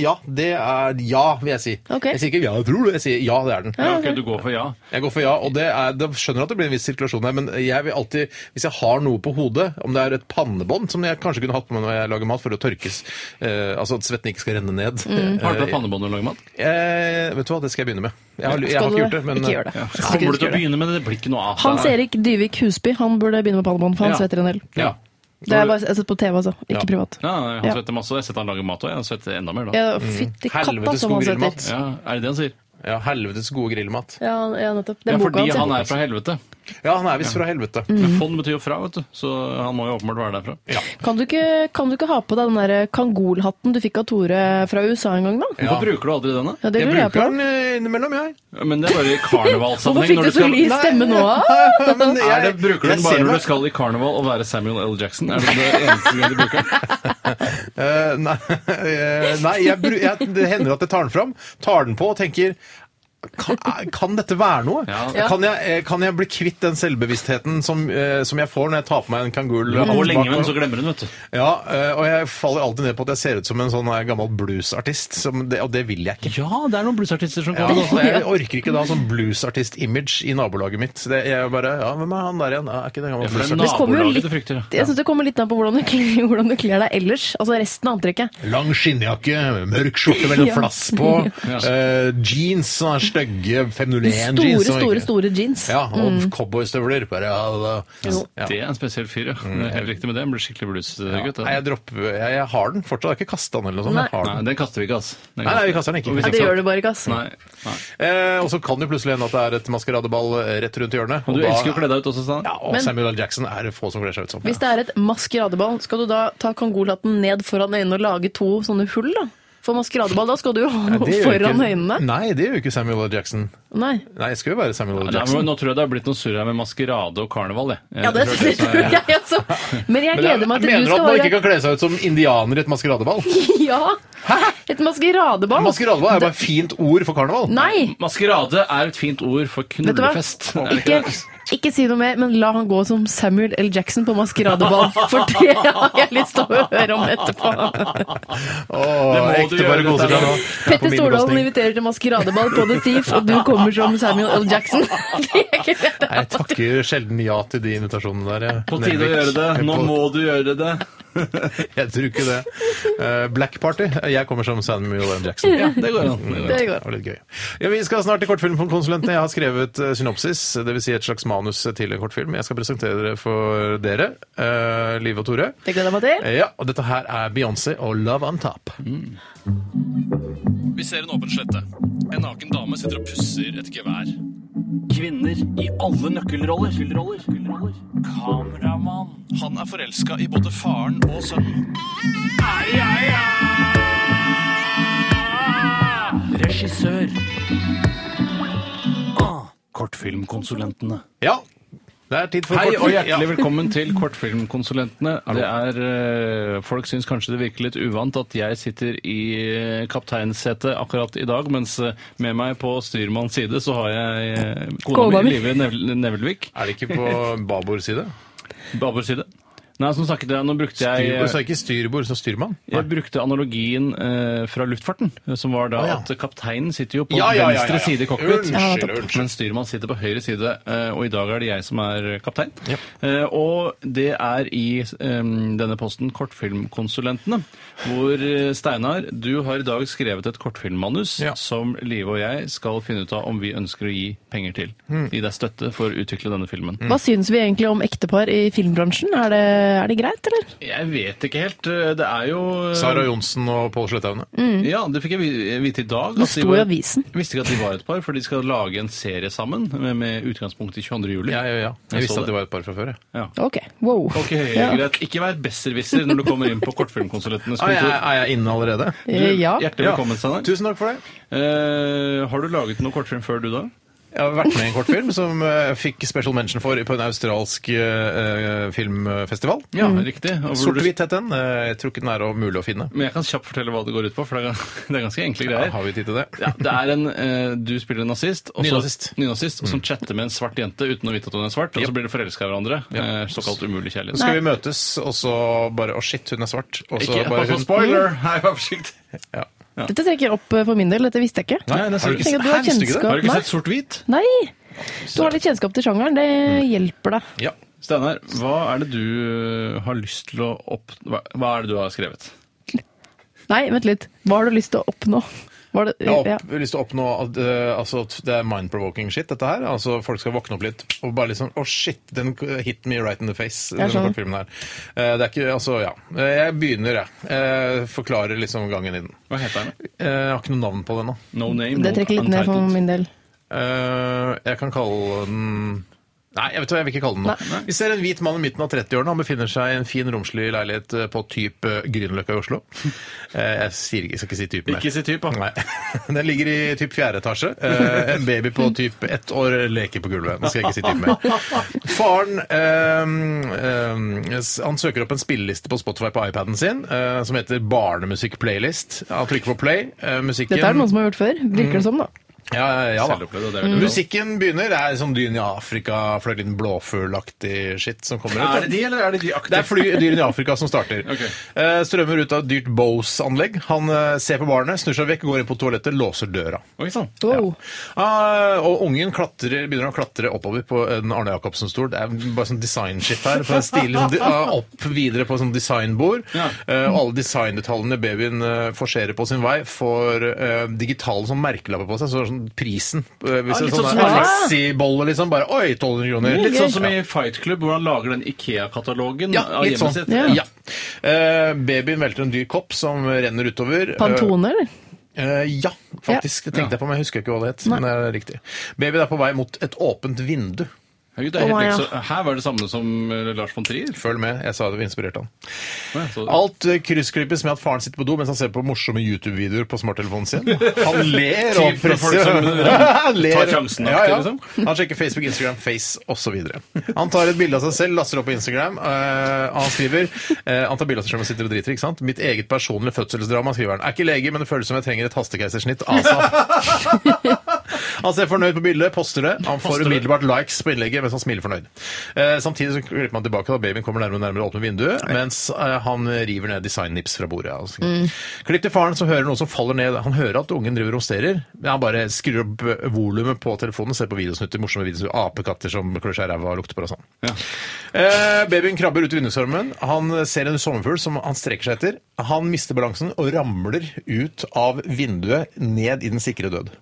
S3: ja, det er Ja, vil jeg si.
S6: Ok.
S3: Jeg sier ikke ja, jeg tror det. Jeg sier ja, det er den.
S4: Ja, ok, du går for ja.
S3: Jeg går for ja, og det er, da skjønner jeg at det blir en viss sirkulasjon her, men jeg vil alltid, hvis jeg har noe på hodet, om det er et pannebånd, som jeg kanskje kunne hatt på meg når jeg lager mat for å tørkes, eh, altså at svetten ikke skal renne ned.
S4: Mm. Har du tatt pannebånd når du lager mat?
S3: Eh, vet du hva, det skal jeg begynne med. Jeg har, jeg
S6: Skal
S3: har
S6: du
S3: ikke gjort det, men
S6: Ikke gjør det. Jeg synes ikke
S4: Kommer du
S6: du
S4: til
S6: skal
S4: å
S6: gjøre det.
S4: begynne med det? Det blir ikke noe av
S6: Hans Erik Dyvik Husby han burde begynne med pallebånd, for han
S4: Ja.
S6: svetter en del.
S3: Ja.
S6: Det er bare, jeg har sett på TV, altså. Ikke
S3: Ja.
S6: privat.
S4: Ja, nei, han
S6: Ja.
S4: svetter masse, og jeg har sett han lager mat òg. Jeg svetter enda mer da.
S6: Ja, Fytti kappa
S3: Helvetes
S6: som han
S3: god grillmat.
S6: svetter.
S4: Mm. Ja, er det det han sier?
S3: ja, helvetes gode grillmat.
S6: Ja, ja, nettopp.
S4: Ja,
S6: Den boka
S4: fordi
S6: hans.
S4: han
S6: ja.
S4: er fra helvete.
S3: Ja, han er visst fra helvete.
S4: Men
S6: Mm.
S4: fond betyr jo fra, vet du. Så han må jo åpenbart være derfra.
S6: Kan du, ikke, kan du ikke ha på deg den der kangolhatten du fikk av Tore fra USA en gang, da?
S4: Hvorfor bruker du aldri denne?
S6: Ja, det
S3: Jeg
S6: lurer jeg på.
S3: bruker den eh, innimellom, jeg.
S4: Men det er bare i
S6: Hvorfor
S4: karnevalsammenheng.
S6: fikk
S4: når du
S6: du så
S4: skal-
S6: lys stemme nå?
S3: Men jeg-
S4: Er det, bruker du
S3: jeg
S4: den
S3: ser
S4: bare når
S3: meg-
S4: du skal i karneval og være Samuel L. Jackson? Er det det eneste gang du bruker den?
S3: Eh, nei, eh, nei jeg, bru- jeg, det hender at jeg tar den fram, tar den på og tenker kan, eh, kan dette være noe?
S4: Ja.
S3: Kan, jeg, eh, kan jeg bli kvitt den selvbevisstheten som, eh, som jeg får når jeg tar på meg en kangul?
S4: Du går lenge, men så glemmer du den, vet du.
S3: Ja, eh, og jeg faller alltid ned på at jeg ser ut som en sånn eh, gammel bluesartist, som det, og det vil jeg ikke.
S4: Ja, det er noen bluesartister som
S3: Ja,
S4: kommer.
S3: altså, jeg orker ikke da sånn bluesartist-image i nabolaget mitt. Det, jeg bare, ja, Hvem er han der igjen? Ja, er ikke det en gammel
S4: For det er
S3: bluesartist?
S6: Det kommer jo
S4: nabolaget
S6: litt-
S4: du frykter. ja.
S6: Jeg syns det kommer litt an på hvordan du, kler, [laughs] hvordan du kler deg ellers. Altså resten av antrekket.
S3: Lang skinnjakke, mørk skjorte med
S6: [laughs]
S3: litt
S6: Ja.
S3: flass på,
S4: Ja.
S3: eh, jeans, sånne stygge 501
S6: Store,
S3: jeans. som
S6: store, Mm.
S3: ikke-
S6: store jeans.
S3: Ja, og cowboystøvler. Bare, ja, da- ja.
S4: Det er en spesiell fyr, ja. Det er Helt riktig med det. Han blir skikkelig bluesgutt.
S3: Nei,
S4: Ja.
S3: jeg, dropper, jeg, jeg har den fortsatt, jeg har ikke kasta den eller noe sånt.
S6: Nei.
S3: Jeg har
S4: Nei,
S3: den.
S4: den kaster vi ikke, altså. Den
S3: Nei, nei, vi kaster den ikke.
S4: Og hvis
S6: Nei, det gjør du bare ikke, ass.
S4: Nei. nei.
S3: Eh, og så kan det plutselig hende at det er et maskeradeball eh, rett rundt hjørnet.
S4: Og du
S3: da-
S4: elsker jo å kle deg ut også, Stan.
S3: Ja, og
S6: Men-
S3: Samuel L. Jackson er det få som kler seg ut som.
S6: Hvis det er et maskeradeball, skal du da ta kangolhatten ned foran øynene og lage to sånne hull, da? For maskeradeball, da skal du jo ha
S3: Nei,
S6: noe
S3: det gjør
S6: foran
S3: ikke-
S6: øynene.
S3: Nei, det gjør jo ikke Samuel L. Jackson.
S6: Nei.
S3: Nei, jeg skal jo være Samuel L.
S4: Nei, men
S3: Jackson.
S4: nå tror jeg det har blitt noe surr her med maskerade og karneval. Jeg. Jeg
S6: Ja, det,
S4: tror
S6: det
S4: som
S6: tror
S4: er-
S6: jeg også. Men jeg
S3: Men jeg-
S6: gleder meg til du
S3: mener at
S6: skal
S3: man
S6: være
S3: ikke kan kle seg ut som indianer i et maskeradeball?
S6: [laughs] Ja! Et maskeradeball.
S3: Maskeradeball er jo bare et fint ord for karneval.
S6: Nei!
S4: Maskerade er et fint ord for
S6: Vet du hva?
S4: knullefest. er det
S6: Ikke,
S4: ikke det?
S6: ikke si noe mer, men la han gå som Samuel L. Jackson på maskeradeball. [laughs] For det har jeg lyst til å høre om etterpå.
S3: Åh,
S4: Det må du
S3: ekte
S4: gjøre,
S3: bare koser
S4: dette
S3: seg
S4: er
S3: nå. På
S6: Petter
S3: min
S6: Stordalen
S3: bekostning.
S6: inviterer til maskeradeball på The Thief, og du kommer som Samuel L. Jackson. [laughs] Det er ikke det.
S3: Nei, Jeg takker sjelden ja til de invitasjonene der. jeg.
S4: På tide å gjøre
S3: Nelvik.
S4: det. Nå
S3: På-
S4: må du gjøre det.
S3: [laughs] Jeg tror ikke det. Eh, Black Party. Jeg kommer som Samuel L. Jackson. Mm,
S4: Ja, det går an. Det går an.
S6: Det
S3: Det
S6: går.
S3: var litt gøy. Ja, vi skal snart til kortfilmkonsulentene. Jeg har skrevet eh, synopsis, dvs. Si et slags manus til en kortfilm. Jeg skal presentere det for dere, eh, Liv og Tore.
S6: Det gleder jeg meg til.
S3: Eh, Ja, og dette her er Beyoncé og Love on Top.
S4: Vi ser en åpen slette. En naken dame sitter og pusser et gevær. Kvinner i alle nøkkelroller. Kameramann. Han er forelska i både faren og sønnen. Regissør. Kortfilmkonsulentene.
S3: Ja. Det er tid for
S4: Hei og
S3: kortfilm.
S4: hjertelig velkommen til Kortfilmkonsulentene. Det er, eh, Folk syns kanskje det virker litt uvant at jeg sitter i eh, kapteinsetet akkurat i dag, mens eh, med meg på styrmanns side så har jeg eh, kona
S6: Kona
S4: mi,
S6: mi.
S4: Live Nevel- Nevelvik.
S3: Er det ikke på babord side?
S4: Babors side. Nei, som snakket jeg, nå brukte jeg eh,
S3: Styrbord, så er det ikke styrbord, så styrmann?
S4: jeg brukte analogien eh, fra luftfarten, eh, som var da
S3: Å, ja.
S4: at kapteinen sitter jo på
S3: Ja, ja, ja, ja, ja.
S4: venstre side i cockpit,
S3: Unnskyld, Ja, nettopp.
S4: mens styrmann sitter på høyre side, eh, og i dag er det jeg som er kaptein. Eh, og det er i eh, denne posten Kortfilmkonsulentene, hvor eh, Steinar, du har i dag skrevet et kortfilmmanus
S3: Ja.
S4: som Live og jeg skal finne ut av om vi ønsker å gi penger til.
S3: Mm.
S4: Gi deg støtte for å utvikle denne filmen.
S6: Hva syns vi egentlig om ektepar i filmbransjen? Er det, er det greit, eller?
S4: Jeg vet ikke helt. eh, Det er jo eh,
S3: Sara Johnsen og Pål Slettaune.
S4: Ja, det fikk jeg vi- vite i dag.
S6: Det
S4: at de
S6: sto
S4: var-
S6: i avisen.
S4: Jeg visste ikke at de var et par, for de skal lage en serie sammen med, med utgangspunkt i 22. juli.
S3: Ja, ja, ja.
S4: Jeg så
S3: Jeg visste
S4: det.
S3: at de var et par fra før. Jeg,
S6: Ok, wow.
S4: Ok,
S6: Ja.
S4: greit. Ikke vær besserwisser når du kommer inn på kortfilmkonsulentenes
S3: Ah, jeg,
S4: kontor.
S3: er jeg inne allerede?
S6: Eh, ja.
S4: Hjertelig velkommen, Steinar.
S3: Tusen takk for det.
S4: Eh, har du laget noe kortfilm før du, da?
S3: Jeg har vært med i en kortfilm som eh, fikk special mention for på en australsk eh, eh, filmfestival.
S4: Ja, Mm. riktig. Og hvor du-
S3: Sort-hvitt het den. Eh, jeg tror ikke den er mulig å finne.
S4: Men jeg kan kjapt fortelle hva det går ut på, for det er, gans- [laughs] det er ganske enkle
S3: Ja,
S4: greier.
S3: har vi tid til det?
S4: Ja, det er en, eh, Du spiller en nazist og så-
S3: Nynazist.
S4: nynazist, og som chatter med en svart jente uten å vite at hun er svart, og så blir de forelska i hverandre. Eh, såkalt umulig kjærlighet.
S3: Så skal vi møtes, og så bare Å, shit, hun er svart. Og så
S4: Ikke
S3: bare
S4: pass på
S3: hun
S4: spoiler! Nei, vær forsiktig.
S3: Ja.
S6: Dette trekker opp eh, for min del, dette visste jeg ikke.
S4: Nei, det
S3: Har
S4: ser
S3: du
S4: du
S6: Jeg
S4: ikke.
S6: tenker
S3: ikke-
S6: at du har
S3: Her visste du ikke det?
S6: kjennskap.
S4: Har du ikke
S6: Nei.
S4: sett sort-hvit?
S6: Nei! Du har litt kjennskap til sjangeren, det
S4: Mm.
S6: hjelper deg.
S3: Ja.
S4: Steinar, hva er det du eh, har lyst til å opp... Hva hva er det du har skrevet?
S6: Nei, vent litt. Hva har du lyst til å oppnå? Var det,
S3: Jeg har
S6: ja.
S3: opp, lyst til å oppnå at, eh, altså, at det er mind-provoking shit, dette her. Altså Folk skal våkne opp litt og bare liksom Å, shit, den hit me right in the face.
S6: Jeg
S3: Denne
S6: skjønner.
S3: kortfilmen her. Eh, Det er ikke Altså, ja. Eh, Jeg begynner, jeg. Eh, Forklarer liksom gangen i den.
S4: Hva heter den?
S3: Eh, Jeg har ikke noe navn på den nå.
S4: No name.
S6: det trekker litt ned for min del.
S3: Eh, Jeg kan kalle den Nei, jeg vet hva, jeg vil ikke kalle den noe. Vi ser en hvit mann i midten av 30-årene. Han befinner seg i en fin, romslig leilighet eh, på typ eh, Grünerløkka i Oslo. Eh, Jeg, sier, ikke- jeg skal ikke si typen. jeg.
S4: Ikke si typ, da.
S3: Nei. [laughs] Den ligger i typ fjerde etasje. Eh, en baby på typ ett år leker på gulvet. Nå skal jeg ikke si typ mer. Faren eh, eh, han søker opp en spilleliste på Spotify på iPaden sin eh, som heter Barnemusikk playlist. Han trykker på play. eh, musikken
S6: Dette er det noen som har gjort før,
S4: Mm.
S6: virker det som, da.
S3: ja, ja, ja, da.
S4: Selvopplevd, og det er veldig bra.
S3: Musikken begynner. Det er sånn dyn i Afrika, fløyeliten blåfuglaktig shit som kommer ut.
S4: Er det de, eller er det de
S3: Det
S4: aktive?
S3: er fly, dyrene i Afrika som starter.
S4: [laughs] Ok.
S3: Eh, strømmer ut av et dyrt Bose-anlegg. Han eh, ser på barnet, snur seg vekk, går inn på toalettet, låser døra.
S4: Oi sånn. sann.
S6: Wow.
S3: Ah, og ungen klatrer, begynner å klatre oppover på en Arne Jacobsen-stol. Det er bare sånn design-shit her. For den stiler
S4: [laughs]
S3: sånn, di- ah, opp videre på sånn designbord.
S4: Ja.
S3: Eh, og alle designdetaljene babyen eh, forserer på sin vei, får eh, digitale sånn merkelapper på seg. Så sånn prisen. Eh, hvis
S4: Ah,
S3: det
S4: litt
S3: er
S4: sånn
S3: sånn
S4: som-
S3: Alexi-bolle, liksom. Bare oi, 1200 kroner.
S4: Litt sånn som i Fight Club, hvor han lager den Ikea-katalogen
S3: Ja,
S4: av
S3: litt
S4: hjemmet
S3: sånn.
S4: sitt.
S3: Ja. Eh, babyen velter en dyr kopp som renner utover. Eh,
S6: Pantone, eller?
S3: Eh, ja, faktisk. Det tenkte jeg på, men jeg husker ikke hva det het. Men det er riktig. Babyen er på vei mot et åpent vindu.
S4: Herregud, det er
S6: Å,
S4: helt
S6: ja.
S4: liksom, her var det samme som eh, Lars von Trier.
S3: Følg med, jeg sa det inspirerte han.
S4: Ja, så-
S3: Alt eh, kryssklippes med at faren sitter på do mens han ser på morsomme YouTube-videoer på smarttelefonen
S4: [laughs]
S3: sin. Han ler og
S4: Typ for folk
S3: presser
S4: som, eh,
S3: [laughs] Han
S4: tar sjansen aktig, liksom.
S3: Han sjekker Facebook, Instagram, Face osv. Han tar et bilde av seg selv, laster opp på Instagram. eh, han skriver eh, Han tar bilde av seg selv og sitter og driter, ikke sant? Mitt eget personlige fødselsdrama, skriver han. Er ikke lege, men det føles som jeg trenger et hastekeisersnitt. altså. ASAP. Han ser Altså, fornøyd på bildet, poster det. Han får umiddelbart likes på innlegget mens han smiler fornøyd. Eh, samtidig så klipper man tilbake, da babyen kommer nærmere og nærmere åpne vinduet, mens eh, han river ned designnips fra bordet. Altså. Klipp til faren som hører noe som faller ned. Han hører at ungen driver og romsterer. men Han bare skrur opp eh, volumet på telefonen, ser på videosnutter, morsomme videosnutter, apekatter som klør seg i ræva og lukter på det og sånn. Eh, babyen krabber ut i vinduskarmen. Han ser en sommerfugl som han strekker seg etter. Han mister balansen og ramler ut av vinduet ned i den sikre død.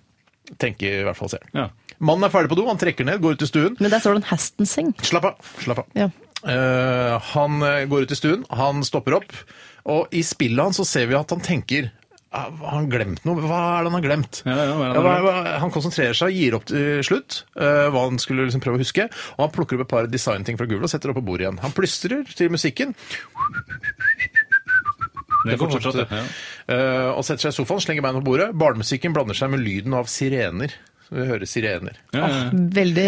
S3: Tenker i hvert fall seeren.
S4: Ja.
S3: Mannen er ferdig på do, han trekker ned, går ut i stuen.
S6: Men der står det en Hastenseng.
S3: Slapp av. slapp av.
S6: Ja.
S3: Eh, han eh, går ut i stuen, han stopper opp, og i spillet hans så ser vi at han tenker «Ah, har han glemt noe? Hva er det han har glemt?
S4: Ja, ja, hva er det han har
S3: Ja, hva- han konsentrerer seg, gir opp til slutt eh, hva han skulle liksom prøve å huske, og han plukker opp et par designting fra gulvet og setter det opp på bordet igjen. Han plystrer til musikken,
S4: Det går
S3: fortsatt,
S4: fortsatt, ja.
S3: eh, og setter seg i sofaen, slenger beina på bordet. Barnemusikken blander seg med lyden av sirener. Så vi hører sirener.
S4: Ja, ja, ja. [laughs]
S6: Veldig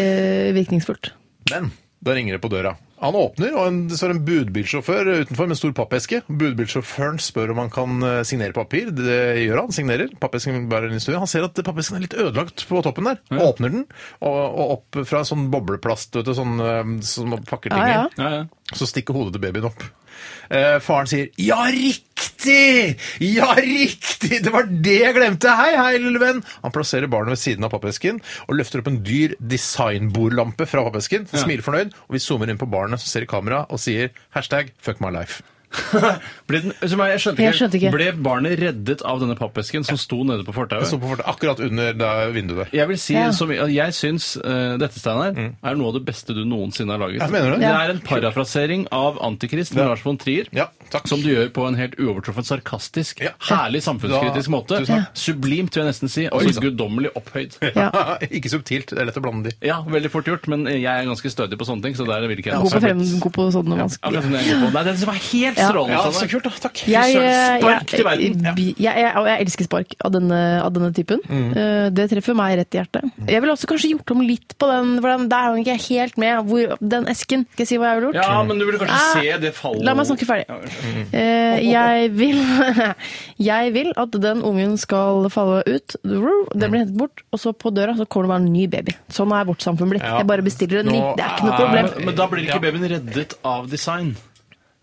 S6: virkningsfullt.
S3: Men Da ringer det på døra. Han åpner, og en, det står en budbilsjåfør utenfor med en stor pappeske. Budbilsjåføren spør om han kan eh, signere papir. Det gjør han. Signerer. Pappesken bærer en historie. Han ser at pappesken er litt ødelagt på toppen der. Åpner den, og, og opp fra sånn bobleplast, vet du, sånn eh, som man pakker ting i.
S6: Ja, ja.
S4: Ja, ja.
S3: Så stikker hodet til babyen opp. Eh, faren sier 'ja, riktig! Ja, riktig! Det var det jeg glemte! Hei, hei, lille venn! Han plasserer barnet ved siden av pappesken og løfter opp en dyr designbordlampe fra pappesken. Smiler fornøyd, og vi zoomer inn på barnet som ser i kamera og sier hashtag 'fuck my life'.
S4: Ble den, som jeg, jeg, skjønte ikke,
S6: Jeg skjønte ikke.
S4: Ble barnet reddet av denne pappesken som sto nede på
S3: Det
S4: fortauet?
S3: står på fortet akkurat under der vinduet der.
S4: Jeg vil si,
S6: Ja.
S4: som, jeg syns eh, dette Steinar, er noe av det beste du noensinne har laget.
S3: Mm. Ja, mener du det?
S4: Det er en parafrasering av Antikrist med Lars von Trier.
S3: Ja, takk.
S4: Som du gjør på en helt uovertruffent sarkastisk,
S3: Ja.
S4: herlig samfunnskritisk
S3: Da-
S4: måte.
S3: Tusen takk.
S4: Sublimt, vil jeg nesten si.
S3: Oi,
S4: Og
S3: sant.
S4: så guddommelig
S3: [laughs]
S4: opphøyd.
S6: Ja.
S3: ikke subtilt. Det er lett å blande de.
S4: Ja, veldig fort gjort, men jeg er ganske stødig på sånne ting, så der vil ikke jeg
S6: God på, frem, god på sånne
S4: Ja,
S6: vanskelige
S4: det er sånn jeg går på. Nei, det var helt
S6: Ja.
S4: strålende.
S3: Ja,
S4: Steinar.
S3: så kult, da. Takk.
S6: jeg, eh,
S4: Spark til
S6: jeg, eh,
S4: verden. Mm.
S6: jeg, jeg, og jeg elsker spark av denne, av denne typen. Eh, Det treffer meg rett i hjertet. Jeg ville også kanskje gjort om litt på den, for den, der hang ikke jeg helt med. Hvor, den esken. Skal jeg si hva jeg ville gjort?
S4: Ja, men du ville kanskje
S6: Ah,
S4: se det fallet
S6: La meg snakke ferdig. Eh, jeg, vil, [laughs] jeg vil at den ungen skal falle ut. Den blir hentet bort, og så på døra så kommer det bare en ny baby. Sånn er vårt samfunn blitt.
S3: Ja.
S6: Jeg bare bestiller en ny.
S3: Nå
S6: Det er ikke noe
S3: er-
S4: Men,
S6: problem.
S4: men da blir ikke babyen reddet av design.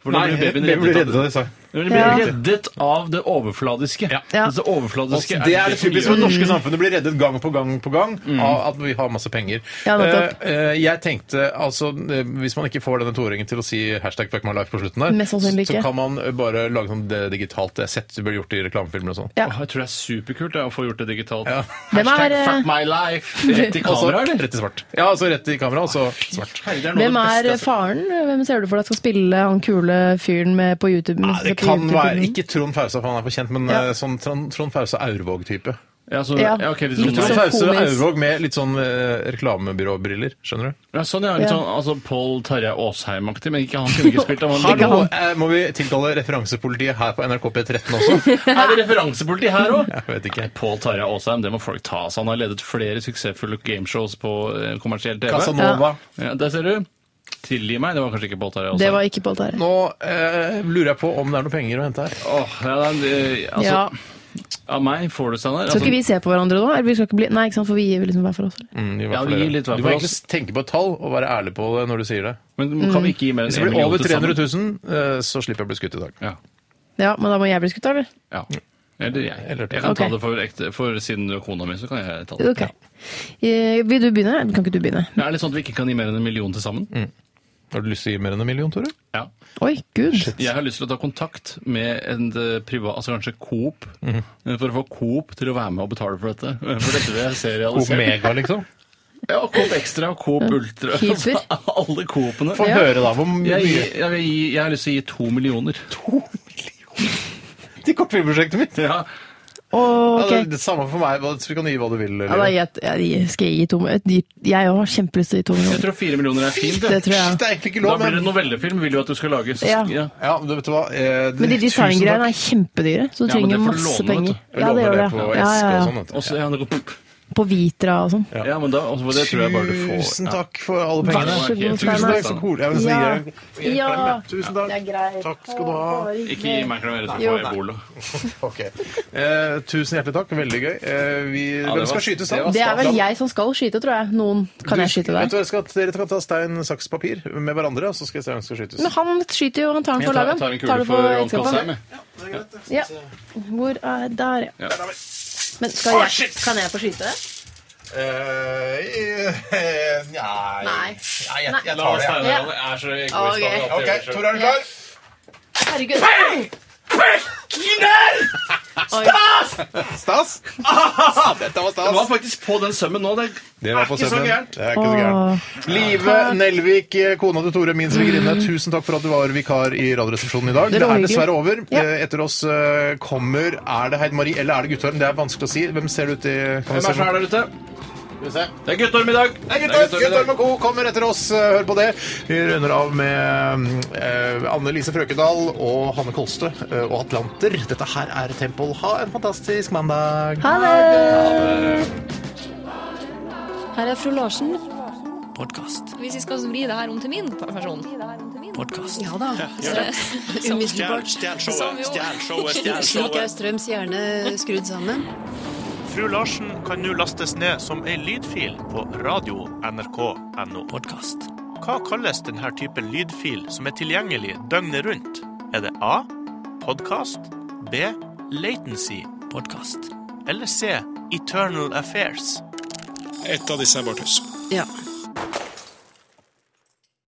S4: For da
S3: Nei,
S4: blir babyen
S3: jeg ble
S4: reddet
S3: reddet
S4: av,
S3: av det, sa jeg.
S4: den blir
S6: Ja.
S4: reddet av det overfladiske.
S6: Ja.
S4: Mens det overfladiske
S3: det er
S4: som
S3: typisk Mm.
S4: gjør-
S3: at det norske samfunnet blir reddet gang på gang på gang av at vi har masse penger.
S6: Ja, nettopp.
S3: Eh, eh, jeg tenkte, altså, eh, Hvis man ikke får denne toåringen til å si hashtag fuck my life på slutten, der,
S6: Mest sannsynlig
S3: så
S6: ikke.
S3: kan man eh, bare lage sånn det digitalt. Det er sett det blir gjort i reklamefilmer og sånn.
S6: Ja.
S4: Åh, jeg tror det er superkult det, å få gjort det digitalt.
S3: Ja.
S6: Hvem
S4: Hashtag
S6: er, eh,
S4: fuck my
S6: [laughs]
S4: life! Rett i
S3: Altså,
S4: kamera, eller?
S3: rett i svart. Ja, altså rett i kamera, og så svart.
S4: Herre, det er noe
S6: Hvem
S4: av
S6: er
S4: det beste jeg har sett.
S6: faren? Hvem ser du for deg skal spille han kule fyren med på YouTube?
S3: Ja, det
S6: på
S3: kan
S6: YouTube-filmen?
S3: være ikke Trond Fausa, for han er for kjent, men
S6: Ja.
S3: eh, sånn Trond, Trond Fausa Aurvåg-type.
S4: Ja, så, ja.
S6: Ja.
S4: ok, litt
S6: Litt
S4: sånn,
S3: Trond
S6: sånn-
S3: Fausa
S6: komisk.
S3: Aurvåg med litt sånn eh, reklamebyråbriller, skjønner du?
S4: ja, sånn, ja, litt
S6: Ja.
S4: sånn altså, Pål Tarjei Aasheim-aktig, men
S6: [laughs]
S4: ikke han kunne ikke spilt. Han,
S3: Hallo,
S4: han.
S3: eh, må vi tilkalle referansepolitiet her på NRK P13
S6: [laughs]
S3: også?
S4: Er det referansepoliti her òg?
S3: Jeg vet ikke.
S4: Pål Tarjei Aasheim, det må folk ta seg. Han har ledet flere suksessfulle gameshows på eh, kommersiell TV.
S3: Casanova.
S4: Ja, der ser du. Tilgi meg, det var kanskje ikke altså. Pål Tarjei
S6: Det
S4: Aasheim.
S6: var ikke på alt her.
S3: Nå eh, lurer jeg på om det er noen penger å hente her.
S4: Åh, ja, det er, eh, altså,
S6: Ja.
S4: Av meg får du Steinar. Altså,
S6: Skal ikke vi se på hverandre nå? Eller vi skal ikke bli... Nei, ikke sant, for vi gir liksom hver for oss. eller?
S3: Mm, i hvert
S4: Ja,
S3: fall
S4: vi
S3: det.
S4: gir litt hver
S3: du
S4: for
S3: må
S4: oss.
S3: egentlig tenke på et tall og være ærlig på det når du sier det.
S4: men kan vi ikke gi mer
S3: Hvis
S4: enn
S3: det
S4: 1
S3: Mm. blir
S4: million
S3: over
S4: til sammen?
S3: 300 000, eh, så slipper jeg å bli skutt i dag.
S4: Ja.
S6: Ja, men da må jeg bli skutt, eller?
S4: ja. Eller jeg.
S3: Eller-
S4: jeg kan ta
S6: Ok.
S4: det for, ekte, for siden du er kona mi, så kan jeg ta det.
S6: Ok. Eh, Vil du begynne? Kan ikke du begynne?
S4: Ja, er det sånn at vi ikke kan gi mer enn en million til sammen?
S3: Mm. Har du lyst til å gi mer enn en million, Tore?
S4: Ja.
S6: Oi, gud.
S4: Jeg har lyst til å ta kontakt med en eh, privat, altså kanskje Coop,
S3: Mm.
S4: eh, for å få Coop til å være med og betale for dette. Eh, For dette vil jeg se
S3: Coop
S4: realisert.
S3: Mega,
S4: [laughs]
S3: liksom.
S4: Ja, Coop Extra og Coop Ultra. [laughs]
S6: Keeper.
S4: Alle Coopene.
S3: Få høre, da. Hvor mye
S4: Jeg, gir- jeg, vil gi- jeg har lyst til å gi to millioner.
S3: til kortfilmprosjektet mitt?
S4: Ja.
S6: Åh,
S3: Ja, det,
S6: ok.
S3: det samme for meg. hva- Så vi kan gi hva du vil.
S6: Ja, da
S3: Eller.
S6: gir jeg, jeg, skal jeg gi to millioner? Jeg òg har kjempelyst til å gi to
S4: Jeg
S6: millioner.
S4: tror fire millioner er fint.
S6: Det
S4: jeg.
S6: tror
S3: Shit,
S6: jeg.
S3: [laughs] det er egentlig ikke
S4: Da
S3: lov,
S4: blir det
S3: men
S4: novellefilm, vil du at du skal lage. Så-
S6: Ja.
S3: ja, du vet hva, eh,
S6: Men de
S3: tusen takk.
S6: designgreiene er kjempedyre, så du
S4: Ja, men det
S6: trenger
S4: får du
S6: masse
S4: låne, vet du.
S6: penger.
S3: Jeg
S6: Ja, det
S3: lover
S6: gjør
S3: det
S6: det.
S3: på
S6: Ja,
S3: eske
S6: ja,
S3: og
S6: ja.
S3: sånn, vet du.
S4: Og så ja, det går-
S6: På Vitra og sånn.
S4: ja, men da, altså, det tror jeg bare du får.
S3: Tusen
S4: Ja.
S3: takk for alle
S4: Vær
S3: pengene.
S4: så god,
S3: Tusen takk, så
S4: Steinar.
S3: cool. Jeg vil si eh,
S6: Ja.
S3: deg en
S6: Ja.
S3: klem. Tusen takk.
S6: greit.
S3: Takk skal du ha.
S4: Ikke gi meg klem, ellers
S6: Jo,
S4: får jeg
S6: nei.
S4: ebola.
S3: Ok. Eh, tusen hjertelig takk. Veldig gøy. Eh, vi,
S4: det
S3: hvem skal
S4: var-
S3: skytes,
S4: det
S3: da?
S4: var
S6: Det er vel jeg som skal skyte, tror jeg. Noen kan jeg skyte
S3: Vet
S6: der.
S3: du hva, jeg skal, dere kan ta stein, saks, papir med hverandre, og så skal jeg se hvem som skal skytes.
S6: Men han skyter jo, han tar den
S4: Jeg
S6: for
S4: tar,
S6: laget.
S4: jeg tar en
S6: Tar
S4: kule
S6: du
S4: for
S6: for
S4: Jon
S6: ekteskapet?
S4: Kalsheim. jeg.
S6: Ja. Hvor er Der, ja.
S4: Ja.
S6: Men skal jeg, kan jeg få skyte?
S3: Eh, nei.
S6: Nei.
S3: Nei, jeg,
S4: Ja,
S3: jeg tar det. jeg.
S4: Steinar,
S6: Ja.
S4: han er så
S6: Ok.
S4: egoist. han alltid gjør
S3: Ok,
S4: det selv.
S3: Tor, er du klar?
S6: Herregud.
S3: Stas? [laughs] Dette var
S4: Det var
S3: stas.
S4: faktisk på den sømmen nå. Det
S3: Det var på
S4: ikke så
S3: sømmen.
S4: gærent.
S3: Det er ikke så gærent. Live Nelvik, kona til Tore, min svigerinne, tusen takk for at du var vikar i Radioresepsjonen i dag.
S6: Det
S3: Det
S6: var
S3: er
S6: hyggelig.
S3: dessverre over.
S6: Ja.
S3: Eh, Etter oss eh, kommer Er det Heid Marie eller er det Guttorm? Det er vanskelig å si. Hvem ser det ut i kan vi
S4: Hvem er
S3: se?
S4: som er der ute?
S3: Skal vi se.
S4: Det er Guttorm i dag.
S3: Nei,
S4: Det er
S3: Guttorm, Guttorm og Co. kommer etter oss. Eh, Hør på det. Vi runder av med eh, Anne Lise Frøkedal og Hanne Kolstø eh, og Atlanter. Dette her er Tempel. Ha en fantastisk mandag.
S6: Ha det!
S9: Her er fru Larsen
S10: Podkast.
S11: Hvis vi skal vri det her om til min person
S10: Podkast.
S9: Ja da. Umiddelbart. Slik er Strøms hjerne skrudd sammen.
S12: Fru Larsen kan nå lastes ned som ei lydfil på radio nrk.no.
S10: Podkast.
S12: Hva kalles denne typen lydfil som er tilgjengelig døgnet rundt? Er det A. Podkast. B. Latency.
S10: Podkast.
S12: Eller C. Eternal Affairs.
S13: Et av disse er bare tuss.
S9: Ja.